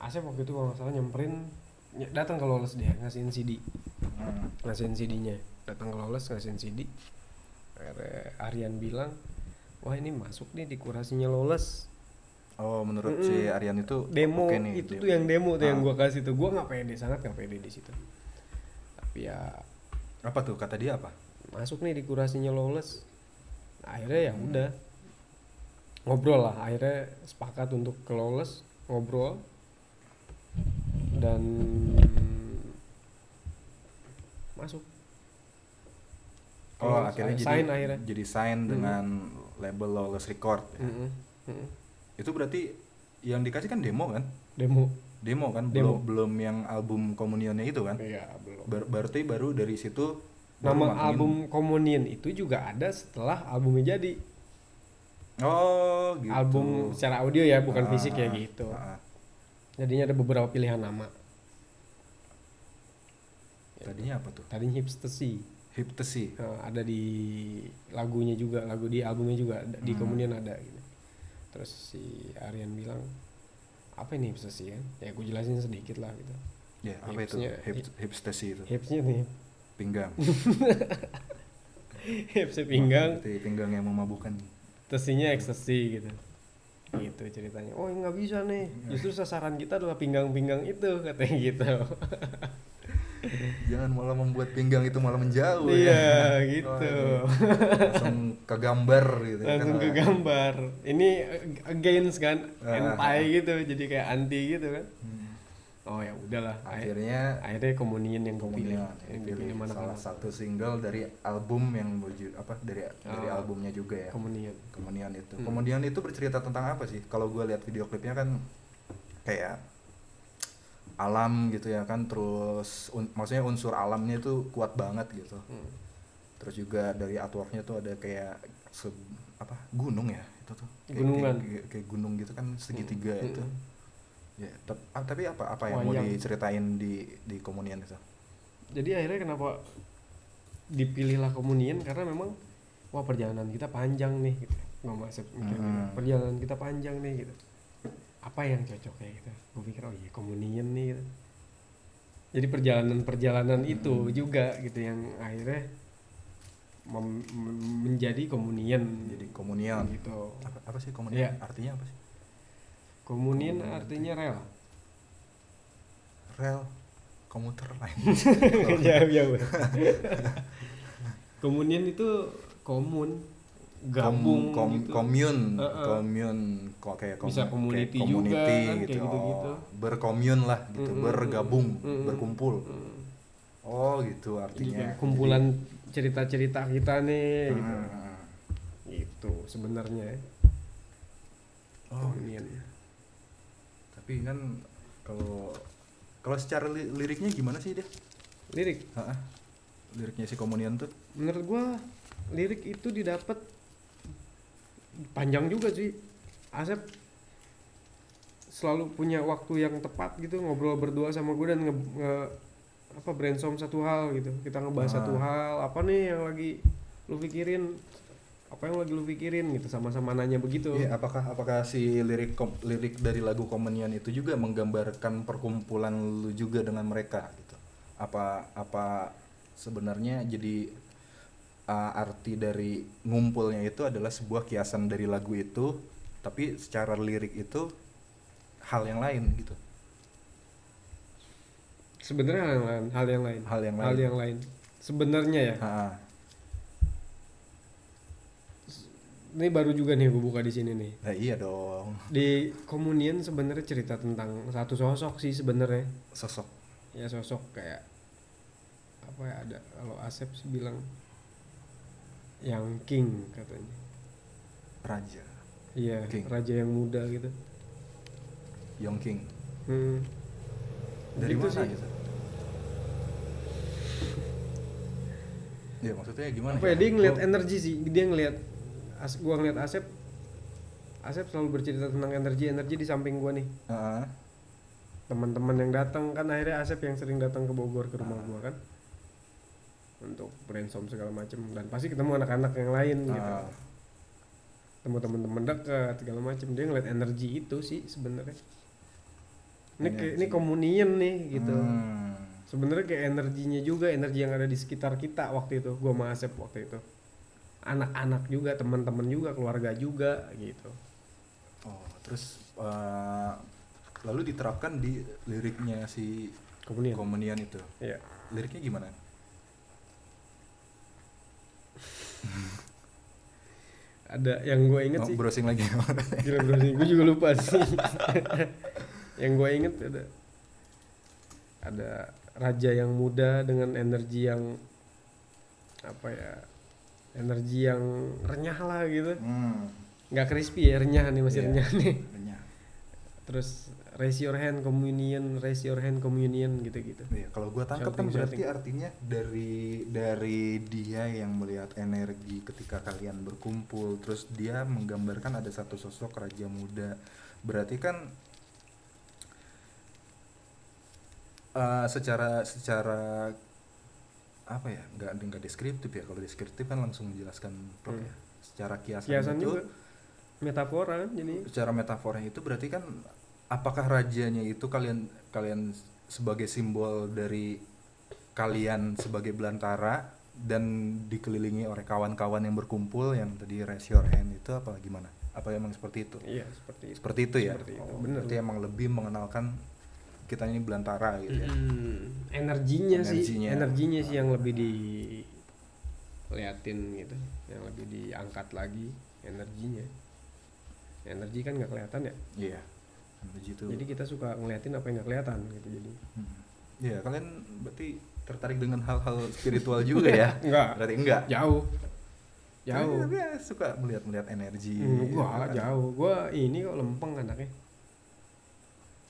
[SPEAKER 2] Asep waktu itu kalau nggak salah nyamperin ny- datang ke Lawless dia ngasihin CD
[SPEAKER 1] Hmm.
[SPEAKER 2] ngasihin CD-nya datang ke Lawless ngasihin CD akhirnya Aryan bilang wah ini masuk nih di kurasinya Lawless
[SPEAKER 1] Oh, menurut si
[SPEAKER 2] Mm-mm.
[SPEAKER 1] Aryan itu
[SPEAKER 2] demo
[SPEAKER 1] oke nih,
[SPEAKER 2] itu
[SPEAKER 1] dia-
[SPEAKER 2] tuh yang demo tuh
[SPEAKER 1] Ah.
[SPEAKER 2] yang gua kasih tuh gua nggak pede sangat nggak pede di situ tapi ya
[SPEAKER 1] Apa tuh kata dia apa?
[SPEAKER 2] masuk nih di kurasinya lawless akhirnya ya
[SPEAKER 1] Hmm.
[SPEAKER 2] udah ngobrol lah akhirnya sepakat untuk ke lawless ngobrol dan masuk
[SPEAKER 1] Oh,
[SPEAKER 2] Lawless,
[SPEAKER 1] akhirnya jadi
[SPEAKER 2] sign akhirnya
[SPEAKER 1] jadi sign
[SPEAKER 2] Mm-mm.
[SPEAKER 1] dengan label Lawless Record. ya.
[SPEAKER 2] Mm-mm, mm-mm.
[SPEAKER 1] Itu berarti yang dikasih kan demo kan?
[SPEAKER 2] demo
[SPEAKER 1] Demo kan
[SPEAKER 2] Demo.
[SPEAKER 1] belum belum yang album komunionnya itu kan?
[SPEAKER 2] iya belum
[SPEAKER 1] Bar- berarti baru dari situ baru
[SPEAKER 2] nama
[SPEAKER 1] matengin.
[SPEAKER 2] album Komunion itu juga ada setelah albumnya jadi
[SPEAKER 1] Oh, gitu.
[SPEAKER 2] album secara audio ya
[SPEAKER 1] Ah,
[SPEAKER 2] bukan fisik ya gitu
[SPEAKER 1] ah.
[SPEAKER 2] jadinya ada beberapa pilihan nama
[SPEAKER 1] Tadinya apa tuh?
[SPEAKER 2] tadinya hipster sih
[SPEAKER 1] Hiptesi.
[SPEAKER 2] Nah, ada di lagunya juga lagu di albumnya juga ada- di
[SPEAKER 1] Hmm.
[SPEAKER 2] kemudian ada gitu terus si Aryan bilang apa ini hipster sih kan ya aku jelasin sedikit lah gitu
[SPEAKER 1] Ya, apa itu?
[SPEAKER 2] Hipsnya-
[SPEAKER 1] Hip- Hipstesi itu.
[SPEAKER 2] hipsnya nih <laughs>
[SPEAKER 1] Pinggang.
[SPEAKER 2] hips pinggang
[SPEAKER 1] Berarti pinggang yang memabukkan.
[SPEAKER 2] tesinya ekstasi gitu gitu ceritanya oh nggak bisa nih justru sasaran kita adalah pinggang-pinggang itu katanya gitu
[SPEAKER 1] Jangan malah membuat pinggang itu malah menjauh.
[SPEAKER 2] iya
[SPEAKER 1] ya.
[SPEAKER 2] gitu
[SPEAKER 1] Waduh. langsung ke gambar gitu ya,
[SPEAKER 2] langsung
[SPEAKER 1] kan?
[SPEAKER 2] ke gambar ini ag- against kan
[SPEAKER 1] Ah.
[SPEAKER 2] anti gitu jadi kayak anti gitu kan
[SPEAKER 1] Hmm.
[SPEAKER 2] oh ya udahlah
[SPEAKER 1] akhirnya
[SPEAKER 2] akhirnya akhirnya komunian yang gue pilih
[SPEAKER 1] pilih
[SPEAKER 2] yang dipilih mana
[SPEAKER 1] salah
[SPEAKER 2] salah
[SPEAKER 1] satu single dari album yang berju- apa dari dari
[SPEAKER 2] Ah.
[SPEAKER 1] albumnya juga ya
[SPEAKER 2] komunian
[SPEAKER 1] kemudian itu
[SPEAKER 2] Hmm.
[SPEAKER 1] kemudian itu bercerita tentang apa sih kalau gue lihat video klipnya kan kayak alam gitu ya kan terus un- maksudnya unsur alamnya itu kuat banget gitu
[SPEAKER 2] Hmm.
[SPEAKER 1] terus juga dari artworknya tuh ada kayak se apa gunung ya itu tuh Kayak-
[SPEAKER 2] Gunungan.
[SPEAKER 1] kayak, kayak- kayak gunung gitu kan segitiga
[SPEAKER 2] Hmm.
[SPEAKER 1] itu
[SPEAKER 2] Hmm.
[SPEAKER 1] ya tep- ah, tapi apa apa yang mau
[SPEAKER 2] Wayang.
[SPEAKER 1] diceritain di di komunian itu
[SPEAKER 2] jadi akhirnya kenapa dipilihlah komunian karena memang wah perjalanan kita panjang nih gitu nggak masuk mikir gitu.
[SPEAKER 1] Hmm.
[SPEAKER 2] perjalanan kita panjang nih gitu apa yang cocok ya gitu gue pikir oh iya komunian nih gitu.
[SPEAKER 1] Hmm.
[SPEAKER 2] jadi perjalanan perjalanan itu juga gitu yang akhirnya mem- mem- menjadi komunian
[SPEAKER 1] jadi komunian
[SPEAKER 2] gitu.
[SPEAKER 1] apa, apa sih komunian
[SPEAKER 2] Iya.
[SPEAKER 1] artinya apa sih
[SPEAKER 2] Komunian artinya rela.
[SPEAKER 1] rel komuter lain
[SPEAKER 2] <laughs> jauh jauh. komunian itu komun, gabung
[SPEAKER 1] kom,
[SPEAKER 2] gitu.
[SPEAKER 1] komun
[SPEAKER 2] Heeh.
[SPEAKER 1] komun kok kayak
[SPEAKER 2] Bisa
[SPEAKER 1] kayak
[SPEAKER 2] community juga
[SPEAKER 1] community
[SPEAKER 2] kan, kayak
[SPEAKER 1] gitu,
[SPEAKER 2] gitu-gitu.
[SPEAKER 1] Oh, berkomun lah gitu
[SPEAKER 2] Mm-mm.
[SPEAKER 1] bergabung
[SPEAKER 2] Mm-mm.
[SPEAKER 1] berkumpul
[SPEAKER 2] Hmm.
[SPEAKER 1] oh gitu
[SPEAKER 2] Jadi
[SPEAKER 1] artinya
[SPEAKER 2] kayak kumpulan cerita-cerita kita
[SPEAKER 1] Jadi-
[SPEAKER 2] nih gitu.
[SPEAKER 1] Heeh.
[SPEAKER 2] Gitu sebenarnya.
[SPEAKER 1] oh
[SPEAKER 2] komunian.
[SPEAKER 1] tapi kan kalau kalau secara li- liriknya gimana sih dia
[SPEAKER 2] Lirik
[SPEAKER 1] Heeh. liriknya si komunian tuh
[SPEAKER 2] menurut gua lirik itu didapat panjang juga sih Asep selalu punya waktu yang tepat gitu ngobrol berdua sama gue dan nge, nge- apa brainstorm satu hal gitu kita ngebahas
[SPEAKER 1] Ah.
[SPEAKER 2] satu hal apa nih yang lagi lu pikirin apa yang lagi lu pikirin gitu sama-sama nanya begitu
[SPEAKER 1] Iya, apakah apakah si lirik kom- lirik dari lagu Komunian itu juga menggambarkan perkumpulan lu juga dengan mereka gitu. Apa apa sebenarnya jadi uh, arti dari ngumpulnya itu adalah sebuah kiasan dari lagu itu, tapi secara lirik itu hal yang lain gitu.
[SPEAKER 2] sebenarnya hal yang lain hal
[SPEAKER 1] Hal
[SPEAKER 2] yang lain
[SPEAKER 1] yang lain. Ah,
[SPEAKER 2] hal yang lain sebenarnya ya
[SPEAKER 1] Ha-ha.
[SPEAKER 2] ini baru juga nih gue buka di sini nih
[SPEAKER 1] Nah, iya dong.
[SPEAKER 2] di komunian sebenarnya cerita tentang satu sosok sih sebenarnya
[SPEAKER 1] Sosok
[SPEAKER 2] ya sosok kayak apa ya ada kalau Asep sih bilang yang king katanya
[SPEAKER 1] raja,
[SPEAKER 2] iya
[SPEAKER 1] King.
[SPEAKER 2] raja yang muda gitu
[SPEAKER 1] Yong King.
[SPEAKER 2] hmm.
[SPEAKER 1] Dari
[SPEAKER 2] Gitu
[SPEAKER 1] mana
[SPEAKER 2] sih.
[SPEAKER 1] gitu? Ya Oh, maksudnya gimana?
[SPEAKER 2] apa ya dia ngeliat
[SPEAKER 1] Lu-
[SPEAKER 2] energi sih dia ngeliat as gua ngeliat Asep Asep selalu bercerita tentang energi energi di samping gua nih
[SPEAKER 1] Heeh.
[SPEAKER 2] teman-teman yang datang kan akhirnya Asep yang sering datang ke Bogor ke rumah gua kan untuk brainstorm segala macem dan pasti ketemu anak-anak yang lain gitu
[SPEAKER 1] Ah.
[SPEAKER 2] temu teman-teman dekat segala macem dia ngeliat energi itu sih sebenarnya ini
[SPEAKER 1] Energi.
[SPEAKER 2] kayak- ini komunian nih gitu
[SPEAKER 1] Hmm.
[SPEAKER 2] sebenarnya kayak energinya juga energi yang ada di sekitar kita waktu itu gua sama Asep waktu itu anak-anak juga teman-teman juga keluarga juga gitu
[SPEAKER 1] Oh, terus eh, lalu diterapkan di liriknya si
[SPEAKER 2] komunian
[SPEAKER 1] Komunian itu.
[SPEAKER 2] Iya.
[SPEAKER 1] Liriknya gimana?
[SPEAKER 2] ada yang gue inget
[SPEAKER 1] Oh,
[SPEAKER 2] sih
[SPEAKER 1] browsing
[SPEAKER 2] <laughs>
[SPEAKER 1] lagi. <laughs>
[SPEAKER 2] Gila bro sih, gue juga lupa sih. yang gue inget ada ada raja yang muda dengan energi yang apa ya energi yang renyah lah gitu
[SPEAKER 1] hmm.
[SPEAKER 2] nggak crispy ya renyah nih masih
[SPEAKER 1] Iya.
[SPEAKER 2] renyah nih
[SPEAKER 1] Renyah.
[SPEAKER 2] terus raise your hand communion raise your hand communion gitu gitu
[SPEAKER 1] Iya, kalau gua tangkap kan
[SPEAKER 2] Shouting,
[SPEAKER 1] berarti
[SPEAKER 2] shouting.
[SPEAKER 1] artinya dari dari dia yang melihat energi ketika kalian berkumpul, terus dia menggambarkan ada satu sosok raja muda. Berarti kan eh, secara secara apa ya? nggak nggak deskriptif ya. Kalau deskriptif kan langsung menjelaskan plot
[SPEAKER 2] Hmm.
[SPEAKER 1] ya. Secara kiasan,
[SPEAKER 2] kiasan
[SPEAKER 1] itu
[SPEAKER 2] juga metafora kan jadi
[SPEAKER 1] secara metafornya itu berarti kan apakah rajanya itu kalian kalian sebagai simbol dari kalian sebagai belantara dan dikelilingi oleh kawan-kawan yang berkumpul yang tadi raise your hand itu apa gimana? Apa emang seperti itu?
[SPEAKER 2] iya seperti itu
[SPEAKER 1] Seperti itu ya.
[SPEAKER 2] Seperti itu,
[SPEAKER 1] Oh,
[SPEAKER 2] bener.
[SPEAKER 1] Berarti emang lebih mengenalkan kita ini belantara gitu ya.
[SPEAKER 2] Mm, energinya,
[SPEAKER 1] Energinya.
[SPEAKER 2] sih energinya sih yang lebih di liatin gitu yang lebih diangkat lagi energinya energi kan nggak kelihatan ya
[SPEAKER 1] Iya. Begitu.
[SPEAKER 2] jadi kita suka ngeliatin apa yang nggak kelihatan gitu jadi
[SPEAKER 1] Hmm. Iya, kalian berarti tertarik dengan hal-hal spiritual juga
[SPEAKER 2] <laughs>
[SPEAKER 1] ya?
[SPEAKER 2] enggak
[SPEAKER 1] Berarti enggak.
[SPEAKER 2] jauh jauh
[SPEAKER 1] Tapi ya? dia suka melihat-melihat energi.
[SPEAKER 2] Hmm, gua
[SPEAKER 1] Kan?
[SPEAKER 2] jauh gua ini kok lempeng anaknya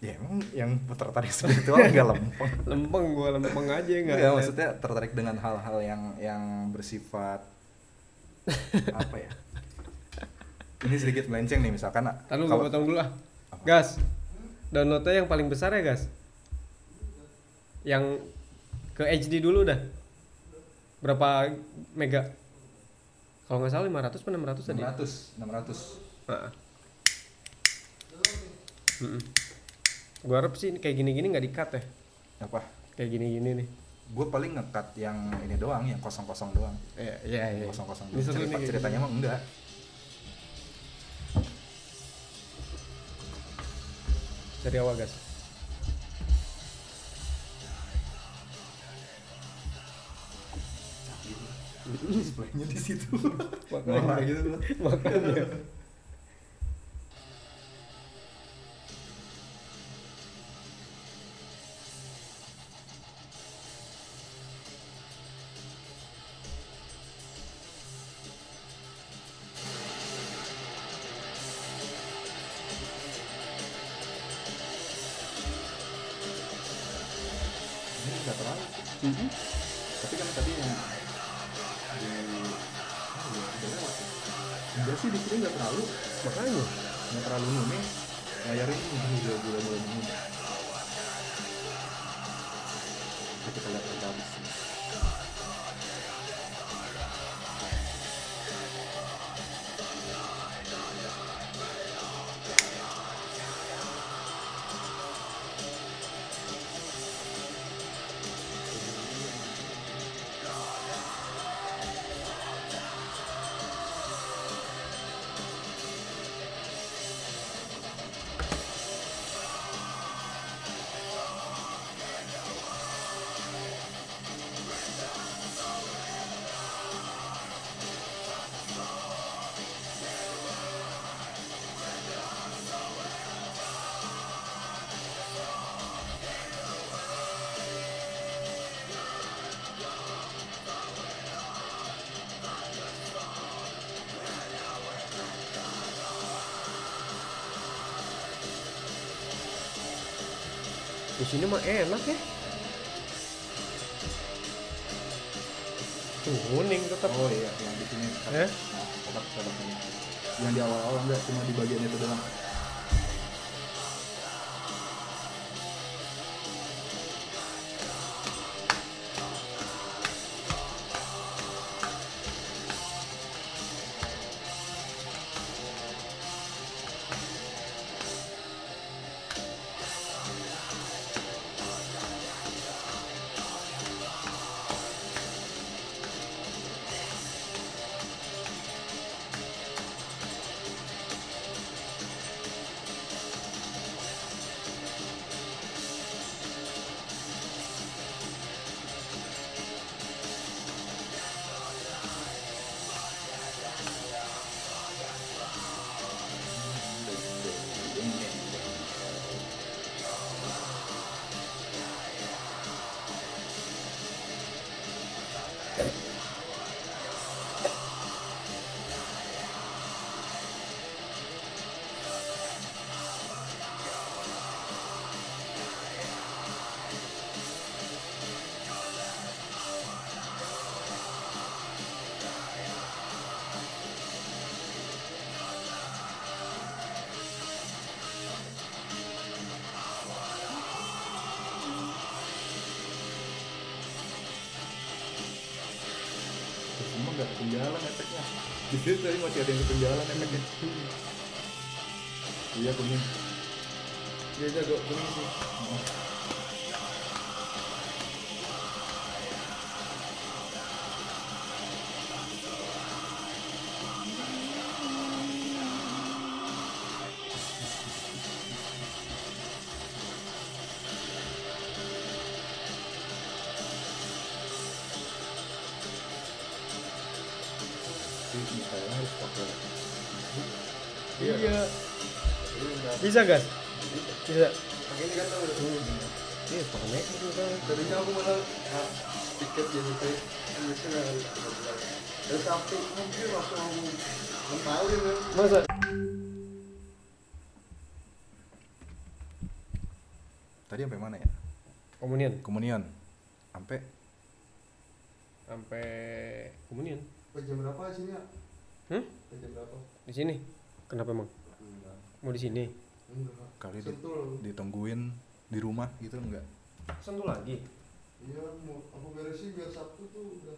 [SPEAKER 1] Ya emang yang tertarik <laughs> spiritual enggak lempeng.
[SPEAKER 2] lempeng gua lempeng aja nggak
[SPEAKER 1] Enggak,
[SPEAKER 2] ngeliat.
[SPEAKER 1] maksudnya tertarik dengan hal-hal yang yang bersifat apa ya? Ini sedikit melenceng nih misalkan.
[SPEAKER 2] Tahu gue
[SPEAKER 1] kalau-
[SPEAKER 2] potong dulu lah.
[SPEAKER 1] Apa?
[SPEAKER 2] Gas. Downloadnya yang paling besar ya gas. Yang ke HD dulu dah. Berapa mega? Kalau nggak salah 500 atau 600 tadi.
[SPEAKER 1] 600, 600.
[SPEAKER 2] Heeh. Mm-mm. Gua harap sih kayak gini-gini nggak di-cut ya.
[SPEAKER 1] Apa?
[SPEAKER 2] Kayak gini-gini nih.
[SPEAKER 1] gue paling ngekat yang ini doang yang kosong kosong doang
[SPEAKER 2] Iya, iya, iya.
[SPEAKER 1] kosong kosong
[SPEAKER 2] Ini seru
[SPEAKER 1] cerita,
[SPEAKER 2] nih.
[SPEAKER 1] ceritanya mah
[SPEAKER 2] <laughs>
[SPEAKER 1] enggak
[SPEAKER 2] Dari awal gas.
[SPEAKER 1] displaynya di situ
[SPEAKER 2] Makanya.
[SPEAKER 1] Norak gitu tuh.
[SPEAKER 2] Makanya.
[SPEAKER 1] ini nggak terlalu sih. tapi kan tadi yang di oh, ya, udah lewat ya. enggak sih di sini nggak terlalu
[SPEAKER 2] Makanya.
[SPEAKER 1] nggak terlalu nume ngayarin ini udah mulai mulai ini kita lihat aja habis ini.
[SPEAKER 2] Di sini mah enak ya. Tuh, kuning tetap.
[SPEAKER 1] oh iya yang di sini
[SPEAKER 2] Eh?
[SPEAKER 1] Nah, tetap tetap ini. yang di awal awal enggak cuma di bagian itu doang Terus semua nggak ketinggalan efeknya di situ tadi masih ada yang ketinggalan efeknya iya kuning
[SPEAKER 2] Dia jago kuning sih.
[SPEAKER 1] jadi kayaknya harus pakai
[SPEAKER 2] Iya. Bisa gas. Bisa.
[SPEAKER 1] pakai ini kan tau
[SPEAKER 2] Iya, pakai
[SPEAKER 1] tadinya aku malah ah, tiket jadi kayak misalnya terus tapi mungkin waktu aku ngempalin ya.
[SPEAKER 2] Masa?
[SPEAKER 1] tadi sampai mana ya
[SPEAKER 2] Komunian.
[SPEAKER 1] komunion sampai
[SPEAKER 2] Sampai komunian.
[SPEAKER 5] Sampai jam berapa sini ya?
[SPEAKER 2] Hah?
[SPEAKER 5] Sampai jam berapa?
[SPEAKER 2] Di sini. Hmm? Kenapa emang?
[SPEAKER 5] Enggak.
[SPEAKER 2] Mau di sini?
[SPEAKER 5] Enggak.
[SPEAKER 1] kali di-
[SPEAKER 5] Sentul.
[SPEAKER 1] ditungguin di rumah gitu enggak
[SPEAKER 2] Sentuh lagi.
[SPEAKER 5] Iya, mau aku beresin biar Sabtu tuh udah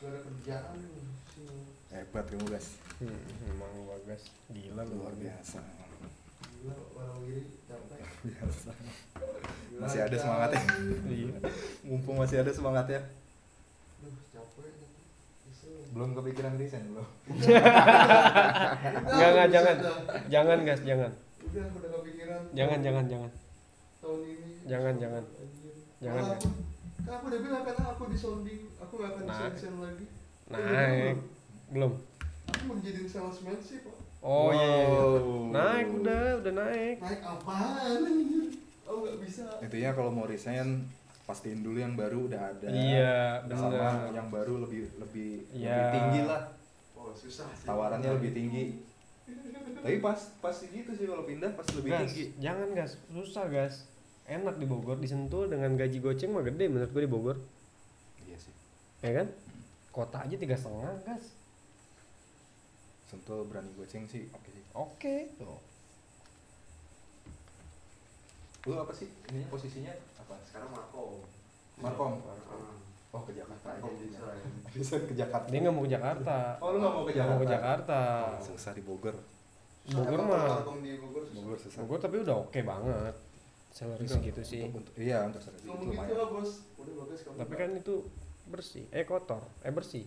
[SPEAKER 5] gak ada kerjaan nih. Sini.
[SPEAKER 1] hebat kamu guys
[SPEAKER 2] Hmm, emang bagas gila
[SPEAKER 1] luar biasa
[SPEAKER 5] Iya. Gila, Wonogiri capek. Gila,
[SPEAKER 1] Masih ada
[SPEAKER 5] capek.
[SPEAKER 1] semangatnya. Iya. Mumpung masih ada
[SPEAKER 2] ya.
[SPEAKER 1] semangatnya.
[SPEAKER 5] Duh, capek. Kesel.
[SPEAKER 1] Belum kepikiran desain belum.
[SPEAKER 5] Udah,
[SPEAKER 2] Enggak, enggak,
[SPEAKER 5] udah,
[SPEAKER 2] jangan.
[SPEAKER 5] udah.
[SPEAKER 2] Jangan, guys, jangan.
[SPEAKER 5] Udah, udah kepikiran.
[SPEAKER 2] Jangan, jangan, jangan.
[SPEAKER 5] Tahun ini.
[SPEAKER 2] Jangan, jangan.
[SPEAKER 5] Anjir.
[SPEAKER 2] Jangan, ya.
[SPEAKER 5] Malah aku- Kan aku udah bilang kan aku di sounding, aku gak akan
[SPEAKER 2] Nah.
[SPEAKER 5] desain lagi.
[SPEAKER 2] Naik. Belum.
[SPEAKER 5] Aku mau jadiin salesman sih, Pak.
[SPEAKER 2] Oh iya. iya, iya.
[SPEAKER 1] Wow.
[SPEAKER 2] Naik udah, udah naik.
[SPEAKER 5] Naik apaan anjir? Aku gak bisa.
[SPEAKER 1] Intinya kalau mau resign pastiin dulu yang baru udah ada.
[SPEAKER 2] Iya,
[SPEAKER 1] Sama
[SPEAKER 2] benar.
[SPEAKER 1] yang baru lebih lebih lebih
[SPEAKER 2] Iya.
[SPEAKER 1] tinggi lah.
[SPEAKER 5] Oh, susah sih.
[SPEAKER 1] Tawarannya lebih tinggi. Tapi pas pasti gitu sih kalau pindah pas lebih
[SPEAKER 2] Gas,
[SPEAKER 1] tinggi.
[SPEAKER 2] jangan gas, susah gas. Enak di Bogor, disentuh dengan gaji goceng mah gede menurut gue di Bogor,
[SPEAKER 1] Iya sih.
[SPEAKER 2] ya kan? Kota aja tiga setengah gas.
[SPEAKER 1] Sentul berani goceng sih. Oke sih.
[SPEAKER 2] Oke.
[SPEAKER 1] Lu apa sih? Ininya posisinya apa?
[SPEAKER 5] Sekarang Marco.
[SPEAKER 1] Markom.
[SPEAKER 5] Marco.
[SPEAKER 1] Oh ke Jakarta.
[SPEAKER 5] Marco bisa ya.
[SPEAKER 1] Bisa ke Jakarta.
[SPEAKER 2] Dia nggak mau ke Jakarta.
[SPEAKER 1] Oh, lu nggak mau ke
[SPEAKER 2] Nggak Mau ke
[SPEAKER 1] Jakarta?
[SPEAKER 2] Jakarta.
[SPEAKER 1] Susah di Bogor.
[SPEAKER 2] Bogor
[SPEAKER 5] Emang
[SPEAKER 2] mah.
[SPEAKER 5] Marco di Bogor susah.
[SPEAKER 1] Bogor susah.
[SPEAKER 2] Bogor tapi udah oke banget. Salary
[SPEAKER 1] Untuk-
[SPEAKER 2] segitu sih.
[SPEAKER 1] untuk- untuk- iya, untuk salary
[SPEAKER 5] Ngomong
[SPEAKER 1] itu
[SPEAKER 5] gitu
[SPEAKER 1] lumayan.
[SPEAKER 5] lah, Bos. Udah bagus kamu.
[SPEAKER 2] Tapi kan itu bersih, eh kotor, eh bersih.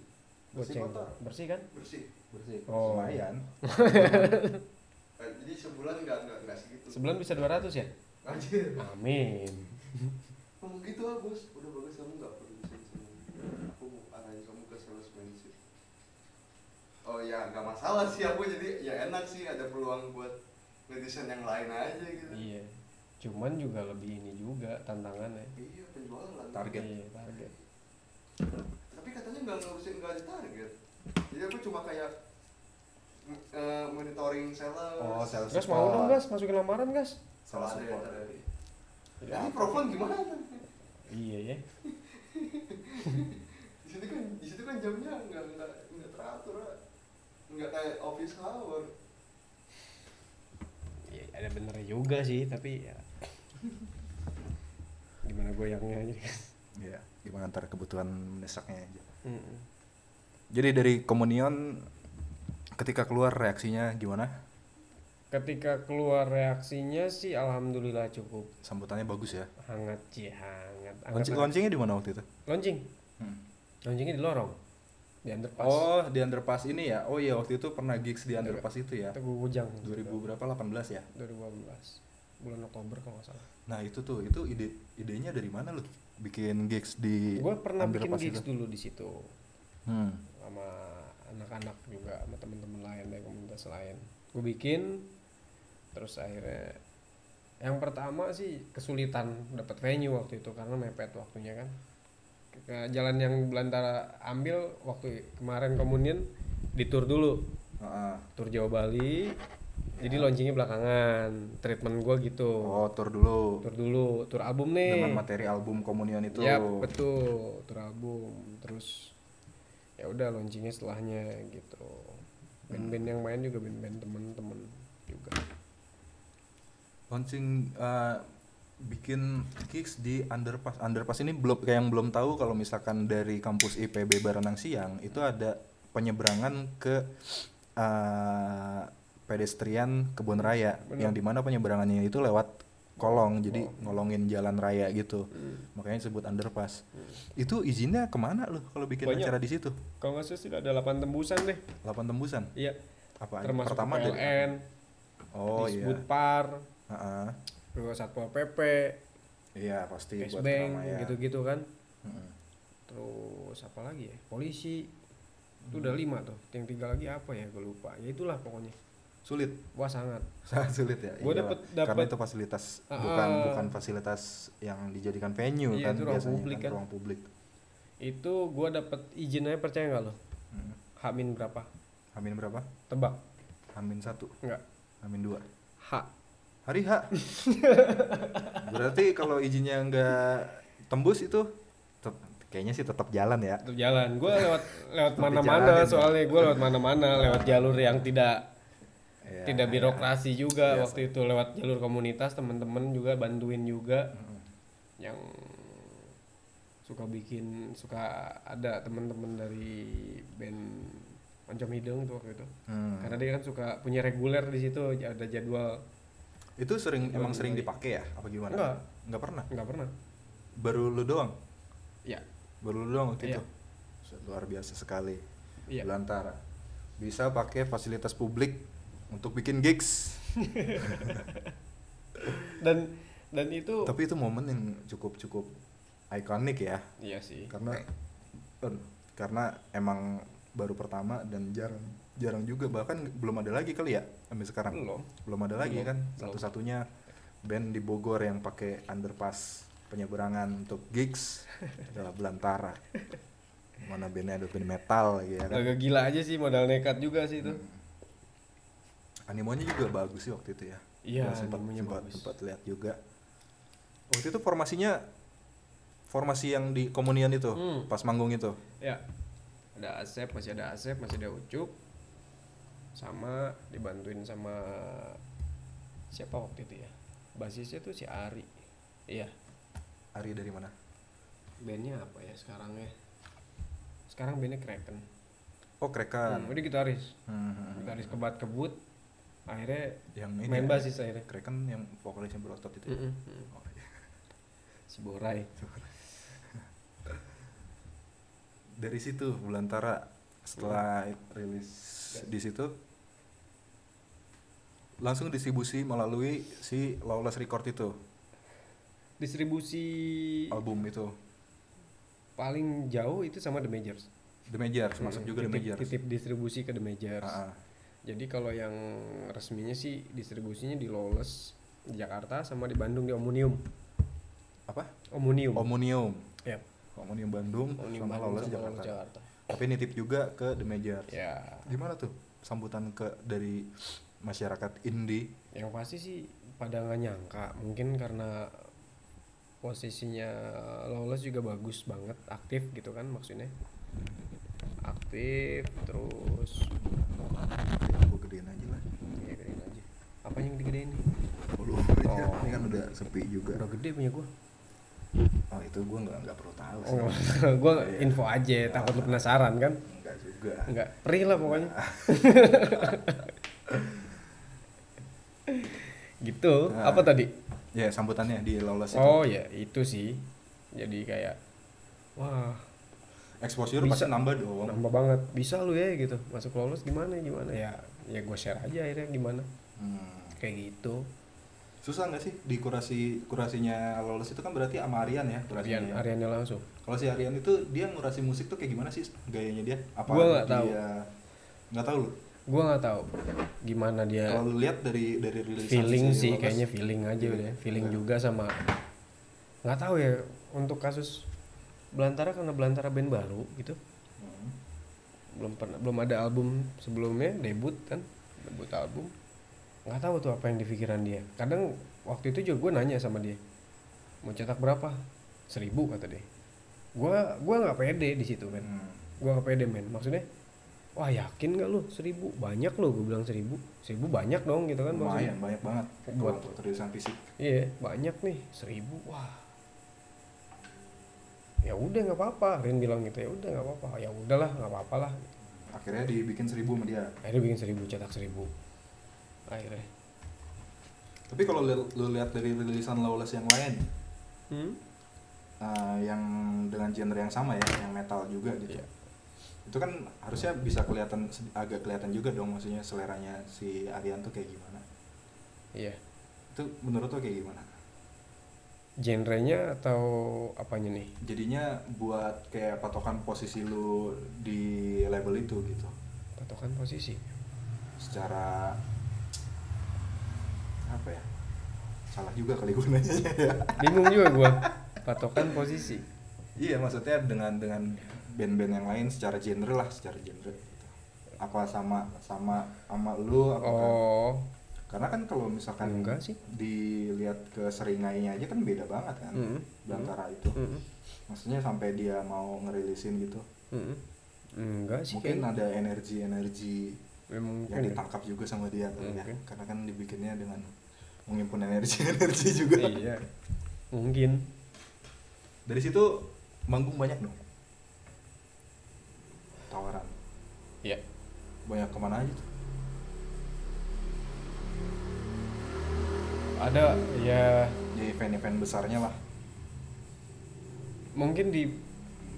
[SPEAKER 1] Bersih,
[SPEAKER 2] Goceng.
[SPEAKER 1] kotor.
[SPEAKER 2] Bersih kan?
[SPEAKER 5] bersih.
[SPEAKER 1] Bersih.
[SPEAKER 2] Oh.
[SPEAKER 1] Lumayan.
[SPEAKER 5] Nah, jadi sebulan nggak nggak nggak segitu.
[SPEAKER 2] Sebulan bisa 200 ya?
[SPEAKER 5] Anjir.
[SPEAKER 2] Amin.
[SPEAKER 5] Ngomong gitu lah bos, udah bagus kamu nggak perlu disini sini. Aku mau arahin kamu ke salesmanship. Oh ya nggak masalah sih aku jadi ya enak sih ada peluang buat ngedesain yang lain aja gitu.
[SPEAKER 2] Iya. Cuman juga lebih ini juga tantangannya.
[SPEAKER 5] Iya penjualan.
[SPEAKER 1] Target.
[SPEAKER 2] Iya, target.
[SPEAKER 5] Tapi katanya nggak ngurusin nggak ada target. Jadi aku cuma kayak mm, eh, monitoring sales.
[SPEAKER 1] Oh, sales.
[SPEAKER 2] Gas mau dong gas masukin lamaran gas.
[SPEAKER 5] Salah
[SPEAKER 1] Salah
[SPEAKER 5] ada
[SPEAKER 1] support.
[SPEAKER 5] ada.
[SPEAKER 1] Ya,
[SPEAKER 5] Jadi profon gimana?
[SPEAKER 2] Iya ya.
[SPEAKER 5] di situ kan di situ kan jamnya nggak nggak nggak teratur lah. nggak kayak office hour
[SPEAKER 2] Iya, ada benernya juga sih, tapi ya gimana goyangnya aja.
[SPEAKER 1] Iya, gimana antar kebutuhan mendesaknya aja. Jadi dari Komunion ketika keluar reaksinya gimana?
[SPEAKER 2] Ketika keluar reaksinya sih alhamdulillah cukup
[SPEAKER 1] Sambutannya bagus ya.
[SPEAKER 2] hangat sih hangat. Angkat
[SPEAKER 1] Launching,
[SPEAKER 2] tangan.
[SPEAKER 1] launchingnya di mana waktu itu?
[SPEAKER 2] Launching. Launchingnya di lorong. Di underpass.
[SPEAKER 1] Hmm. Oh, di underpass ini ya. Oh iya, waktu itu pernah gigs di underpass itu ya.
[SPEAKER 2] Teguh Bujang.
[SPEAKER 1] 2000 berapa? 18 ya.
[SPEAKER 2] 2012. Bulan Oktober kalau nggak salah.
[SPEAKER 1] Nah, itu tuh, itu ide idenya dari mana lu bikin gigs di
[SPEAKER 2] Gue pernah bikin
[SPEAKER 1] underpass
[SPEAKER 2] gigs
[SPEAKER 1] Iya. itu?
[SPEAKER 2] dulu di situ.
[SPEAKER 1] Hmm.
[SPEAKER 2] sama anak-anak juga sama temen-temen lain dari komunitas lain gue bikin terus akhirnya yang pertama sih kesulitan dapat venue waktu itu karena mepet waktunya kan Ke- ke jalan yang Belantara ambil waktu i- kemarin komunian di tour dulu
[SPEAKER 1] Ah, ah.
[SPEAKER 2] tour Jawa Bali jadi launchingnya belakangan treatment gue gitu
[SPEAKER 1] Oh, tour dulu.
[SPEAKER 2] tour dulu tour album nih
[SPEAKER 1] dengan materi album komunion itu
[SPEAKER 2] Yap, betul. Tur album. Terus ya udah launchingnya setelahnya gitu.
[SPEAKER 1] Hmm.
[SPEAKER 2] Band-band yang main juga band-band temen-temen juga.
[SPEAKER 1] launching eh, bikin gigs di underpass underpass ini belum kayak yang belum tahu kalau misalkan dari kampus IPB Baranang Siang itu ada penyeberangan ke eh, pedestrian Kebun Raya
[SPEAKER 2] Benar.
[SPEAKER 1] yang dimana penyeberangannya itu lewat kolong jadi ngolongin jalan raya gitu
[SPEAKER 2] Hmm.
[SPEAKER 1] makanya disebut underpass itu izinnya kemana loh kalau bikin
[SPEAKER 2] Banyak.
[SPEAKER 1] acara di situ
[SPEAKER 2] Kalau nggak salah sih ada 8 tembusan deh.
[SPEAKER 1] 8 tembusan
[SPEAKER 2] Iya,
[SPEAKER 1] apa aja?
[SPEAKER 2] termasuk
[SPEAKER 1] pertama dari-
[SPEAKER 2] PLN,
[SPEAKER 1] oh iya
[SPEAKER 2] Disbud Par,
[SPEAKER 1] Heeh.
[SPEAKER 2] juga Satpol PP,
[SPEAKER 1] iya pasti
[SPEAKER 2] Cash
[SPEAKER 1] buat ya.
[SPEAKER 2] Bank,
[SPEAKER 1] keramaian.
[SPEAKER 2] gitu-gitu kan.
[SPEAKER 1] Heeh.
[SPEAKER 2] Terus apa lagi ya? Polisi.
[SPEAKER 1] Hmm.
[SPEAKER 2] Itu udah lima tuh. Yang tiga lagi apa ya? Gue lupa. Ya itulah pokoknya.
[SPEAKER 1] sulit
[SPEAKER 2] Wah sangat.
[SPEAKER 1] <laughs> sangat sulit ya
[SPEAKER 2] Gua
[SPEAKER 1] Iya,
[SPEAKER 2] dapet-
[SPEAKER 1] karena
[SPEAKER 2] dapet-
[SPEAKER 1] itu fasilitas
[SPEAKER 2] Ah,
[SPEAKER 1] bukan
[SPEAKER 2] ah.
[SPEAKER 1] bukan fasilitas yang dijadikan venue
[SPEAKER 2] Iya,
[SPEAKER 1] kan
[SPEAKER 2] itu ruang
[SPEAKER 1] biasanya
[SPEAKER 2] publik
[SPEAKER 1] kan,
[SPEAKER 2] kan.
[SPEAKER 1] ruang publik
[SPEAKER 2] Itu gua dapat izinnya percaya nggak lo?
[SPEAKER 1] Hmm.
[SPEAKER 2] Hamin berapa?
[SPEAKER 1] Amin berapa
[SPEAKER 2] Tebak.
[SPEAKER 1] Amin satu
[SPEAKER 2] Enggak.
[SPEAKER 1] Amin dua
[SPEAKER 2] H.
[SPEAKER 1] hari
[SPEAKER 2] <laughs>
[SPEAKER 1] H berarti kalau izinnya nggak tembus itu tet- kayaknya sih tetap jalan ya
[SPEAKER 2] Tetap jalan. Gue lewat lewat
[SPEAKER 1] Tetap
[SPEAKER 2] mana-mana
[SPEAKER 1] dijalanin.
[SPEAKER 2] soalnya gue lewat mana-mana lewat jalur yang tidak
[SPEAKER 1] Ya, ya.
[SPEAKER 2] tidak birokrasi juga
[SPEAKER 1] Iya,
[SPEAKER 2] waktu itu lewat jalur komunitas temen-temen juga bantuin juga yang suka bikin suka ada temen-temen dari band Oncom Hidung tuh waktu itu
[SPEAKER 1] Hmm.
[SPEAKER 2] karena dia kan suka punya reguler di situ ada jadwal
[SPEAKER 1] Itu sering emang sering dipakai ya apa gimana?
[SPEAKER 2] iya. Enggak.
[SPEAKER 1] Enggak pernah.
[SPEAKER 2] nggak pernah
[SPEAKER 1] Baru lu doang.
[SPEAKER 2] ya
[SPEAKER 1] Baru lu doang waktu
[SPEAKER 2] Iya.
[SPEAKER 1] itu. Set, Luar biasa sekali.
[SPEAKER 2] Iya.
[SPEAKER 1] Belantara. Bisa pakai fasilitas publik untuk bikin gigs.
[SPEAKER 2] dan dan itu
[SPEAKER 1] Tapi itu momen yang cukup cukup ikonik ya.
[SPEAKER 2] iya sih
[SPEAKER 1] Karena eh, karena emang baru pertama dan jarang jarang juga bahkan belum ada lagi kali ya sampai sekarang.
[SPEAKER 2] Belum.
[SPEAKER 1] Belum ada lagi
[SPEAKER 2] Belum.
[SPEAKER 1] kan
[SPEAKER 2] Belum.
[SPEAKER 1] satu-satunya band di Bogor yang pakai underpass penyeberangan untuk
[SPEAKER 2] <laughs>
[SPEAKER 1] gigs adalah Belantara. Mana bandnya ada band metal lagi ya kan.
[SPEAKER 2] agak gila aja sih modal nekat juga sih itu
[SPEAKER 1] Animonya juga bagus sih waktu itu ya.
[SPEAKER 2] Iya,
[SPEAKER 1] Gua sempat
[SPEAKER 2] animonya
[SPEAKER 1] sempat,
[SPEAKER 2] bagus.
[SPEAKER 1] sempat lihat juga. Waktu itu formasinya formasi yang di komunian itu,
[SPEAKER 2] Hmm.
[SPEAKER 1] pas manggung itu.
[SPEAKER 2] ya ada Asep masih ada Asep masih ada Ucup sama dibantuin sama siapa waktu itu ya basisnya tuh si Ari iya
[SPEAKER 1] Ari dari mana?
[SPEAKER 2] bandnya apa ya sekarang ya sekarang bandnya Kraken
[SPEAKER 1] Oh,
[SPEAKER 2] hmm,
[SPEAKER 1] Krekan.
[SPEAKER 2] udah gitaris
[SPEAKER 1] Hmm.
[SPEAKER 2] gitaris kebat kebut akhirnya
[SPEAKER 1] Yang ini. ya,
[SPEAKER 2] main basis akhirnya
[SPEAKER 1] Krekan yang vokalisnya berotot itu. ya?
[SPEAKER 2] Mm-mm, mm.
[SPEAKER 1] Oh, iya.
[SPEAKER 2] si Borai
[SPEAKER 1] Dari situ Belantara setelah
[SPEAKER 2] Hmm.
[SPEAKER 1] rilis di situ langsung distribusi melalui si Lawless Record itu,
[SPEAKER 2] distribusi
[SPEAKER 1] album itu.
[SPEAKER 2] paling jauh itu sama The Majors
[SPEAKER 1] The Majors, masuk
[SPEAKER 2] Mm,
[SPEAKER 1] juga The
[SPEAKER 2] titip,
[SPEAKER 1] Majors.
[SPEAKER 2] titip distribusi ke The Majors
[SPEAKER 1] Ah, ah.
[SPEAKER 2] jadi kalau yang resminya sih distribusinya di Lawless di Jakarta sama di Bandung di Omnium
[SPEAKER 1] Apa?
[SPEAKER 2] Omnium
[SPEAKER 1] Omonium.
[SPEAKER 2] Yap.
[SPEAKER 1] Omonium Bandung
[SPEAKER 2] Omnium
[SPEAKER 1] sama
[SPEAKER 2] Bandung
[SPEAKER 1] Lawless
[SPEAKER 2] sama
[SPEAKER 1] Jakarta.
[SPEAKER 2] Lawless Jakarta
[SPEAKER 1] Tapi nitip juga ke The Majors.
[SPEAKER 2] ya
[SPEAKER 1] Gimana tuh sambutan ke dari masyarakat indie?
[SPEAKER 2] yang pasti sih pada nggak nyangka mungkin karena posisinya Lawless juga bagus banget aktif gitu kan maksudnya aktif terus
[SPEAKER 1] Gue gedein aja lah.
[SPEAKER 2] ya gedein aja apa yang digedein nih
[SPEAKER 1] Lu
[SPEAKER 2] aja.
[SPEAKER 1] ini kan udah sepi juga.
[SPEAKER 2] Oh. udah gede punya gua
[SPEAKER 1] Oh, itu gua nggak nggak perlu tahu sih.
[SPEAKER 2] oh <laughs> gua info aja takut lu penasaran kan
[SPEAKER 1] Enggak juga.
[SPEAKER 2] nggak perih lah pokoknya gitu
[SPEAKER 1] Nah.
[SPEAKER 2] apa tadi
[SPEAKER 1] <laughs> Ya, sambutannya di Lawless itu.
[SPEAKER 2] oh ya itu sih jadi kayak wah
[SPEAKER 1] Exposure pasti
[SPEAKER 2] Bisa.
[SPEAKER 1] nambah dong.
[SPEAKER 2] nambah banget bisa lu ya gitu masuk lolos gimana gimana ya ya gue share aja akhirnya gimana
[SPEAKER 1] Hmm.
[SPEAKER 2] kayak gitu
[SPEAKER 1] Susah nggak sih di kurasi kurasinya Lawless itu kan berarti sama Arian ya kurasinya.
[SPEAKER 2] Arian
[SPEAKER 1] ya?
[SPEAKER 2] Ariannya langsung
[SPEAKER 1] Kalau si Arian itu dia ngurasi musik tuh kayak gimana sih gayanya dia? Apa
[SPEAKER 2] Gua nggak
[SPEAKER 1] dia-
[SPEAKER 2] tahu.
[SPEAKER 1] Nggak tahu lu.
[SPEAKER 2] gue nggak tahu gimana dia
[SPEAKER 1] Kalau lu lihat dari dari rilis
[SPEAKER 2] Ya. feeling
[SPEAKER 1] si
[SPEAKER 2] sih
[SPEAKER 1] Lawless,
[SPEAKER 2] kayaknya feeling aja udah ya,
[SPEAKER 1] Iya.
[SPEAKER 2] feeling juga sama nggak tahu ya untuk kasus Belantara karena Belantara band baru gitu
[SPEAKER 1] hmm,
[SPEAKER 2] belum pernah belum ada album sebelumnya debut kan debut album nggak tahu tuh apa yang di pikiran dia kadang waktu itu juga gue nanya sama dia mau cetak berapa seribu kata dia gue gua nggak pede di situ men
[SPEAKER 1] hmm.
[SPEAKER 2] gue nggak pede men maksudnya wah yakin nggak lu seribu banyak lo gue bilang seribu seribu banyak dong gitu kan
[SPEAKER 1] lumayan
[SPEAKER 2] maksudnya
[SPEAKER 1] banyak banget
[SPEAKER 2] Buat-
[SPEAKER 1] buat tulisan fisik.
[SPEAKER 2] iya banyak nih seribu wah ya udah nggak apa-apa Rin bilang gitu ya udah nggak apa-apa ya udahlah nggak apa-apa lah
[SPEAKER 1] Akhirnya dibikin seribu sama dia.
[SPEAKER 2] akhirnya bikin seribu cetak seribu akhirnya
[SPEAKER 1] Tapi kalau lu, lu lihat dari rilisan Lawless yang lain
[SPEAKER 2] hmm?
[SPEAKER 1] eh, yang dengan genre yang sama ya, yang metal juga gitu.
[SPEAKER 2] Iya.
[SPEAKER 1] Itu kan harusnya bisa kelihatan sedi- agak kelihatan juga dong maksudnya seleranya si Arian tuh kayak gimana.
[SPEAKER 2] iya
[SPEAKER 1] Itu menurut lo kayak gimana?
[SPEAKER 2] genrenya atau apanya nih
[SPEAKER 1] jadinya buat kayak patokan posisi lu di level itu gitu
[SPEAKER 2] patokan posisi
[SPEAKER 1] secara apa ya salah juga kali gue
[SPEAKER 2] <laughs>
[SPEAKER 1] nanya ya
[SPEAKER 2] bingung juga gua patokan posisi
[SPEAKER 1] iya maksudnya dengan dengan band-band yang lain secara genre lah secara genre gitu. apa sama sama sama lu apakah
[SPEAKER 2] oh
[SPEAKER 1] karena kan kalau misalkan
[SPEAKER 2] Enggak sih.
[SPEAKER 1] dilihat ke seringainya aja kan beda banget kan
[SPEAKER 2] Mm-mm.
[SPEAKER 1] belantara itu
[SPEAKER 2] Mm-mm.
[SPEAKER 1] maksudnya sampai dia mau ngerilisin gitu
[SPEAKER 2] Mm-mm. enggak sih
[SPEAKER 1] mungkin
[SPEAKER 2] kayaknya.
[SPEAKER 1] ada energi energi
[SPEAKER 2] Ya, mungkin
[SPEAKER 1] yang Kan
[SPEAKER 2] ya.
[SPEAKER 1] ditangkap juga sama dia kali ya.
[SPEAKER 2] Mungkin.
[SPEAKER 1] karena kan dibikinnya dengan mengimpun energi <laughs> energi juga
[SPEAKER 2] iya mungkin
[SPEAKER 1] dari situ manggung banyak dong tawaran
[SPEAKER 2] ya
[SPEAKER 1] banyak kemana aja tuh
[SPEAKER 2] ada ya
[SPEAKER 1] Di event-event besarnya lah.
[SPEAKER 2] mungkin di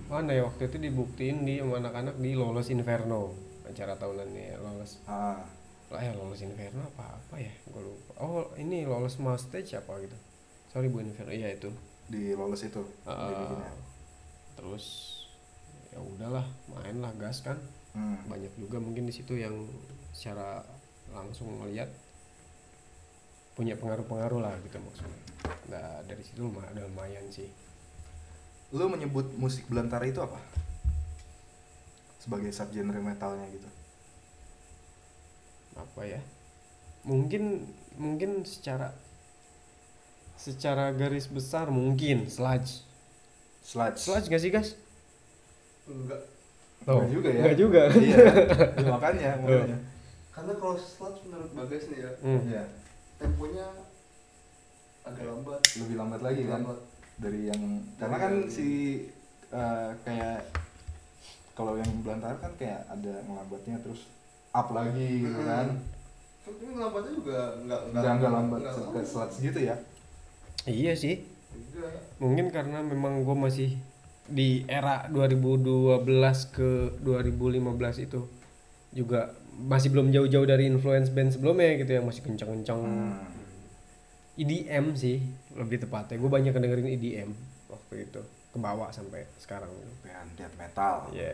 [SPEAKER 2] mana ya waktu itu dibuktiin di sama anak-anak di Lolos Inferno acara tahunannya Lolos
[SPEAKER 1] Ah,
[SPEAKER 2] lah ya Lolos Inferno apa apa ya gue lupa oh ini Lolos Mustache apa gitu sorry bu Inferno iya itu
[SPEAKER 1] di lolos itu. dibikinnya.
[SPEAKER 2] Eh, terus ya udahlah main lah gas kan
[SPEAKER 1] Hmm.
[SPEAKER 2] banyak juga mungkin di situ yang secara langsung melihat punya pengaruh-pengaruh lah gitu maksudnya nah dari situ lumayan, lumayan sih
[SPEAKER 1] Lu menyebut musik belantara itu apa? Sebagai subgenre metalnya gitu.
[SPEAKER 2] apa ya mungkin mungkin secara secara garis besar mungkin sludge
[SPEAKER 1] Sludge.
[SPEAKER 2] sludge gak sih guys
[SPEAKER 5] Enggak.
[SPEAKER 1] Enggak juga Oh. ya.
[SPEAKER 2] nggak juga
[SPEAKER 1] iya. <laughs> Ya, makanya, makanya.
[SPEAKER 5] Karena kalau sludge menurut Bagas nih ya,
[SPEAKER 2] Hmm.
[SPEAKER 1] Iya.
[SPEAKER 5] temponya agak lambat.
[SPEAKER 1] Lebih lambat lagi kan
[SPEAKER 5] Lambat.
[SPEAKER 1] dari yang karena kan si eh, kayak kalau yang belantara kan kayak ada ngelambatnya terus up lagi gitu kan.
[SPEAKER 5] Tapi lambatnya juga enggak
[SPEAKER 1] Enggak enggak lambat se- ke sludge gitu ya.
[SPEAKER 2] iya sih
[SPEAKER 5] Enggak.
[SPEAKER 2] mungkin karena memang gue masih di era 2012 ke 2015 itu juga masih belum jauh-jauh dari influence band sebelumnya gitu yang masih kencang-kencang
[SPEAKER 1] Hmm.
[SPEAKER 2] EDM sih lebih tepatnya gue banyak dengerin EDM waktu itu ke bawah sampai sekarang gitu.
[SPEAKER 1] Band death metal.
[SPEAKER 2] Iya.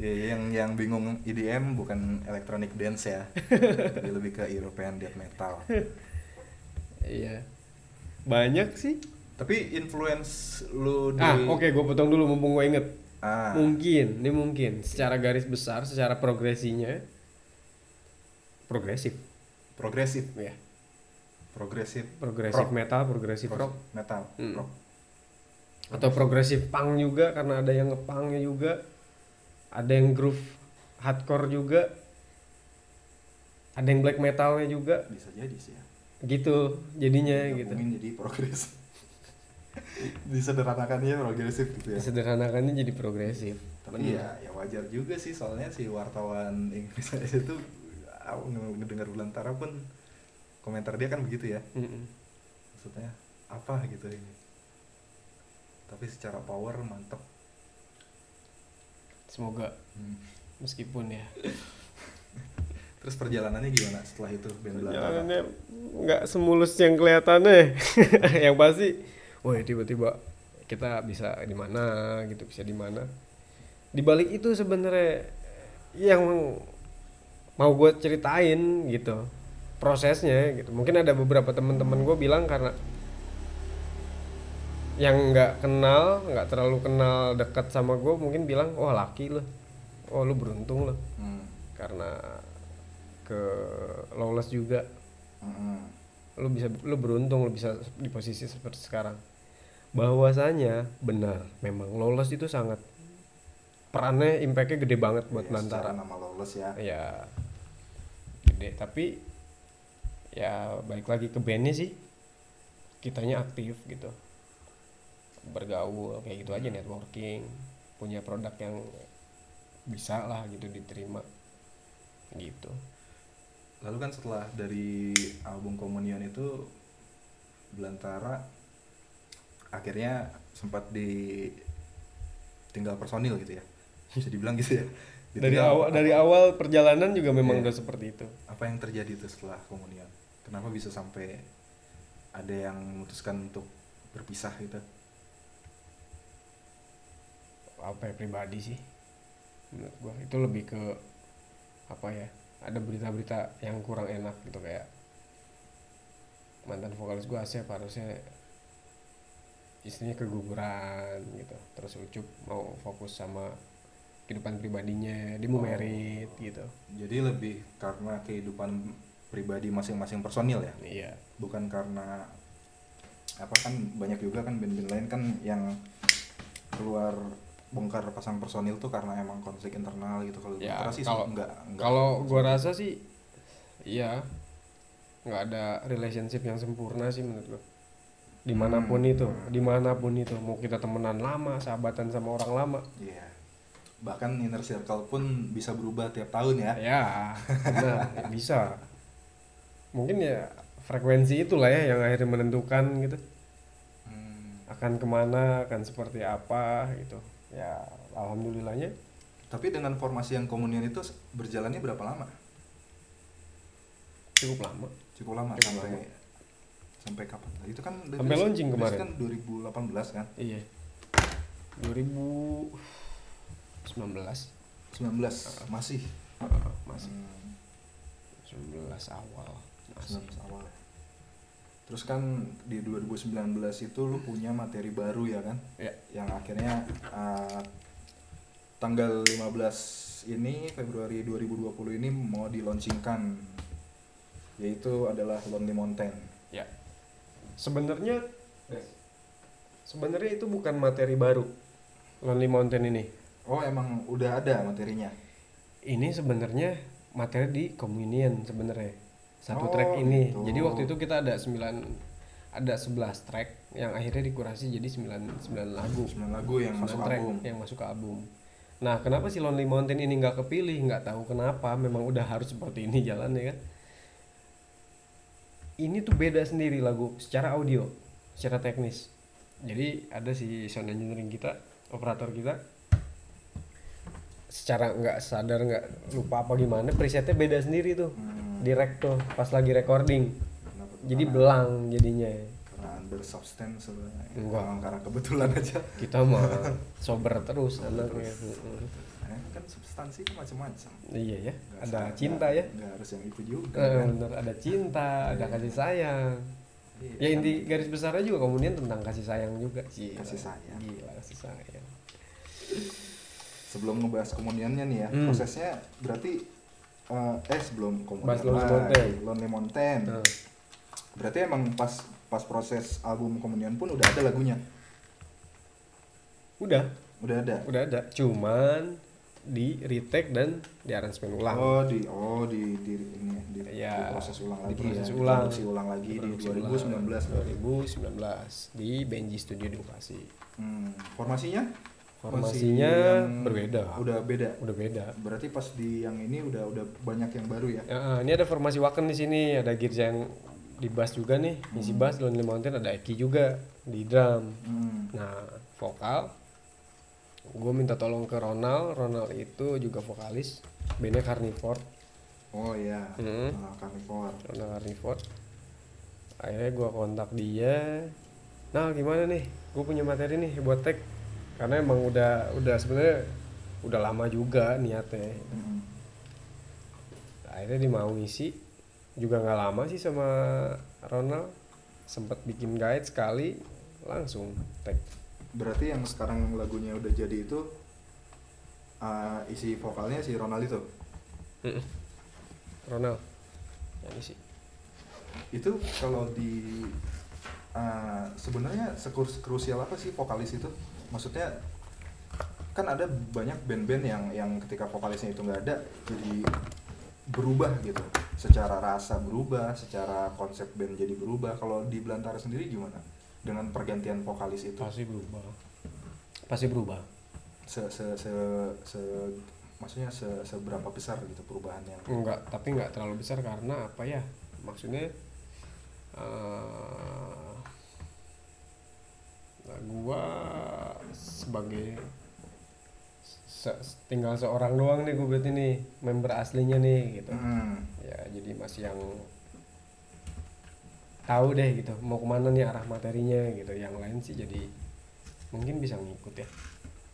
[SPEAKER 1] Iya, iya, yang yang bingung EDM bukan electronic dance
[SPEAKER 2] <laughs>
[SPEAKER 1] ya. Jadi lebih ke European death metal.
[SPEAKER 2] Iya. Banyak sih.
[SPEAKER 1] Tapi influence lu di
[SPEAKER 2] Ah, oke gue potong dulu mumpung gue inget.
[SPEAKER 1] Ah,
[SPEAKER 2] Mungkin, ini mungkin secara garis besar, secara progresinya progresif
[SPEAKER 1] progresif,
[SPEAKER 2] ya.
[SPEAKER 1] progresif,
[SPEAKER 2] Progresif
[SPEAKER 1] Rock.
[SPEAKER 2] metal, progresif
[SPEAKER 1] pro-
[SPEAKER 2] rock
[SPEAKER 1] metal,
[SPEAKER 2] Hmm.
[SPEAKER 1] rock.
[SPEAKER 2] atau progresif punk juga karena ada yang ngepangnya juga. Ada yang groove hardcore juga. Ada yang black metalnya juga
[SPEAKER 1] bisa jadi sih ya.
[SPEAKER 2] gitu jadinya gitu.
[SPEAKER 1] Iya, Mungkin jadi progres. <laughs> Disederhanakannya progresif gitu ya.
[SPEAKER 2] Sederhanakannya jadi progresif.
[SPEAKER 1] Tapi ya, ya wajar juga sih soalnya si wartawan <laughs> Inggris aja itu ah, nge- ngedengar Belantara pun komentar dia kan begitu ya.
[SPEAKER 2] Mm-mm.
[SPEAKER 1] maksudnya apa gitu ini tapi secara power mantep
[SPEAKER 2] Semoga meskipun ya
[SPEAKER 1] Hmm. terus perjalanannya gimana setelah itu band Belantara
[SPEAKER 2] Jalannya nggak semulus yang kelihatannya <laughs> yang pasti woi tiba-tiba kita bisa di mana gitu bisa di mana di balik itu sebenarnya yang mau gue ceritain gitu prosesnya gitu mungkin ada beberapa teman-teman gue bilang karena yang nggak kenal nggak terlalu kenal dekat sama gue mungkin bilang wah laki lo oh lu beruntung lo
[SPEAKER 1] hmm.
[SPEAKER 2] karena ke lawless juga
[SPEAKER 1] Mm-mm.
[SPEAKER 2] lu bisa lu beruntung lu bisa di posisi seperti sekarang bahwasanya benar memang lawless itu sangat perannya impactnya gede banget buat
[SPEAKER 1] Ya, secara
[SPEAKER 2] Nantara
[SPEAKER 1] nama lolos ya
[SPEAKER 2] ya gede tapi ya balik lagi ke bandnya sih kitanya aktif gitu bergaul kayak gitu aja networking punya produk yang bisa lah gitu diterima gitu
[SPEAKER 1] lalu kan setelah dari album Komunion itu Belantara akhirnya sempat ditinggal personil gitu ya bisa dibilang gitu ya
[SPEAKER 2] dari
[SPEAKER 1] Ditinggal.
[SPEAKER 2] awal dari awal perjalanan juga memang
[SPEAKER 1] Iya.
[SPEAKER 2] udah seperti itu
[SPEAKER 1] apa yang terjadi itu setelah Komunion kenapa bisa sampai ada yang memutuskan untuk berpisah gitu
[SPEAKER 2] apa ya pribadi sih menurut gua itu lebih ke apa ya ada berita-berita yang kurang enak gitu kayak mantan vokalis gua Asep harusnya istrinya keguguran gitu terus Ucup mau fokus sama kehidupan pribadinya dia
[SPEAKER 1] Oh.
[SPEAKER 2] mau merit gitu
[SPEAKER 1] Jadi lebih karena kehidupan pribadi masing-masing personil ya,
[SPEAKER 2] iya
[SPEAKER 1] bukan karena apa kan banyak juga kan band-band lain kan yang keluar bongkar pasang personil tuh karena emang konflik internal gitu kalau
[SPEAKER 2] Ya,
[SPEAKER 1] Belantara sih
[SPEAKER 2] kalau-
[SPEAKER 1] enggak, enggak.
[SPEAKER 2] Kalau gua rasa sih iya nggak ada relationship yang sempurna sih menurut gua. Dimanapun
[SPEAKER 1] Hmm.
[SPEAKER 2] itu, dimanapun itu mau kita temenan lama, sahabatan sama orang lama,
[SPEAKER 1] Iya. bahkan inner circle pun bisa berubah tiap tahun ya
[SPEAKER 2] ya benar, bisa. mungkin ya frekuensi itulah ya yang akhirnya menentukan gitu
[SPEAKER 1] Hmm.
[SPEAKER 2] akan kemana akan seperti apa gitu ya alhamdulillahnya
[SPEAKER 1] Tapi dengan formasi yang komunian itu s- berjalannya berapa lama?
[SPEAKER 2] cukup lama
[SPEAKER 1] Cukup lama
[SPEAKER 2] Cukup
[SPEAKER 1] sampai
[SPEAKER 2] lama.
[SPEAKER 1] sampai kapan? Nah, Itu kan dari-
[SPEAKER 2] Sampai
[SPEAKER 1] dari-
[SPEAKER 2] launching
[SPEAKER 1] dari
[SPEAKER 2] kemarin.
[SPEAKER 1] kan 2018 kan?
[SPEAKER 2] iya 2019
[SPEAKER 1] 19 masih.
[SPEAKER 2] Heeh, masih
[SPEAKER 1] Hmm,
[SPEAKER 2] 19 awal masih
[SPEAKER 1] 19 awal. Terus kan di 2019 itu lu punya materi baru ya kan?
[SPEAKER 2] ya
[SPEAKER 1] yang akhirnya uh, tanggal 15 ini Februari 2020 ini mau diluncingkan yaitu adalah Lonely Mountain.
[SPEAKER 2] ya sebenarnya sebenarnya itu bukan materi baru Lonely Mountain ini
[SPEAKER 1] Oh emang udah ada materinya.
[SPEAKER 2] ini sebenarnya materi di communion sebenarnya
[SPEAKER 1] Oh,
[SPEAKER 2] satu track ini
[SPEAKER 1] gitu.
[SPEAKER 2] jadi waktu itu kita ada 9 ada 11 track yang akhirnya dikurasi jadi 9 9 lagu
[SPEAKER 1] 9 lagu yang
[SPEAKER 2] Sembilan
[SPEAKER 1] masuk
[SPEAKER 2] track
[SPEAKER 1] album.
[SPEAKER 2] yang masuk ke album nah kenapa si Lonely Mountain ini nggak kepilih nggak tahu kenapa memang udah harus seperti ini jalannya kan ini tuh beda sendiri lagu secara audio secara teknis jadi ada si sound engineering kita operator kita secara nggak sadar nggak lupa apa gimana presetnya beda sendiri tuh
[SPEAKER 1] Hmm.
[SPEAKER 2] di rek tuh pas lagi recording
[SPEAKER 1] Kenapa?
[SPEAKER 2] jadi
[SPEAKER 1] Karena-
[SPEAKER 2] belang jadinya
[SPEAKER 1] karena under substance sebenarnya.
[SPEAKER 2] Enggak.
[SPEAKER 1] Emang Karena kebetulan aja.
[SPEAKER 2] kita mah sober terus
[SPEAKER 1] <laughs> Sober
[SPEAKER 2] anaknya
[SPEAKER 1] terus. Eh, kan substansi itu macam-macam.
[SPEAKER 2] iya ya
[SPEAKER 1] Nggak
[SPEAKER 2] ada
[SPEAKER 1] harus-
[SPEAKER 2] cinta ya
[SPEAKER 1] Nggak harus yang itu juga.
[SPEAKER 2] Eh,
[SPEAKER 1] kan?
[SPEAKER 2] bener ada cinta ada kasih sayang
[SPEAKER 1] Iya,
[SPEAKER 2] ya
[SPEAKER 1] kan? Iya,
[SPEAKER 2] inti garis besarnya juga kemudian tentang kasih sayang juga sih
[SPEAKER 1] Kasih sayang. Eh.
[SPEAKER 2] gila kasih sayang
[SPEAKER 1] sebelum ngebahas komuniannya nih ya
[SPEAKER 2] Hmm.
[SPEAKER 1] prosesnya berarti eh, eh sebelum komunian
[SPEAKER 2] Bahas Lonely
[SPEAKER 1] lagi,
[SPEAKER 2] Mountain.
[SPEAKER 1] Lonely Mountain.
[SPEAKER 2] Nah,
[SPEAKER 1] berarti emang pas pas proses album komunian pun udah ada lagunya
[SPEAKER 2] udah
[SPEAKER 1] udah ada
[SPEAKER 2] udah ada cuman di retake dan di aransemen ulang
[SPEAKER 1] oh di oh di di ini ya, di,
[SPEAKER 2] Ya,
[SPEAKER 1] di proses ulang lagi
[SPEAKER 2] diproses
[SPEAKER 1] ya,
[SPEAKER 2] ulang.
[SPEAKER 1] diproduksi ulang lagi di
[SPEAKER 2] Diproduksi
[SPEAKER 1] 2019 berarti.
[SPEAKER 2] ulang. 2019 di Benji Studio di Bekasi
[SPEAKER 1] Hmm, formasinya
[SPEAKER 2] Formasinya
[SPEAKER 1] Masih yang-
[SPEAKER 2] berbeda.
[SPEAKER 1] udah beda
[SPEAKER 2] udah beda
[SPEAKER 1] berarti pas di yang ini udah udah banyak yang baru ya
[SPEAKER 2] Ya, ini ada formasi Waken di sini, ada Girja yang di bass juga nih, ngisi bass, Lonely Mountain ada Eki juga di drum.
[SPEAKER 1] Hmm.
[SPEAKER 2] Nah, vokal gue minta tolong ke Ronald, Ronald itu juga vokalis, bandnya Carnivore,
[SPEAKER 1] oh ya
[SPEAKER 2] Hmm.
[SPEAKER 1] carnivore
[SPEAKER 2] Ronald Carnivore. Akhirnya gue kontak dia, nah gimana nih, gue punya materi nih buat tag, karena emang udah udah sebenarnya udah lama juga niatnya,
[SPEAKER 1] Hmm.
[SPEAKER 2] akhirnya dia mau ngisi juga nggak lama sih sama Ronald sempat bikin guide sekali langsung tag
[SPEAKER 1] Berarti yang sekarang lagunya udah jadi itu uh, isi vokalnya si Ronald itu.
[SPEAKER 2] Ronald yang ngisi
[SPEAKER 1] Itu kalau di uh, sebenarnya sekurus krusial apa sih vokalis itu? Maksudnya kan ada banyak band-band yang yang ketika vokalisnya itu nggak ada jadi berubah gitu. Secara rasa berubah, secara konsep band jadi berubah. Kalau di Belantara sendiri gimana? Dengan pergantian vokalis itu
[SPEAKER 2] pasti berubah pasti berubah
[SPEAKER 1] se se se, se- maksudnya se, seberapa besar gitu perubahannya?
[SPEAKER 2] enggak tapi enggak terlalu besar karena apa ya maksudnya eh nah gua sebagai se- se- tinggal seorang doang nih gue berarti nih member aslinya nih gitu
[SPEAKER 1] Hmm.
[SPEAKER 2] ya jadi masih yang tahu deh gitu mau kemana nih arah materinya gitu yang lain sih jadi mungkin bisa ngikut ya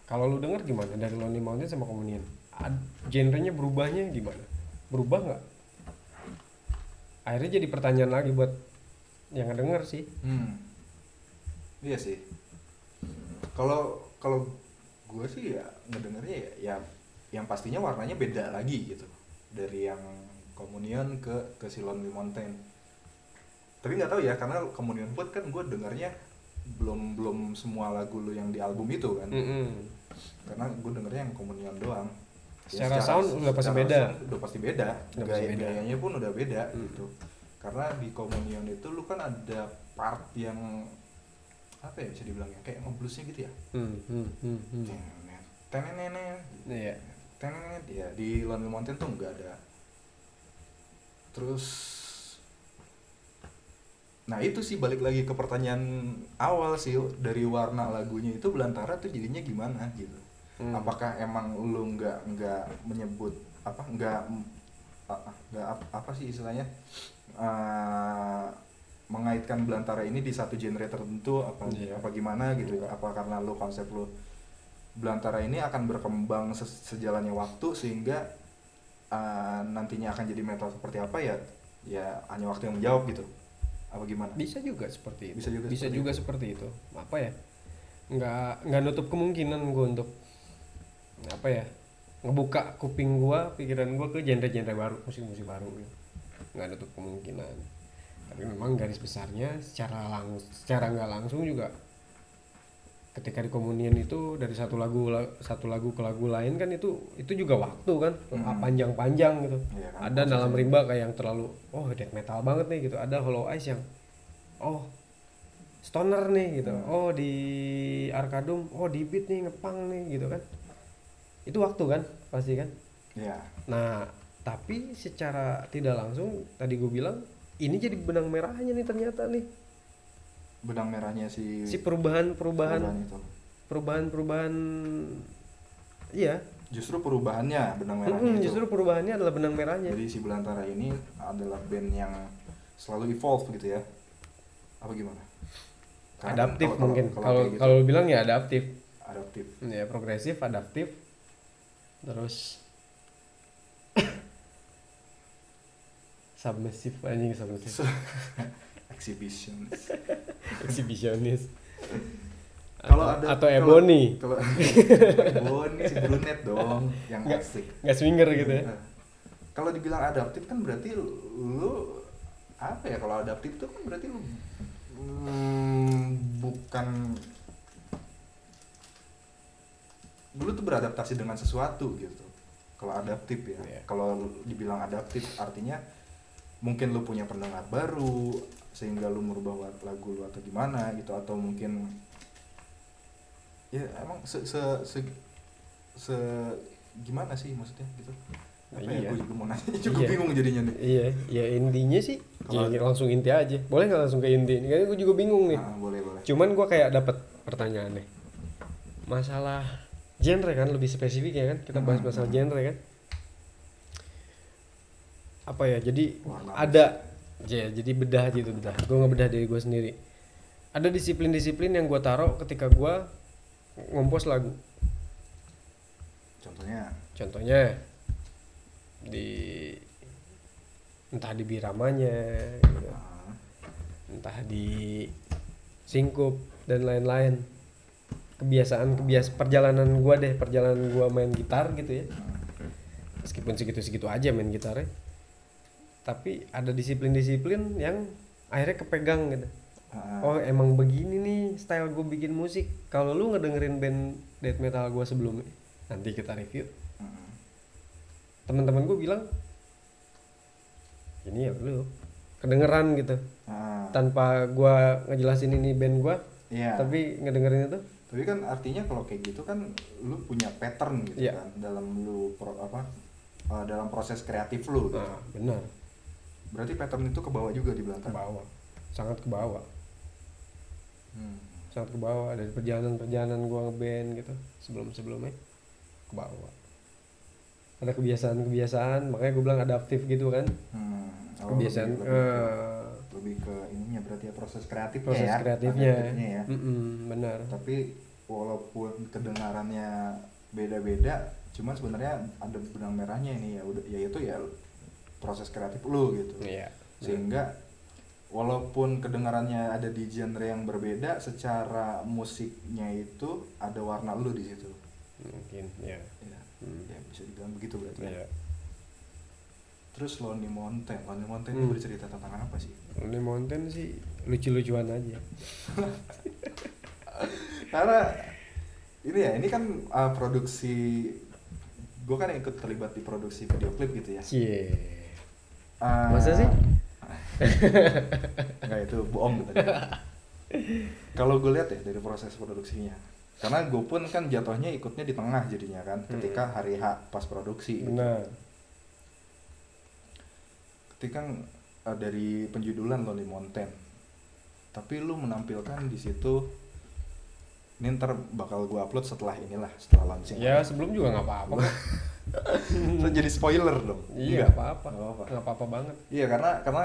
[SPEAKER 2] kalau lu denger gimana dari Lonely Mountain sama Communion Ad- genrenya berubahnya gimana berubah nggak akhirnya jadi pertanyaan lagi buat yang denger sih
[SPEAKER 1] Hmm. Iya sih. Kalau kalau gue sih ya ngedengernya ya, ya yang pastinya warnanya beda lagi gitu dari yang Communion ke ke si Lonely Mountain. Tapi nggak tahu ya karena Communion pun kan gue dengarnya belum belum semua lagu lu yang di album itu
[SPEAKER 2] Hmm,
[SPEAKER 1] kan.
[SPEAKER 2] Mm-mm.
[SPEAKER 1] Karena gue dengernya yang Communion doang.
[SPEAKER 2] Secara sound udah pasti
[SPEAKER 1] secara
[SPEAKER 2] beda.
[SPEAKER 1] sound udah pasti beda.
[SPEAKER 2] Udah pasti
[SPEAKER 1] Gaya
[SPEAKER 2] beda.
[SPEAKER 1] gayanya pun udah beda
[SPEAKER 2] Hmm.
[SPEAKER 1] gitu. Karena di Communion itu lu kan ada part yang apa ya bisa dibilangnya kayak ngebluesnya gitu ya.
[SPEAKER 2] Hmm, hmm, hmm, hmm.
[SPEAKER 1] Tenenet, tenenenet,
[SPEAKER 2] Iya.
[SPEAKER 1] tenenet. ya di Lonely Mountain tuh nggak ada. Terus Nah itu sih balik lagi ke pertanyaan awal sih dari warna lagunya itu belantara tuh jadinya gimana gitu.
[SPEAKER 2] Hmm.
[SPEAKER 1] Apakah emang lu nggak nggak menyebut apa nggak a- nggak ap- apa sih istilahnya Eh, mengaitkan belantara ini di satu genre tertentu apa
[SPEAKER 2] Iya.
[SPEAKER 1] apa gimana gitu? Apa karena lu konsep lu belantara ini akan berkembang se- sejalannya waktu sehingga eh, nantinya akan jadi metal seperti apa ya ya hanya waktu yang menjawab gitu apa gimana
[SPEAKER 2] bisa juga seperti itu
[SPEAKER 1] Bisa juga
[SPEAKER 2] bisa
[SPEAKER 1] seperti
[SPEAKER 2] juga
[SPEAKER 1] itu.
[SPEAKER 2] seperti itu apa ya nggak nggak nutup kemungkinan gue untuk apa ya ngebuka kuping gue pikiran gue ke genre-genre baru musik-musik baru gitu. nggak nutup kemungkinan tapi memang garis besarnya secara lang secara nggak langsung juga ketika di komunian itu dari satu lagu la- satu lagu ke lagu lain kan itu itu juga waktu kan
[SPEAKER 1] Hmm.
[SPEAKER 2] panjang-panjang gitu
[SPEAKER 1] Iya kan,
[SPEAKER 2] ada dalam
[SPEAKER 1] prosesnya.
[SPEAKER 2] rimba kayak yang terlalu oh death metal banget nih gitu ada hollow eyes yang oh stoner nih gitu
[SPEAKER 1] Hmm.
[SPEAKER 2] oh di arkadum oh di beat nih ngepang nih gitu kan itu waktu kan pasti kan
[SPEAKER 1] ya
[SPEAKER 2] nah tapi secara tidak langsung tadi gue bilang ini jadi benang merahnya nih ternyata nih
[SPEAKER 1] benang merahnya si
[SPEAKER 2] si perubahan perubahan
[SPEAKER 1] itu
[SPEAKER 2] perubahan perubahan iya
[SPEAKER 1] justru perubahannya benang merahnya
[SPEAKER 2] Mm-mm,
[SPEAKER 1] itu
[SPEAKER 2] justru perubahannya adalah benang merahnya
[SPEAKER 1] jadi si belantara ini adalah band yang selalu evolve gitu ya apa gimana Karena
[SPEAKER 2] adaptif
[SPEAKER 1] kalau-
[SPEAKER 2] mungkin kalau
[SPEAKER 1] kayak gitu,
[SPEAKER 2] kalau lu bilang ya adaptif
[SPEAKER 1] adaptif <laughs>
[SPEAKER 2] ya progresif adaptif terus submisif anjing
[SPEAKER 1] <laughs>
[SPEAKER 2] submisif
[SPEAKER 1] exhibition
[SPEAKER 2] exhibitionis
[SPEAKER 1] kalau
[SPEAKER 2] Atau-
[SPEAKER 1] ada
[SPEAKER 2] atau
[SPEAKER 1] kalau-
[SPEAKER 2] ebony
[SPEAKER 1] kalau ebony si brunet dong yang
[SPEAKER 2] Nggak.
[SPEAKER 1] asik
[SPEAKER 2] nggak swinger gitu ya
[SPEAKER 1] Nah, kalau dibilang adaptif kan berarti lu apa ya kalau adaptif tuh kan berarti lu mm, bukan lu tuh beradaptasi dengan sesuatu gitu kalau adaptif ya
[SPEAKER 2] Iya.
[SPEAKER 1] kalau lu dibilang adaptif artinya mungkin lu punya pendengar baru sehingga lu merubah wa- lagu lu atau gimana gitu atau mungkin ya emang se se se, se- gimana sih maksudnya gitu apa
[SPEAKER 2] Iya.
[SPEAKER 1] ya gue juga mau nanya <laughs> cukup
[SPEAKER 2] Iya.
[SPEAKER 1] bingung jadinya nih
[SPEAKER 2] iya ya intinya sih
[SPEAKER 1] Kalau-
[SPEAKER 2] ya, langsung inti aja boleh nggak langsung ke inti karena gue juga bingung nih
[SPEAKER 1] Ah, boleh boleh
[SPEAKER 2] cuman gue kayak dapat pertanyaan nih masalah genre kan lebih spesifik ya kan kita bahas
[SPEAKER 1] Hmm,
[SPEAKER 2] masalah
[SPEAKER 1] hmm.
[SPEAKER 2] genre kan apa ya jadi
[SPEAKER 1] Warna
[SPEAKER 2] ada ya, jadi bedah gitu bedah gue ngebedah diri gue sendiri ada disiplin-disiplin yang gue taruh ketika gue ngompos lagu
[SPEAKER 1] contohnya
[SPEAKER 2] contohnya di entah di biramanya gitu.
[SPEAKER 1] ah,
[SPEAKER 2] entah di singkup dan lain-lain kebiasaan kebiasaan perjalanan gua deh perjalanan gua main gitar gitu ya
[SPEAKER 1] ah,
[SPEAKER 2] meskipun segitu-segitu aja main gitarnya tapi ada disiplin-disiplin yang akhirnya kepegang gitu
[SPEAKER 1] ah,
[SPEAKER 2] oh emang begini nih style gue bikin musik kalau lu ngedengerin band death metal gua sebelumnya nanti kita review
[SPEAKER 1] mm,
[SPEAKER 2] teman-teman gue bilang ini ya lu kedengeran gitu
[SPEAKER 1] ah.
[SPEAKER 2] tanpa gua ngejelasin ini band gua
[SPEAKER 1] Iya.
[SPEAKER 2] tapi ngedengerin itu
[SPEAKER 1] tapi kan artinya kalau kayak gitu kan lu punya pattern gitu
[SPEAKER 2] Iya.
[SPEAKER 1] kan dalam lu pro- apa eh, dalam proses kreatif lu gitu.
[SPEAKER 2] nah, benar
[SPEAKER 1] berarti pattern itu ke bawah juga di
[SPEAKER 2] ke
[SPEAKER 1] belakang
[SPEAKER 2] bawah sangat ke bawah
[SPEAKER 1] Hmm.
[SPEAKER 2] sangat ke bawah dari perjalanan perjalanan gua ngeband gitu sebelum sebelumnya ke bawah ada kebiasaan kebiasaan makanya gue bilang adaptif gitu kan
[SPEAKER 1] Hmm. Oh,
[SPEAKER 2] kebiasaan
[SPEAKER 1] lebih, lebih ke-
[SPEAKER 2] eh,
[SPEAKER 1] lebih ke ininya berarti ya proses kreatifnya
[SPEAKER 2] proses
[SPEAKER 1] ya
[SPEAKER 2] kreatifnya
[SPEAKER 1] adaptifnya ya.
[SPEAKER 2] Mm-mm, benar
[SPEAKER 1] tapi walaupun kedengarannya beda-beda cuman sebenarnya ada benang merahnya ini ya udah yaitu ya proses kreatif lu gitu
[SPEAKER 2] iya
[SPEAKER 1] sehingga walaupun kedengarannya ada di genre yang berbeda secara musiknya itu ada warna lu di situ
[SPEAKER 2] mungkin ya
[SPEAKER 1] ya,
[SPEAKER 2] Hmm.
[SPEAKER 1] ya bisa dibilang begitu berarti
[SPEAKER 2] Iya.
[SPEAKER 1] terus Lonely Mountain Lonely Mountain
[SPEAKER 2] Hmm.
[SPEAKER 1] ini bercerita tentang apa sih
[SPEAKER 2] Lonely Mountain sih lucu-lucuan aja
[SPEAKER 1] karena ini ya ini kan uh, produksi gue kan ikut terlibat di produksi video klip gitu ya
[SPEAKER 2] cie
[SPEAKER 1] Ah,
[SPEAKER 2] Masa
[SPEAKER 1] <laughs>
[SPEAKER 2] sih?
[SPEAKER 1] Enggak itu bohong gitu. Kalau gue lihat ya dari proses produksinya. Karena gue pun kan jatuhnya ikutnya di tengah jadinya
[SPEAKER 2] Hmm.
[SPEAKER 1] kan ketika hari H pas produksi.
[SPEAKER 2] benar
[SPEAKER 1] Ketika eh, dari penjudulan Lonely Mountain tapi lu menampilkan di situ ini ntar bakal gua upload setelah inilah setelah launching
[SPEAKER 2] Ya sebelum juga nggak apa-apa. kok.
[SPEAKER 1] Itu <laughs> jadi spoiler dong Enggak?
[SPEAKER 2] Iya nggak apa-apa.
[SPEAKER 1] Nggak apa-apa.
[SPEAKER 2] Nggak apa-apa banget.
[SPEAKER 1] Iya karena karena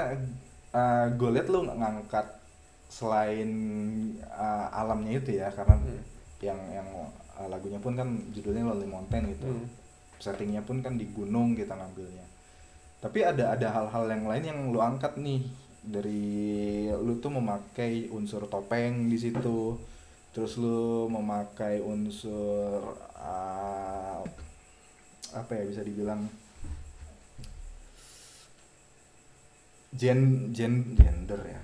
[SPEAKER 1] uh, gue liat lu ngangkat selain uh, alamnya itu ya karena
[SPEAKER 2] Hmm.
[SPEAKER 1] yang yang uh, lagunya pun kan judulnya Lonely Mountain gitu.
[SPEAKER 2] Hmm.
[SPEAKER 1] Settingnya pun kan di gunung kita ngambilnya. Tapi ada ada hal-hal yang lain yang lu angkat nih dari lu tuh memakai unsur topeng di situ. Terus lu memakai unsur uh, apa ya bisa dibilang gen gen gender ya.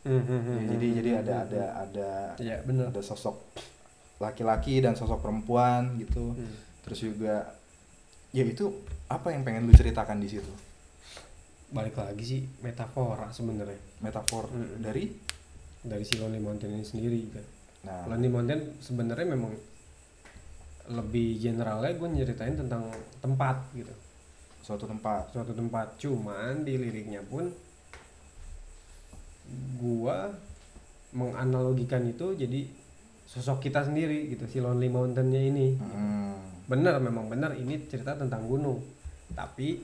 [SPEAKER 1] Ya, jadi jadi ada ada ada
[SPEAKER 2] Hmm. Iya benar.
[SPEAKER 1] ada sosok laki-laki dan sosok perempuan gitu.
[SPEAKER 2] Hmm.
[SPEAKER 1] Terus juga ya itu apa yang pengen lu ceritakan di situ?
[SPEAKER 2] Balik lagi sih metafora sebenarnya
[SPEAKER 1] Metafor
[SPEAKER 2] Mm-mm.
[SPEAKER 1] dari
[SPEAKER 2] dari si Lonely Mountain ini sendiri kan.
[SPEAKER 1] nah
[SPEAKER 2] Lonely Mountain sebenarnya memang lebih generalnya gue nyeritain tentang tempat gitu
[SPEAKER 1] suatu tempat.
[SPEAKER 2] suatu tempat cuman di liriknya pun gua menganalogikan itu jadi sosok kita sendiri gitu si Lonely Mountain-nya ini
[SPEAKER 1] Hmm.
[SPEAKER 2] bener memang bener ini cerita tentang gunung tapi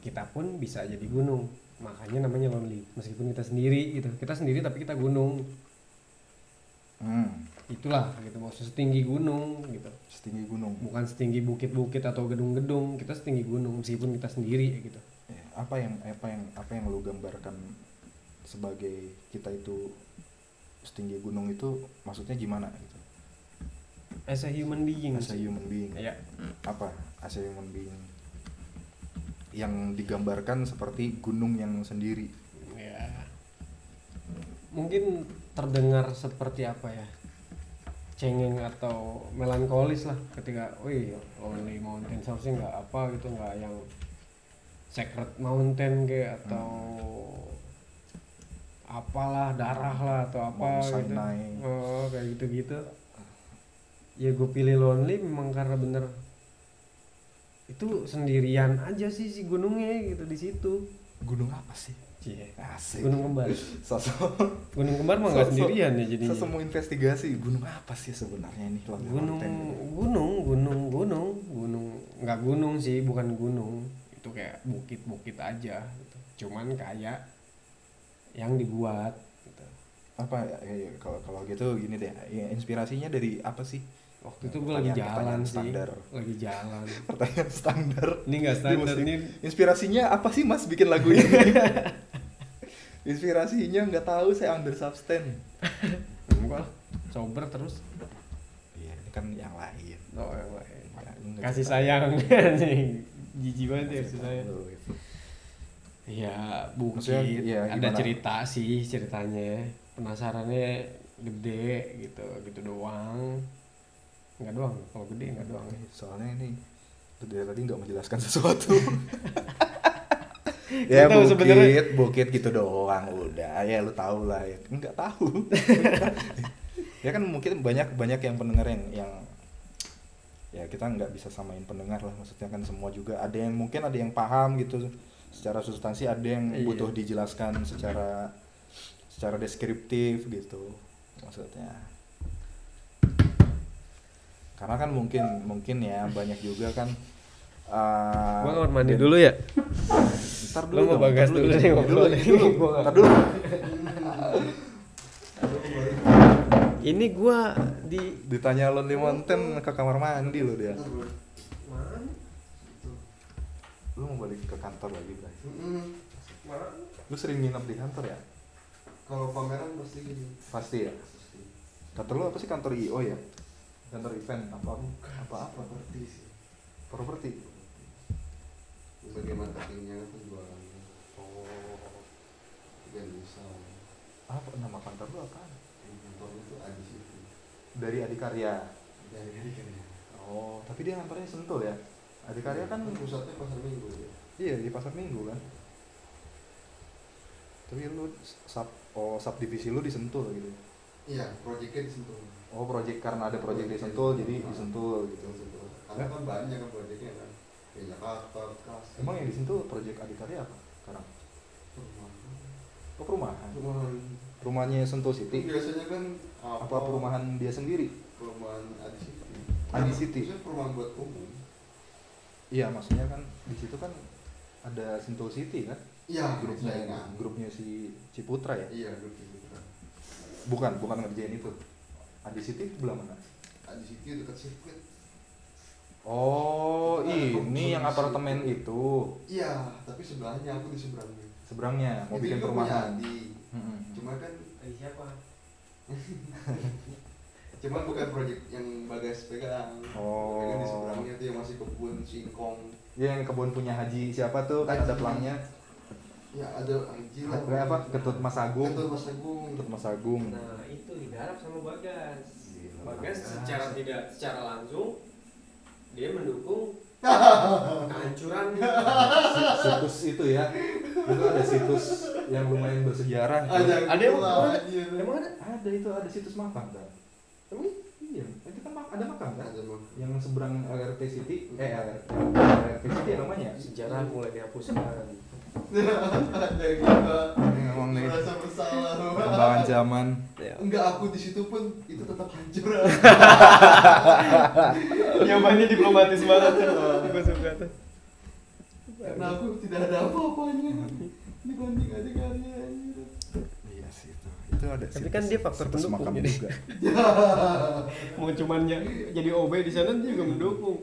[SPEAKER 2] kita pun bisa jadi gunung makanya namanya lonely meskipun kita sendiri gitu kita sendiri tapi kita gunung
[SPEAKER 1] Hmm.
[SPEAKER 2] itulah gitu maksudnya setinggi gunung gitu
[SPEAKER 1] Setinggi gunung.
[SPEAKER 2] bukan setinggi bukit-bukit atau gedung-gedung kita setinggi gunung meskipun kita sendiri gitu
[SPEAKER 1] Ya, Apa yang apa yang apa yang lu gambarkan sebagai kita itu setinggi gunung itu maksudnya gimana gitu?
[SPEAKER 2] as a human being
[SPEAKER 1] As a
[SPEAKER 2] sih.
[SPEAKER 1] human being.
[SPEAKER 2] ya
[SPEAKER 1] apa as a human being yang digambarkan seperti gunung yang sendiri
[SPEAKER 2] ya mungkin terdengar seperti apa ya cengeng atau melankolis lah ketika wih lonely mountain seharusnya nggak apa gitu nggak yang sacred mountain kayak atau apalah darah lah atau apa
[SPEAKER 1] Mount
[SPEAKER 2] gitu
[SPEAKER 1] Sinai.
[SPEAKER 2] oh kayak gitu gitu ya gue pilih lonely memang karena bener itu sendirian aja sih si gunungnya gitu di situ
[SPEAKER 1] gunung apa sih
[SPEAKER 2] Cie.
[SPEAKER 1] asik
[SPEAKER 2] Gunung kembar.
[SPEAKER 1] sosok
[SPEAKER 2] Gunung kembar mah nggak
[SPEAKER 1] Sosok-
[SPEAKER 2] sendirian ya jadinya.
[SPEAKER 1] sosok mau investigasi gunung apa sih sebenarnya ini gitu. Lonely
[SPEAKER 2] Gunung,
[SPEAKER 1] Mountain?
[SPEAKER 2] gunung, gunung, gunung, gunung. Nggak gunung sih, bukan gunung. Itu kayak bukit-bukit aja. Gitu. Cuman kayak yang dibuat. Gitu.
[SPEAKER 1] apa ya, ya, kalau kalau gitu gini deh ya, inspirasinya dari apa sih <laughs>
[SPEAKER 2] Waktu itu gue lagi
[SPEAKER 1] Pertanyaan-
[SPEAKER 2] jalan
[SPEAKER 1] pertanyaan
[SPEAKER 2] sih,
[SPEAKER 1] standar.
[SPEAKER 2] lagi jalan.
[SPEAKER 1] pertanyaan standar
[SPEAKER 2] Ini nggak standar,
[SPEAKER 1] Di musik.
[SPEAKER 2] ini
[SPEAKER 1] inspirasinya apa sih mas bikin lagu
[SPEAKER 2] <laughs>
[SPEAKER 1] ini inspirasinya nggak tahu saya under substance
[SPEAKER 2] enggak lah, sober terus.
[SPEAKER 1] iya ini kan yang lain
[SPEAKER 2] Oh, yang lain.
[SPEAKER 1] Ya, lu nggak
[SPEAKER 2] kasih
[SPEAKER 1] cerita.
[SPEAKER 2] sayang, <laughs> anjing. jijik banget ya kasih
[SPEAKER 1] Cerita
[SPEAKER 2] sayang.
[SPEAKER 1] lu gitu.
[SPEAKER 2] Ya
[SPEAKER 1] Maksudnya,
[SPEAKER 2] bukit
[SPEAKER 1] ya,
[SPEAKER 2] ada
[SPEAKER 1] gimana?
[SPEAKER 2] cerita sih ceritanya penasarannya gede gitu gitu doang nggak doang kalau gede nggak Iya, doang
[SPEAKER 1] Oke, Iya, soalnya ini lu dari tadi nggak menjelaskan
[SPEAKER 2] <laughs>
[SPEAKER 1] sesuatu. ya
[SPEAKER 2] Lu tahu
[SPEAKER 1] bukit,
[SPEAKER 2] sebenarnya-
[SPEAKER 1] bukit gitu doang udah ya lu tahu lah ya nggak
[SPEAKER 2] <laughs>
[SPEAKER 1] tahu ya kan mungkin banyak banyak yang pendengar yang, yang ya kita nggak bisa samain pendengar lah maksudnya kan semua juga ada yang mungkin ada yang paham gitu secara substansi ada yang
[SPEAKER 2] Iya.
[SPEAKER 1] butuh dijelaskan secara secara deskriptif gitu maksudnya karena kan mungkin mungkin ya banyak juga kan eh,
[SPEAKER 2] gua kamar mandi
[SPEAKER 1] dan-
[SPEAKER 2] dulu ya
[SPEAKER 1] ntar
[SPEAKER 2] Lu mau bagas
[SPEAKER 1] ntar
[SPEAKER 2] dulu nih,
[SPEAKER 1] ntar
[SPEAKER 2] ngobrol
[SPEAKER 1] dulu,
[SPEAKER 2] nih.
[SPEAKER 1] dulu,
[SPEAKER 2] Gua nggak-
[SPEAKER 1] ntar dulu.
[SPEAKER 2] ini gua di
[SPEAKER 1] ditanya Lonely Mountain ke kamar mandi lo dia lu mau balik ke kantor lagi Bray
[SPEAKER 5] Mm-mm.
[SPEAKER 1] lu sering nginep di kantor ya
[SPEAKER 5] Kalau pameran pasti gini.
[SPEAKER 1] pasti ya kantor lu apa sih kantor IO ya kantor event apa apa apa
[SPEAKER 5] Properti sih.
[SPEAKER 1] properti
[SPEAKER 5] Sebagai marketingnya penjualannya. Oh. Dan usaha.
[SPEAKER 1] apa nama kantor lu apa
[SPEAKER 5] Yang kantor itu ada di situ.
[SPEAKER 1] dari Adikarya
[SPEAKER 5] Dari hari kan ya.
[SPEAKER 1] oh tapi dia kantornya sentul ya Adikarya kan
[SPEAKER 2] Iya.
[SPEAKER 5] pusatnya pasar minggu ya.
[SPEAKER 1] Iya di pasar minggu kan. Tapi lu sub oh subdivisi lu disentul gitu.
[SPEAKER 5] Iya, proyeknya di situ.
[SPEAKER 1] Oh project karena ada project di Sentul jadi disentul gitu.
[SPEAKER 5] Karena kan banyak kan proyeknya kan. Di Jakarta, Bekasi.
[SPEAKER 1] Emang yang disentul project adikarya apa sekarang?
[SPEAKER 5] Perumahan.
[SPEAKER 1] Oh, perumahan.
[SPEAKER 5] Perumahan.
[SPEAKER 1] Rumahnya Sentul
[SPEAKER 5] Itu
[SPEAKER 1] City.
[SPEAKER 5] biasanya kan
[SPEAKER 1] Apa perumahan dia sendiri?
[SPEAKER 5] perumahan Adi City.
[SPEAKER 1] Adi City.
[SPEAKER 5] Itu perumahan buat umum.
[SPEAKER 1] Iya, maksudnya kan di situ kan ada Sentul City kan?
[SPEAKER 5] Iya,
[SPEAKER 1] Grupnya
[SPEAKER 5] saingan.
[SPEAKER 1] grupnya si Ciputra ya?
[SPEAKER 5] Iya, grup Ciputra.
[SPEAKER 1] Bukan, bukan ngerjain itu. Adi City itu belah mana?
[SPEAKER 5] Adi City dekat sirkuit.
[SPEAKER 1] Oh,
[SPEAKER 5] Nah,
[SPEAKER 1] ini
[SPEAKER 5] itu
[SPEAKER 1] yang apartemen
[SPEAKER 5] situ.
[SPEAKER 1] itu
[SPEAKER 5] Iya, tapi sebelahnya aku di seberangnya.
[SPEAKER 1] seberangnya mau
[SPEAKER 5] Itu
[SPEAKER 1] bikin
[SPEAKER 5] juga
[SPEAKER 1] perumahan.
[SPEAKER 5] punya Adi.
[SPEAKER 1] Mm-mm.
[SPEAKER 5] Cuma kan
[SPEAKER 4] Dari siapa?
[SPEAKER 5] cuma bukan proyek yang bagas pegang.
[SPEAKER 1] Oh.
[SPEAKER 5] Pegang di seberangnya tuh yang masih kebun singkong.
[SPEAKER 1] Ya, yang kebun punya Haji siapa tuh? Kan
[SPEAKER 5] Haji.
[SPEAKER 1] ada pelangnya.
[SPEAKER 5] Ya ada anjir lah.
[SPEAKER 1] Kayak apa? Ketut Mas Agung.
[SPEAKER 5] Ketut Mas Agung.
[SPEAKER 1] Untuk Mas Agung.
[SPEAKER 6] Nah itu digarap sama Bagas.
[SPEAKER 1] Gila,
[SPEAKER 6] Bagas secara tidak secara langsung dia mendukung kehancuran
[SPEAKER 1] situs itu ya. Itu ada situs yang lumayan bersejarah. gitu.
[SPEAKER 5] Ada
[SPEAKER 2] Ada yang-
[SPEAKER 5] Ketua, anjir.
[SPEAKER 2] Emang ada?
[SPEAKER 1] Ada itu ada situs makam kan.
[SPEAKER 2] Emang?
[SPEAKER 1] Iya, itu kan mak- ada makam kan.
[SPEAKER 5] Ada Iya. Bang. <laughs>
[SPEAKER 1] Yang seberang LRT City, eh LRT, LRT City ya namanya.
[SPEAKER 2] Sejarah mulai dihapuskan.
[SPEAKER 5] ada kita
[SPEAKER 1] Emang nih.
[SPEAKER 5] merasa bersalah
[SPEAKER 1] <laughs> Perkembangan zaman.
[SPEAKER 5] enggak aku di situ pun itu tetap hancur
[SPEAKER 2] Jawabannya diplomatis banget tuh. Gue suka tuh.
[SPEAKER 5] karena aku tidak ada apa-apanya dibanding gitu. adegannya anjir.
[SPEAKER 1] Iya sih itu. Itu ada
[SPEAKER 2] Tapi kan dia faktor
[SPEAKER 1] situs
[SPEAKER 2] pendukung
[SPEAKER 1] makam
[SPEAKER 2] jadi.
[SPEAKER 1] juga.
[SPEAKER 2] Mau cuman ya- jadi OB di sana juga mendukung.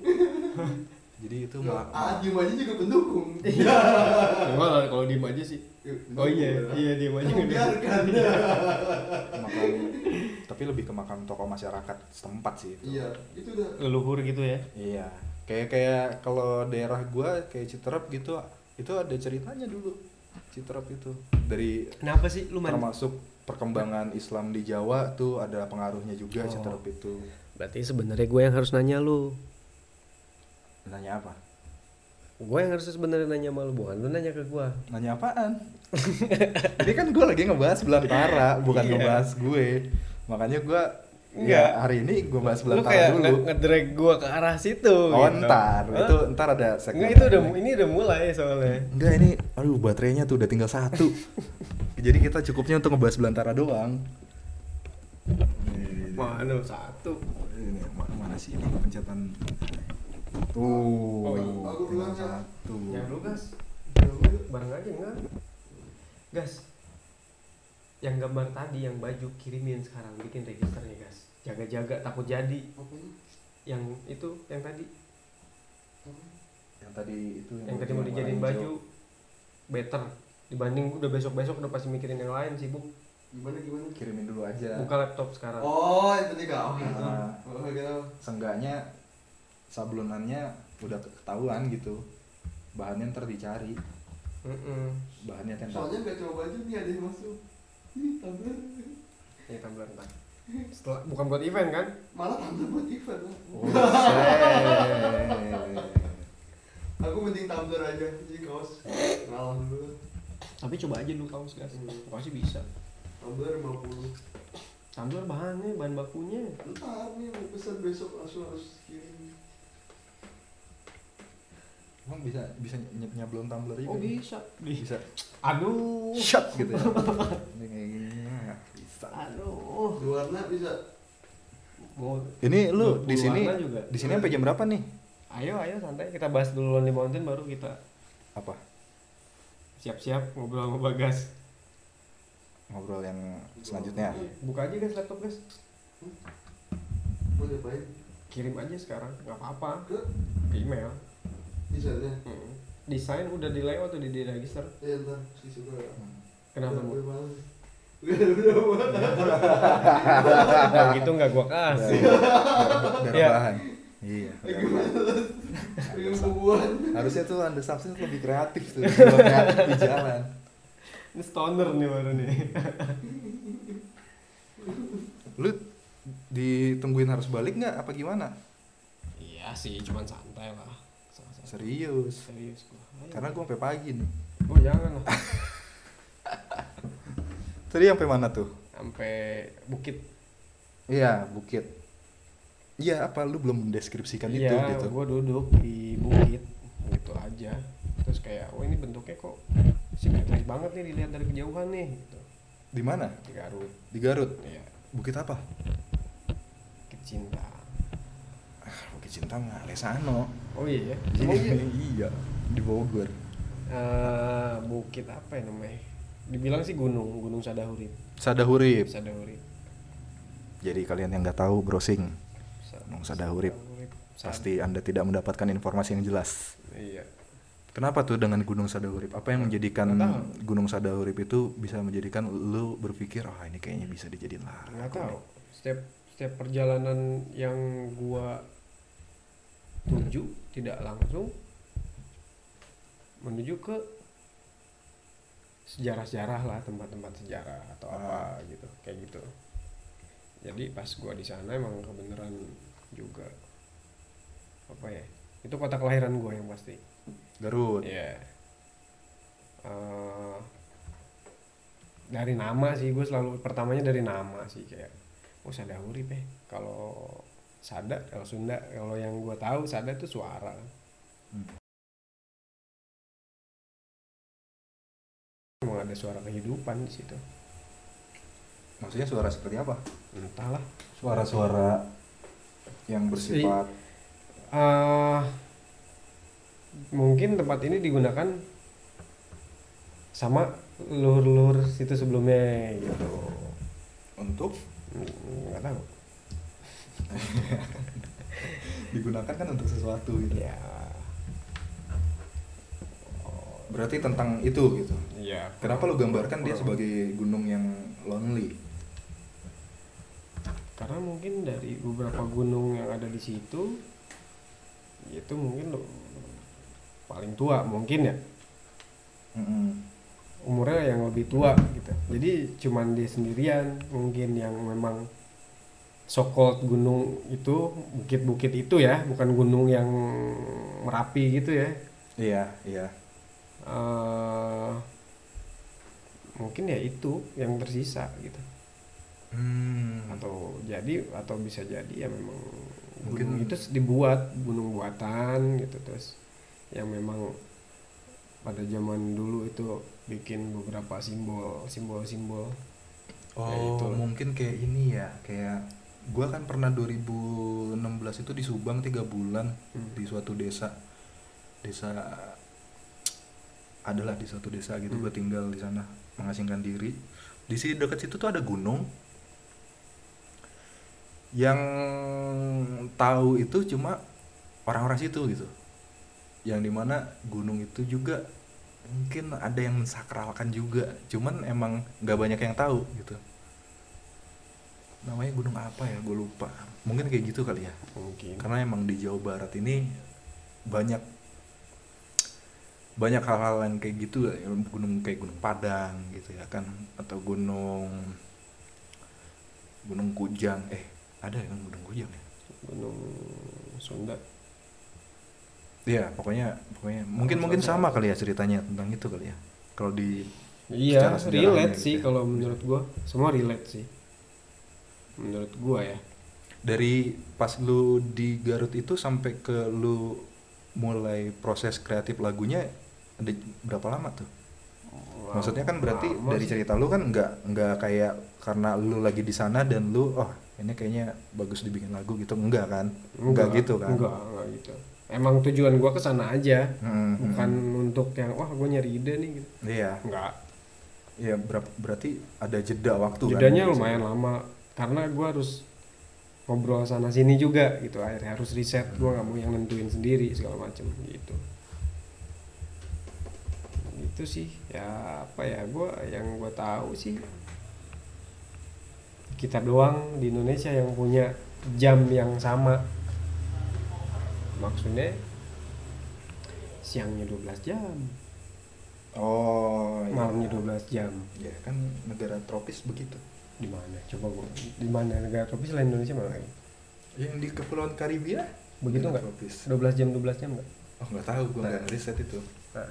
[SPEAKER 1] Jadi itu
[SPEAKER 5] Ah, diem aja juga pendukung
[SPEAKER 2] Enggak lah kalau diem aja sih. Iya. Oh iya, iya diem aja.
[SPEAKER 5] biarkan
[SPEAKER 1] makam
[SPEAKER 5] <laughs>
[SPEAKER 1] tapi lebih ke makam tokoh masyarakat setempat sih itu.
[SPEAKER 5] iya itu udah
[SPEAKER 2] Leluhur gitu ya.
[SPEAKER 1] Iya. Kayak kayak kalau daerah gua kayak Citerap gitu itu ada ceritanya dulu. Citerap itu dari
[SPEAKER 2] Kenapa sih lu main?
[SPEAKER 1] termasuk perkembangan Islam di Jawa tuh ada pengaruhnya juga
[SPEAKER 2] Oh.
[SPEAKER 1] Citerap itu.
[SPEAKER 2] Berarti sebenarnya gue yang harus nanya lu.
[SPEAKER 1] Nanya apa?
[SPEAKER 2] Gue yang harus sebenarnya nanya sama lu, bukan lu nanya ke gue.
[SPEAKER 1] Nanya apaan? <laughs> Ini kan gue lagi ngebahas Belantara, bukan
[SPEAKER 2] Iya.
[SPEAKER 1] ngebahas gue. Makanya gue
[SPEAKER 2] Enggak.
[SPEAKER 1] ya hari ini gue bahas
[SPEAKER 2] Lu
[SPEAKER 1] Belantara
[SPEAKER 2] kayak
[SPEAKER 1] dulu.
[SPEAKER 2] nge- ngedrag gue ke arah situ.
[SPEAKER 1] Oh,
[SPEAKER 2] gitu.
[SPEAKER 1] ntar.
[SPEAKER 2] Hah?
[SPEAKER 1] Itu ntar ada segmen.
[SPEAKER 2] Enggak itu udah
[SPEAKER 1] lain.
[SPEAKER 2] ini udah mulai soalnya.
[SPEAKER 1] Enggak ini, aduh baterainya tuh udah tinggal
[SPEAKER 2] <laughs>
[SPEAKER 1] satu. Jadi kita cukupnya untuk ngebahas Belantara doang. Ini,
[SPEAKER 2] Mana satu?
[SPEAKER 1] ini, ma- mana sih ini pencetan? Tuh,
[SPEAKER 5] Oh,
[SPEAKER 2] iya.
[SPEAKER 5] aku
[SPEAKER 1] tinggal
[SPEAKER 5] bilang ya.
[SPEAKER 1] satu.
[SPEAKER 2] Jangan lu gas. Bareng aja enggak? Gas. Yang gambar tadi yang baju kirimin sekarang bikin registernya, gas. Jaga-jaga takut jadi
[SPEAKER 5] Apanya?
[SPEAKER 2] yang itu yang tadi
[SPEAKER 1] Yang tadi itu
[SPEAKER 2] yang tadi mau
[SPEAKER 1] warna
[SPEAKER 2] dijadiin
[SPEAKER 1] hijau.
[SPEAKER 2] baju better dibanding udah besok-besok udah pasti mikirin yang lain sibuk
[SPEAKER 5] gimana gimana
[SPEAKER 1] Kirimin dulu aja.
[SPEAKER 2] buka laptop sekarang.
[SPEAKER 5] oh itu tiga oh gitu
[SPEAKER 1] Ah.
[SPEAKER 5] oh gitu
[SPEAKER 1] Seenggaknya sablonannya udah ketahuan gitu. Bahannya ntar dicari.
[SPEAKER 2] Mm-mm.
[SPEAKER 1] Bahannya tenda.
[SPEAKER 5] soalnya nggak coba baju nih ada yang masuk Ih, tumbler.
[SPEAKER 2] Ya tampil ntar. <laughs> Setelah bukan buat event kan?
[SPEAKER 5] malah tumbler buat event lah.
[SPEAKER 1] Oh,
[SPEAKER 2] <laughs>
[SPEAKER 1] set.
[SPEAKER 5] aku mending tumbler aja jadi kaos ngalah dulu
[SPEAKER 2] Tapi coba aja dulu kamu gas. Pasti bisa.
[SPEAKER 5] tumbler 50
[SPEAKER 2] Tumbler bahannya, bahan bakunya.
[SPEAKER 5] Ntar nih mau pesan besok langsung harus kirim.
[SPEAKER 1] Emang bisa bisa ny- nyablon tumbler juga?
[SPEAKER 2] Oh
[SPEAKER 1] nih?
[SPEAKER 2] bisa. Di-
[SPEAKER 1] Bisa.
[SPEAKER 2] Aduh.
[SPEAKER 1] Shot gitu ya. Ini kayak gini, nah, bisa.
[SPEAKER 2] Aduh.
[SPEAKER 5] Dua warna bisa.
[SPEAKER 2] Mau
[SPEAKER 1] Ini lu di
[SPEAKER 2] 20
[SPEAKER 1] sini
[SPEAKER 2] warna juga.
[SPEAKER 1] di sini sampai jam berapa nih?
[SPEAKER 2] Ayo ayo santai kita bahas dulu Lonely Mountain baru kita
[SPEAKER 1] Apa?
[SPEAKER 2] siap-siap ngobrol sama Bagas.
[SPEAKER 1] Ngobrol yang selanjutnya.
[SPEAKER 2] Buka aja guys laptop guys.
[SPEAKER 5] Mau diapain?
[SPEAKER 2] Kirim aja sekarang, nggak apa-apa.
[SPEAKER 5] Ke
[SPEAKER 2] Email.
[SPEAKER 5] desainnya.
[SPEAKER 2] Mm. Desain udah di layout udah di register.
[SPEAKER 5] Eh ntar si suka.
[SPEAKER 2] Kenapa
[SPEAKER 5] Udah,
[SPEAKER 2] mau?
[SPEAKER 5] Udah malam. Udah udah malam.
[SPEAKER 2] Kalau gitu nggak gua kasih.
[SPEAKER 1] Biar
[SPEAKER 2] Iya.
[SPEAKER 1] bahan. Iya. biar bahan.
[SPEAKER 5] Pengen bubuan.
[SPEAKER 1] Harusnya tuh Anda Samsung lebih kreatif tuh, <laughs> lebih kreatif di jalan.
[SPEAKER 2] Ini stoner nih baru nih.
[SPEAKER 1] Lu ditungguin harus balik nggak apa gimana?
[SPEAKER 2] Iya sih, cuman santai lah. Santai.
[SPEAKER 1] Serius.
[SPEAKER 2] Serius gua. Ayo.
[SPEAKER 1] Karena gua sampai pagi nih.
[SPEAKER 2] Oh jangan lah.
[SPEAKER 1] Tadi sampai mana tuh?
[SPEAKER 2] Sampai bukit.
[SPEAKER 1] Iya, Bukit. Iya, apa lu belum mendeskripsikan itu
[SPEAKER 2] Iya,
[SPEAKER 1] gitu?
[SPEAKER 2] gue duduk di bukit gitu aja. Terus kayak, oh ini bentuknya kok simetris banget nih dilihat dari kejauhan nih gitu.
[SPEAKER 1] Di mana?
[SPEAKER 2] di Garut
[SPEAKER 1] Di Garut.
[SPEAKER 2] Iya.
[SPEAKER 1] Bukit apa?
[SPEAKER 2] kecinta
[SPEAKER 1] Ah, Bukit Cinta mah Lesano.
[SPEAKER 2] oh iya ya Emang
[SPEAKER 1] Iya,
[SPEAKER 2] iya?
[SPEAKER 1] <laughs> iya, di Bogor.
[SPEAKER 2] Eh, bukit apa ya namanya dibilang sih gunung gunung Sadahurib
[SPEAKER 1] Sadahurip.
[SPEAKER 2] Sadahurib
[SPEAKER 1] Jadi kalian yang nggak tahu browsing,
[SPEAKER 2] Sa-
[SPEAKER 1] Gunung Sadahurib.
[SPEAKER 2] Sad-
[SPEAKER 1] pasti Anda tidak mendapatkan informasi yang jelas.
[SPEAKER 2] iya
[SPEAKER 1] Kenapa tuh dengan Gunung Sadahurip? Apa yang menjadikan
[SPEAKER 2] Nggak tahu.
[SPEAKER 1] Gunung Sadahurip itu bisa menjadikan lu berpikir, "Oh, ini kayaknya bisa dijadiin lah."
[SPEAKER 2] nggak tahu setiap setiap perjalanan yang gua tuju tidak langsung menuju ke sejarah-sejarah lah tempat-tempat sejarah atau apa gitu kayak gitu jadi pas gua di sana emang kebenaran juga apa ya itu kota kelahiran gua yang pasti
[SPEAKER 1] Garut.
[SPEAKER 2] Iya. Eh, dari nama sih gue selalu pertamanya dari nama sih kayak oh sada urip ya kalau sada kalau sunda kalau yang gue tahu sada itu suara
[SPEAKER 1] Hmm.
[SPEAKER 2] emang ada suara kehidupan di situ
[SPEAKER 1] Maksudnya suara seperti apa?
[SPEAKER 2] entahlah
[SPEAKER 1] Suara-suara yang bersifat
[SPEAKER 2] Iya. eh mungkin tempat ini digunakan sama luhur-luhur situ sebelumnya gitu
[SPEAKER 1] untuk <laughs>
[SPEAKER 2] nggak tahu
[SPEAKER 1] digunakan kan untuk sesuatu gitu.
[SPEAKER 2] ya
[SPEAKER 1] Berarti tentang itu gitu.
[SPEAKER 2] ya
[SPEAKER 1] Kenapa lu gambarkan dia sebagai gunung yang lonely?
[SPEAKER 2] karena mungkin dari beberapa gunung yang ada di situ itu mungkin lo- paling tua mungkin ya
[SPEAKER 1] Mm-mm.
[SPEAKER 2] umurnya yang lebih tua gitu jadi cuman dia sendirian mungkin yang memang so-called gunung itu bukit-bukit itu ya bukan gunung yang merapi gitu ya
[SPEAKER 1] Iya, iya.
[SPEAKER 2] Eh, mungkin ya itu yang tersisa gitu
[SPEAKER 1] Hmm.
[SPEAKER 2] atau jadi atau bisa jadi ya memang
[SPEAKER 1] Mungkin-
[SPEAKER 2] gunung itu dibuat gunung buatan gitu terus yang memang pada zaman dulu itu bikin beberapa simbol simbol-simbol Ya,
[SPEAKER 1] Oh,
[SPEAKER 2] itu.
[SPEAKER 1] mungkin kayak ini ya, kayak gua kan pernah 2016 itu di Subang tiga bulan
[SPEAKER 2] Hmm.
[SPEAKER 1] di suatu desa, desa adalah di suatu desa gitu
[SPEAKER 2] Hmm.
[SPEAKER 1] gua tinggal di sana mengasingkan diri. Di sini dekat situ tuh ada gunung yang tahu itu cuma orang-orang situ gitu. Yang dimana gunung itu juga mungkin ada yang mensakralkan juga, cuman emang nggak banyak yang tahu gitu namanya gunung apa ya gue lupa mungkin kayak gitu kali ya
[SPEAKER 2] mungkin
[SPEAKER 1] karena emang di Jawa Barat ini banyak banyak hal-hal yang kayak gitu ya, gunung kayak gunung Padang gitu ya kan atau gunung gunung Kujang eh ada ya kan gunung Kujang ya
[SPEAKER 2] gunung Sunda
[SPEAKER 1] iya pokoknya pokoknya mungkin mungkin sama kali ya ceritanya tentang itu kali ya kalau di
[SPEAKER 2] iya
[SPEAKER 1] Secara sejarahnya
[SPEAKER 2] relate
[SPEAKER 1] gitu
[SPEAKER 2] sih
[SPEAKER 1] ya.
[SPEAKER 2] kalau menurut gua semua relate sih menurut gua ya
[SPEAKER 1] dari pas lu di Garut itu sampai ke lu mulai proses kreatif lagunya ada berapa lama tuh? Maksudnya kan berarti
[SPEAKER 2] Lama
[SPEAKER 1] dari
[SPEAKER 2] sih.
[SPEAKER 1] cerita lu kan nggak nggak kayak karena lu lagi di sana dan lu oh ini kayaknya bagus dibikin lagu gitu enggak kan? Enggak, gitu kan?
[SPEAKER 2] enggak enggak gitu emang tujuan gua ke sana aja
[SPEAKER 1] Mm, mm,
[SPEAKER 2] bukan
[SPEAKER 1] mm.
[SPEAKER 2] untuk yang wah gua nyari ide nih gitu
[SPEAKER 1] Iya.
[SPEAKER 2] enggak
[SPEAKER 1] Iya berap- berarti ada jeda waktu kan?
[SPEAKER 2] jedanya lumayan lama karena gue harus ngobrol sana sini juga gitu akhirnya harus riset gue nggak mau yang nentuin sendiri segala macem gitu itu sih ya apa ya gue yang gue tahu sih kita doang di Indonesia yang punya jam yang sama maksudnya siangnya 12 jam
[SPEAKER 1] Oh. iya.
[SPEAKER 2] malamnya 12 jam
[SPEAKER 1] Ya kan negara tropis begitu.
[SPEAKER 2] di mana coba gue di mana negara tropis selain Indonesia mana lagi
[SPEAKER 1] Yang di kepulauan Karibia?
[SPEAKER 2] Begitu
[SPEAKER 1] negara
[SPEAKER 2] nggak?
[SPEAKER 1] Tropis.
[SPEAKER 2] 12 jam 12 jam nggak?
[SPEAKER 1] Oh nggak tahu, gue nggak riset itu.
[SPEAKER 2] Nah,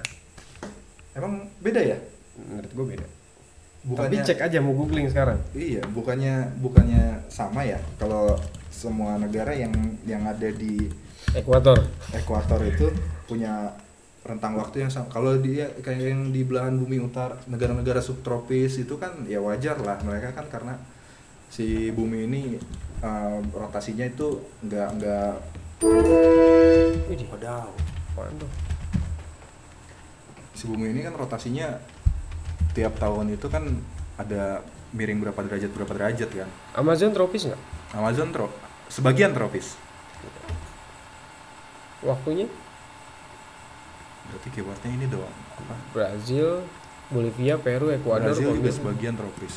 [SPEAKER 1] Emang beda ya?
[SPEAKER 2] menurut gue beda. Tapi
[SPEAKER 1] Bukannya
[SPEAKER 2] cek aja mau googling sekarang.
[SPEAKER 1] iya, bukannya bukannya sama ya? Kalau semua negara yang yang ada di
[SPEAKER 2] Ekuator.
[SPEAKER 1] ekuator itu punya rentang waktu yang sama. Kalau dia kayak yang di belahan bumi utara, negara-negara subtropis itu kan ya wajar lah mereka kan karena si bumi ini eh, rotasinya itu nggak nggak Wadaw. Si bumi ini kan rotasinya tiap tahun itu kan ada miring berapa derajat berapa derajat kan.
[SPEAKER 2] Amazon tropis nggak?
[SPEAKER 1] Amazon tro sebagian tropis.
[SPEAKER 2] Waktunya
[SPEAKER 1] Berarti keywordnya ini doang. Apa?
[SPEAKER 2] Brazil, Bolivia, Peru, Ekuador,
[SPEAKER 1] Brazil juga
[SPEAKER 2] Kolombia.
[SPEAKER 1] sebagian tropis.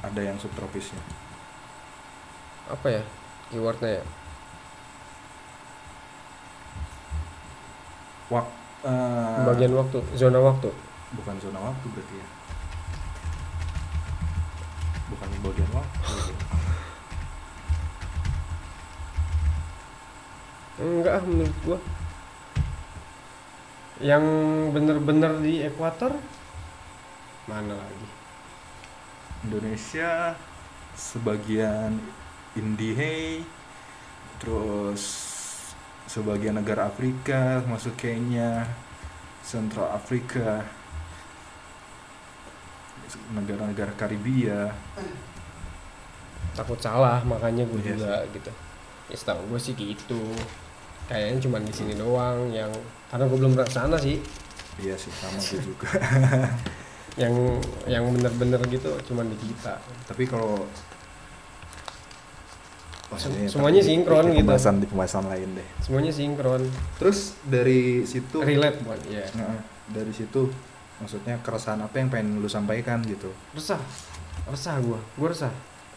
[SPEAKER 1] Ada yang subtropisnya.
[SPEAKER 2] apa ya keywordnya ya?
[SPEAKER 1] Wak eh,
[SPEAKER 2] Pembagian waktu, zona waktu.
[SPEAKER 1] bukan zona waktu berarti ya. Bukan bagian waktu.
[SPEAKER 2] Enggak ah menurut gua. Yang bener-bener di Ekuator mana lagi?
[SPEAKER 1] Indonesia sebagian Indihei terus sebagian negara Afrika masuk Kenya Central Afrika negara-negara Karibia
[SPEAKER 2] Takut salah makanya gua
[SPEAKER 1] Iya
[SPEAKER 2] juga gitu. Ya setahu gua sih gitu. Kayaknya cuma di sini doang yang karena gua belum pernah sana sih.
[SPEAKER 1] iya sih sama gue juga
[SPEAKER 2] <laughs> Yang yang bener-bener gitu cuman di kita.
[SPEAKER 1] tapi kalau Wah,
[SPEAKER 2] Sem-
[SPEAKER 1] ini
[SPEAKER 2] semuanya
[SPEAKER 1] tapi di-
[SPEAKER 2] sinkron
[SPEAKER 1] di
[SPEAKER 2] gitu.
[SPEAKER 1] pembahasan di pembahasan lain deh
[SPEAKER 2] Semuanya sinkron,
[SPEAKER 1] terus dari situ
[SPEAKER 2] relate buat ya.
[SPEAKER 1] Nah, dari situ maksudnya keresahan apa yang pengen lu sampaikan gitu
[SPEAKER 2] Resah. Resah gua. Gua resah.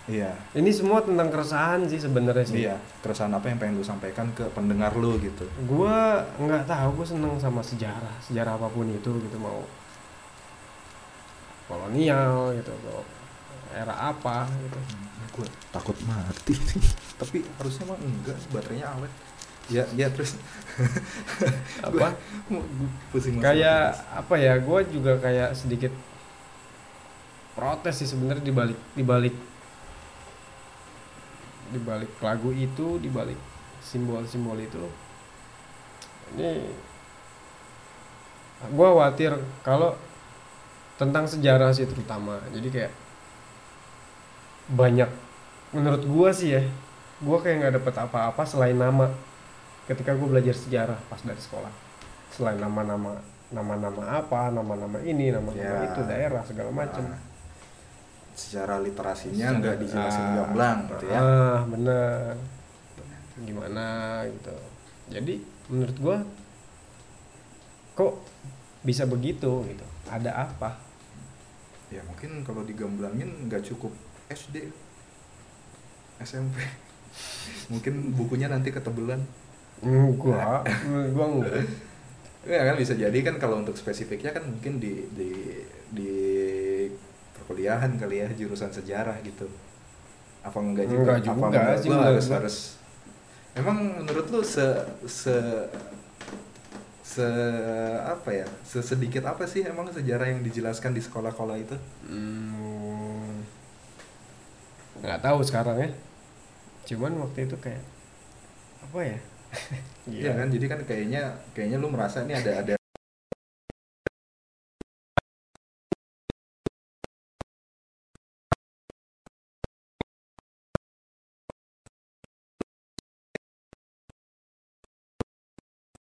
[SPEAKER 1] iya
[SPEAKER 2] Ini semua tentang keresahan sih sebenarnya sih.
[SPEAKER 1] Iya, keresahan apa yang pengen lu sampaikan ke pendengar lu gitu.
[SPEAKER 2] gua nggak tahu gue seneng sama sejarah sejarah apapun itu gitu mau kolonial gitu mau era apa gitu
[SPEAKER 1] Gue takut mati. <laughs> Tapi harusnya mah enggak, baterainya awet. Ya, ya terus <laughs>
[SPEAKER 2] apa
[SPEAKER 1] Gua- gua pusing banget.
[SPEAKER 2] kayak apa ya gua juga kayak sedikit protes sih sebenarnya dibalik dibalik dibalik lagu itu dibalik simbol-simbol itu ini gua khawatir kalau tentang sejarah sih terutama jadi kayak banyak menurut gua sih ya gua kayak nggak dapet apa-apa selain nama ketika gua belajar sejarah pas dari sekolah selain nama-nama nama-nama apa nama-nama ini nama-nama
[SPEAKER 1] Ya.
[SPEAKER 2] itu daerah segala macam
[SPEAKER 1] Ah, secara literasinya
[SPEAKER 2] Secara-
[SPEAKER 1] enggak dijelasin
[SPEAKER 2] ah,
[SPEAKER 1] gamblang gitu ya.
[SPEAKER 2] ah bener gimana gitu jadi menurut gua kok bisa begitu gitu ada apa
[SPEAKER 1] Ya mungkin kalau digamblangin enggak cukup SD SMP. <laughs> mungkin bukunya nanti ketebelan.
[SPEAKER 2] gua gua enggak
[SPEAKER 1] Ya kan bisa jadi kan kalau untuk spesifiknya kan mungkin di di di perkuliahan kali ya jurusan sejarah gitu. Apa enggak juga?
[SPEAKER 2] Enggak
[SPEAKER 1] Apa
[SPEAKER 2] juga
[SPEAKER 1] menurut
[SPEAKER 2] sih
[SPEAKER 1] lu
[SPEAKER 2] menurut
[SPEAKER 1] harus
[SPEAKER 2] gua.
[SPEAKER 1] harus. Emang menurut lu se se se apa ya? Sesedikit apa sih emang sejarah yang dijelaskan di sekolah-sekolah itu?
[SPEAKER 2] Hmm, nggak tahu sekarang ya cuman waktu itu kayak apa ya Iya.
[SPEAKER 1] Iya kan? Jadi kan kayaknya kayaknya lu merasa nih ada ada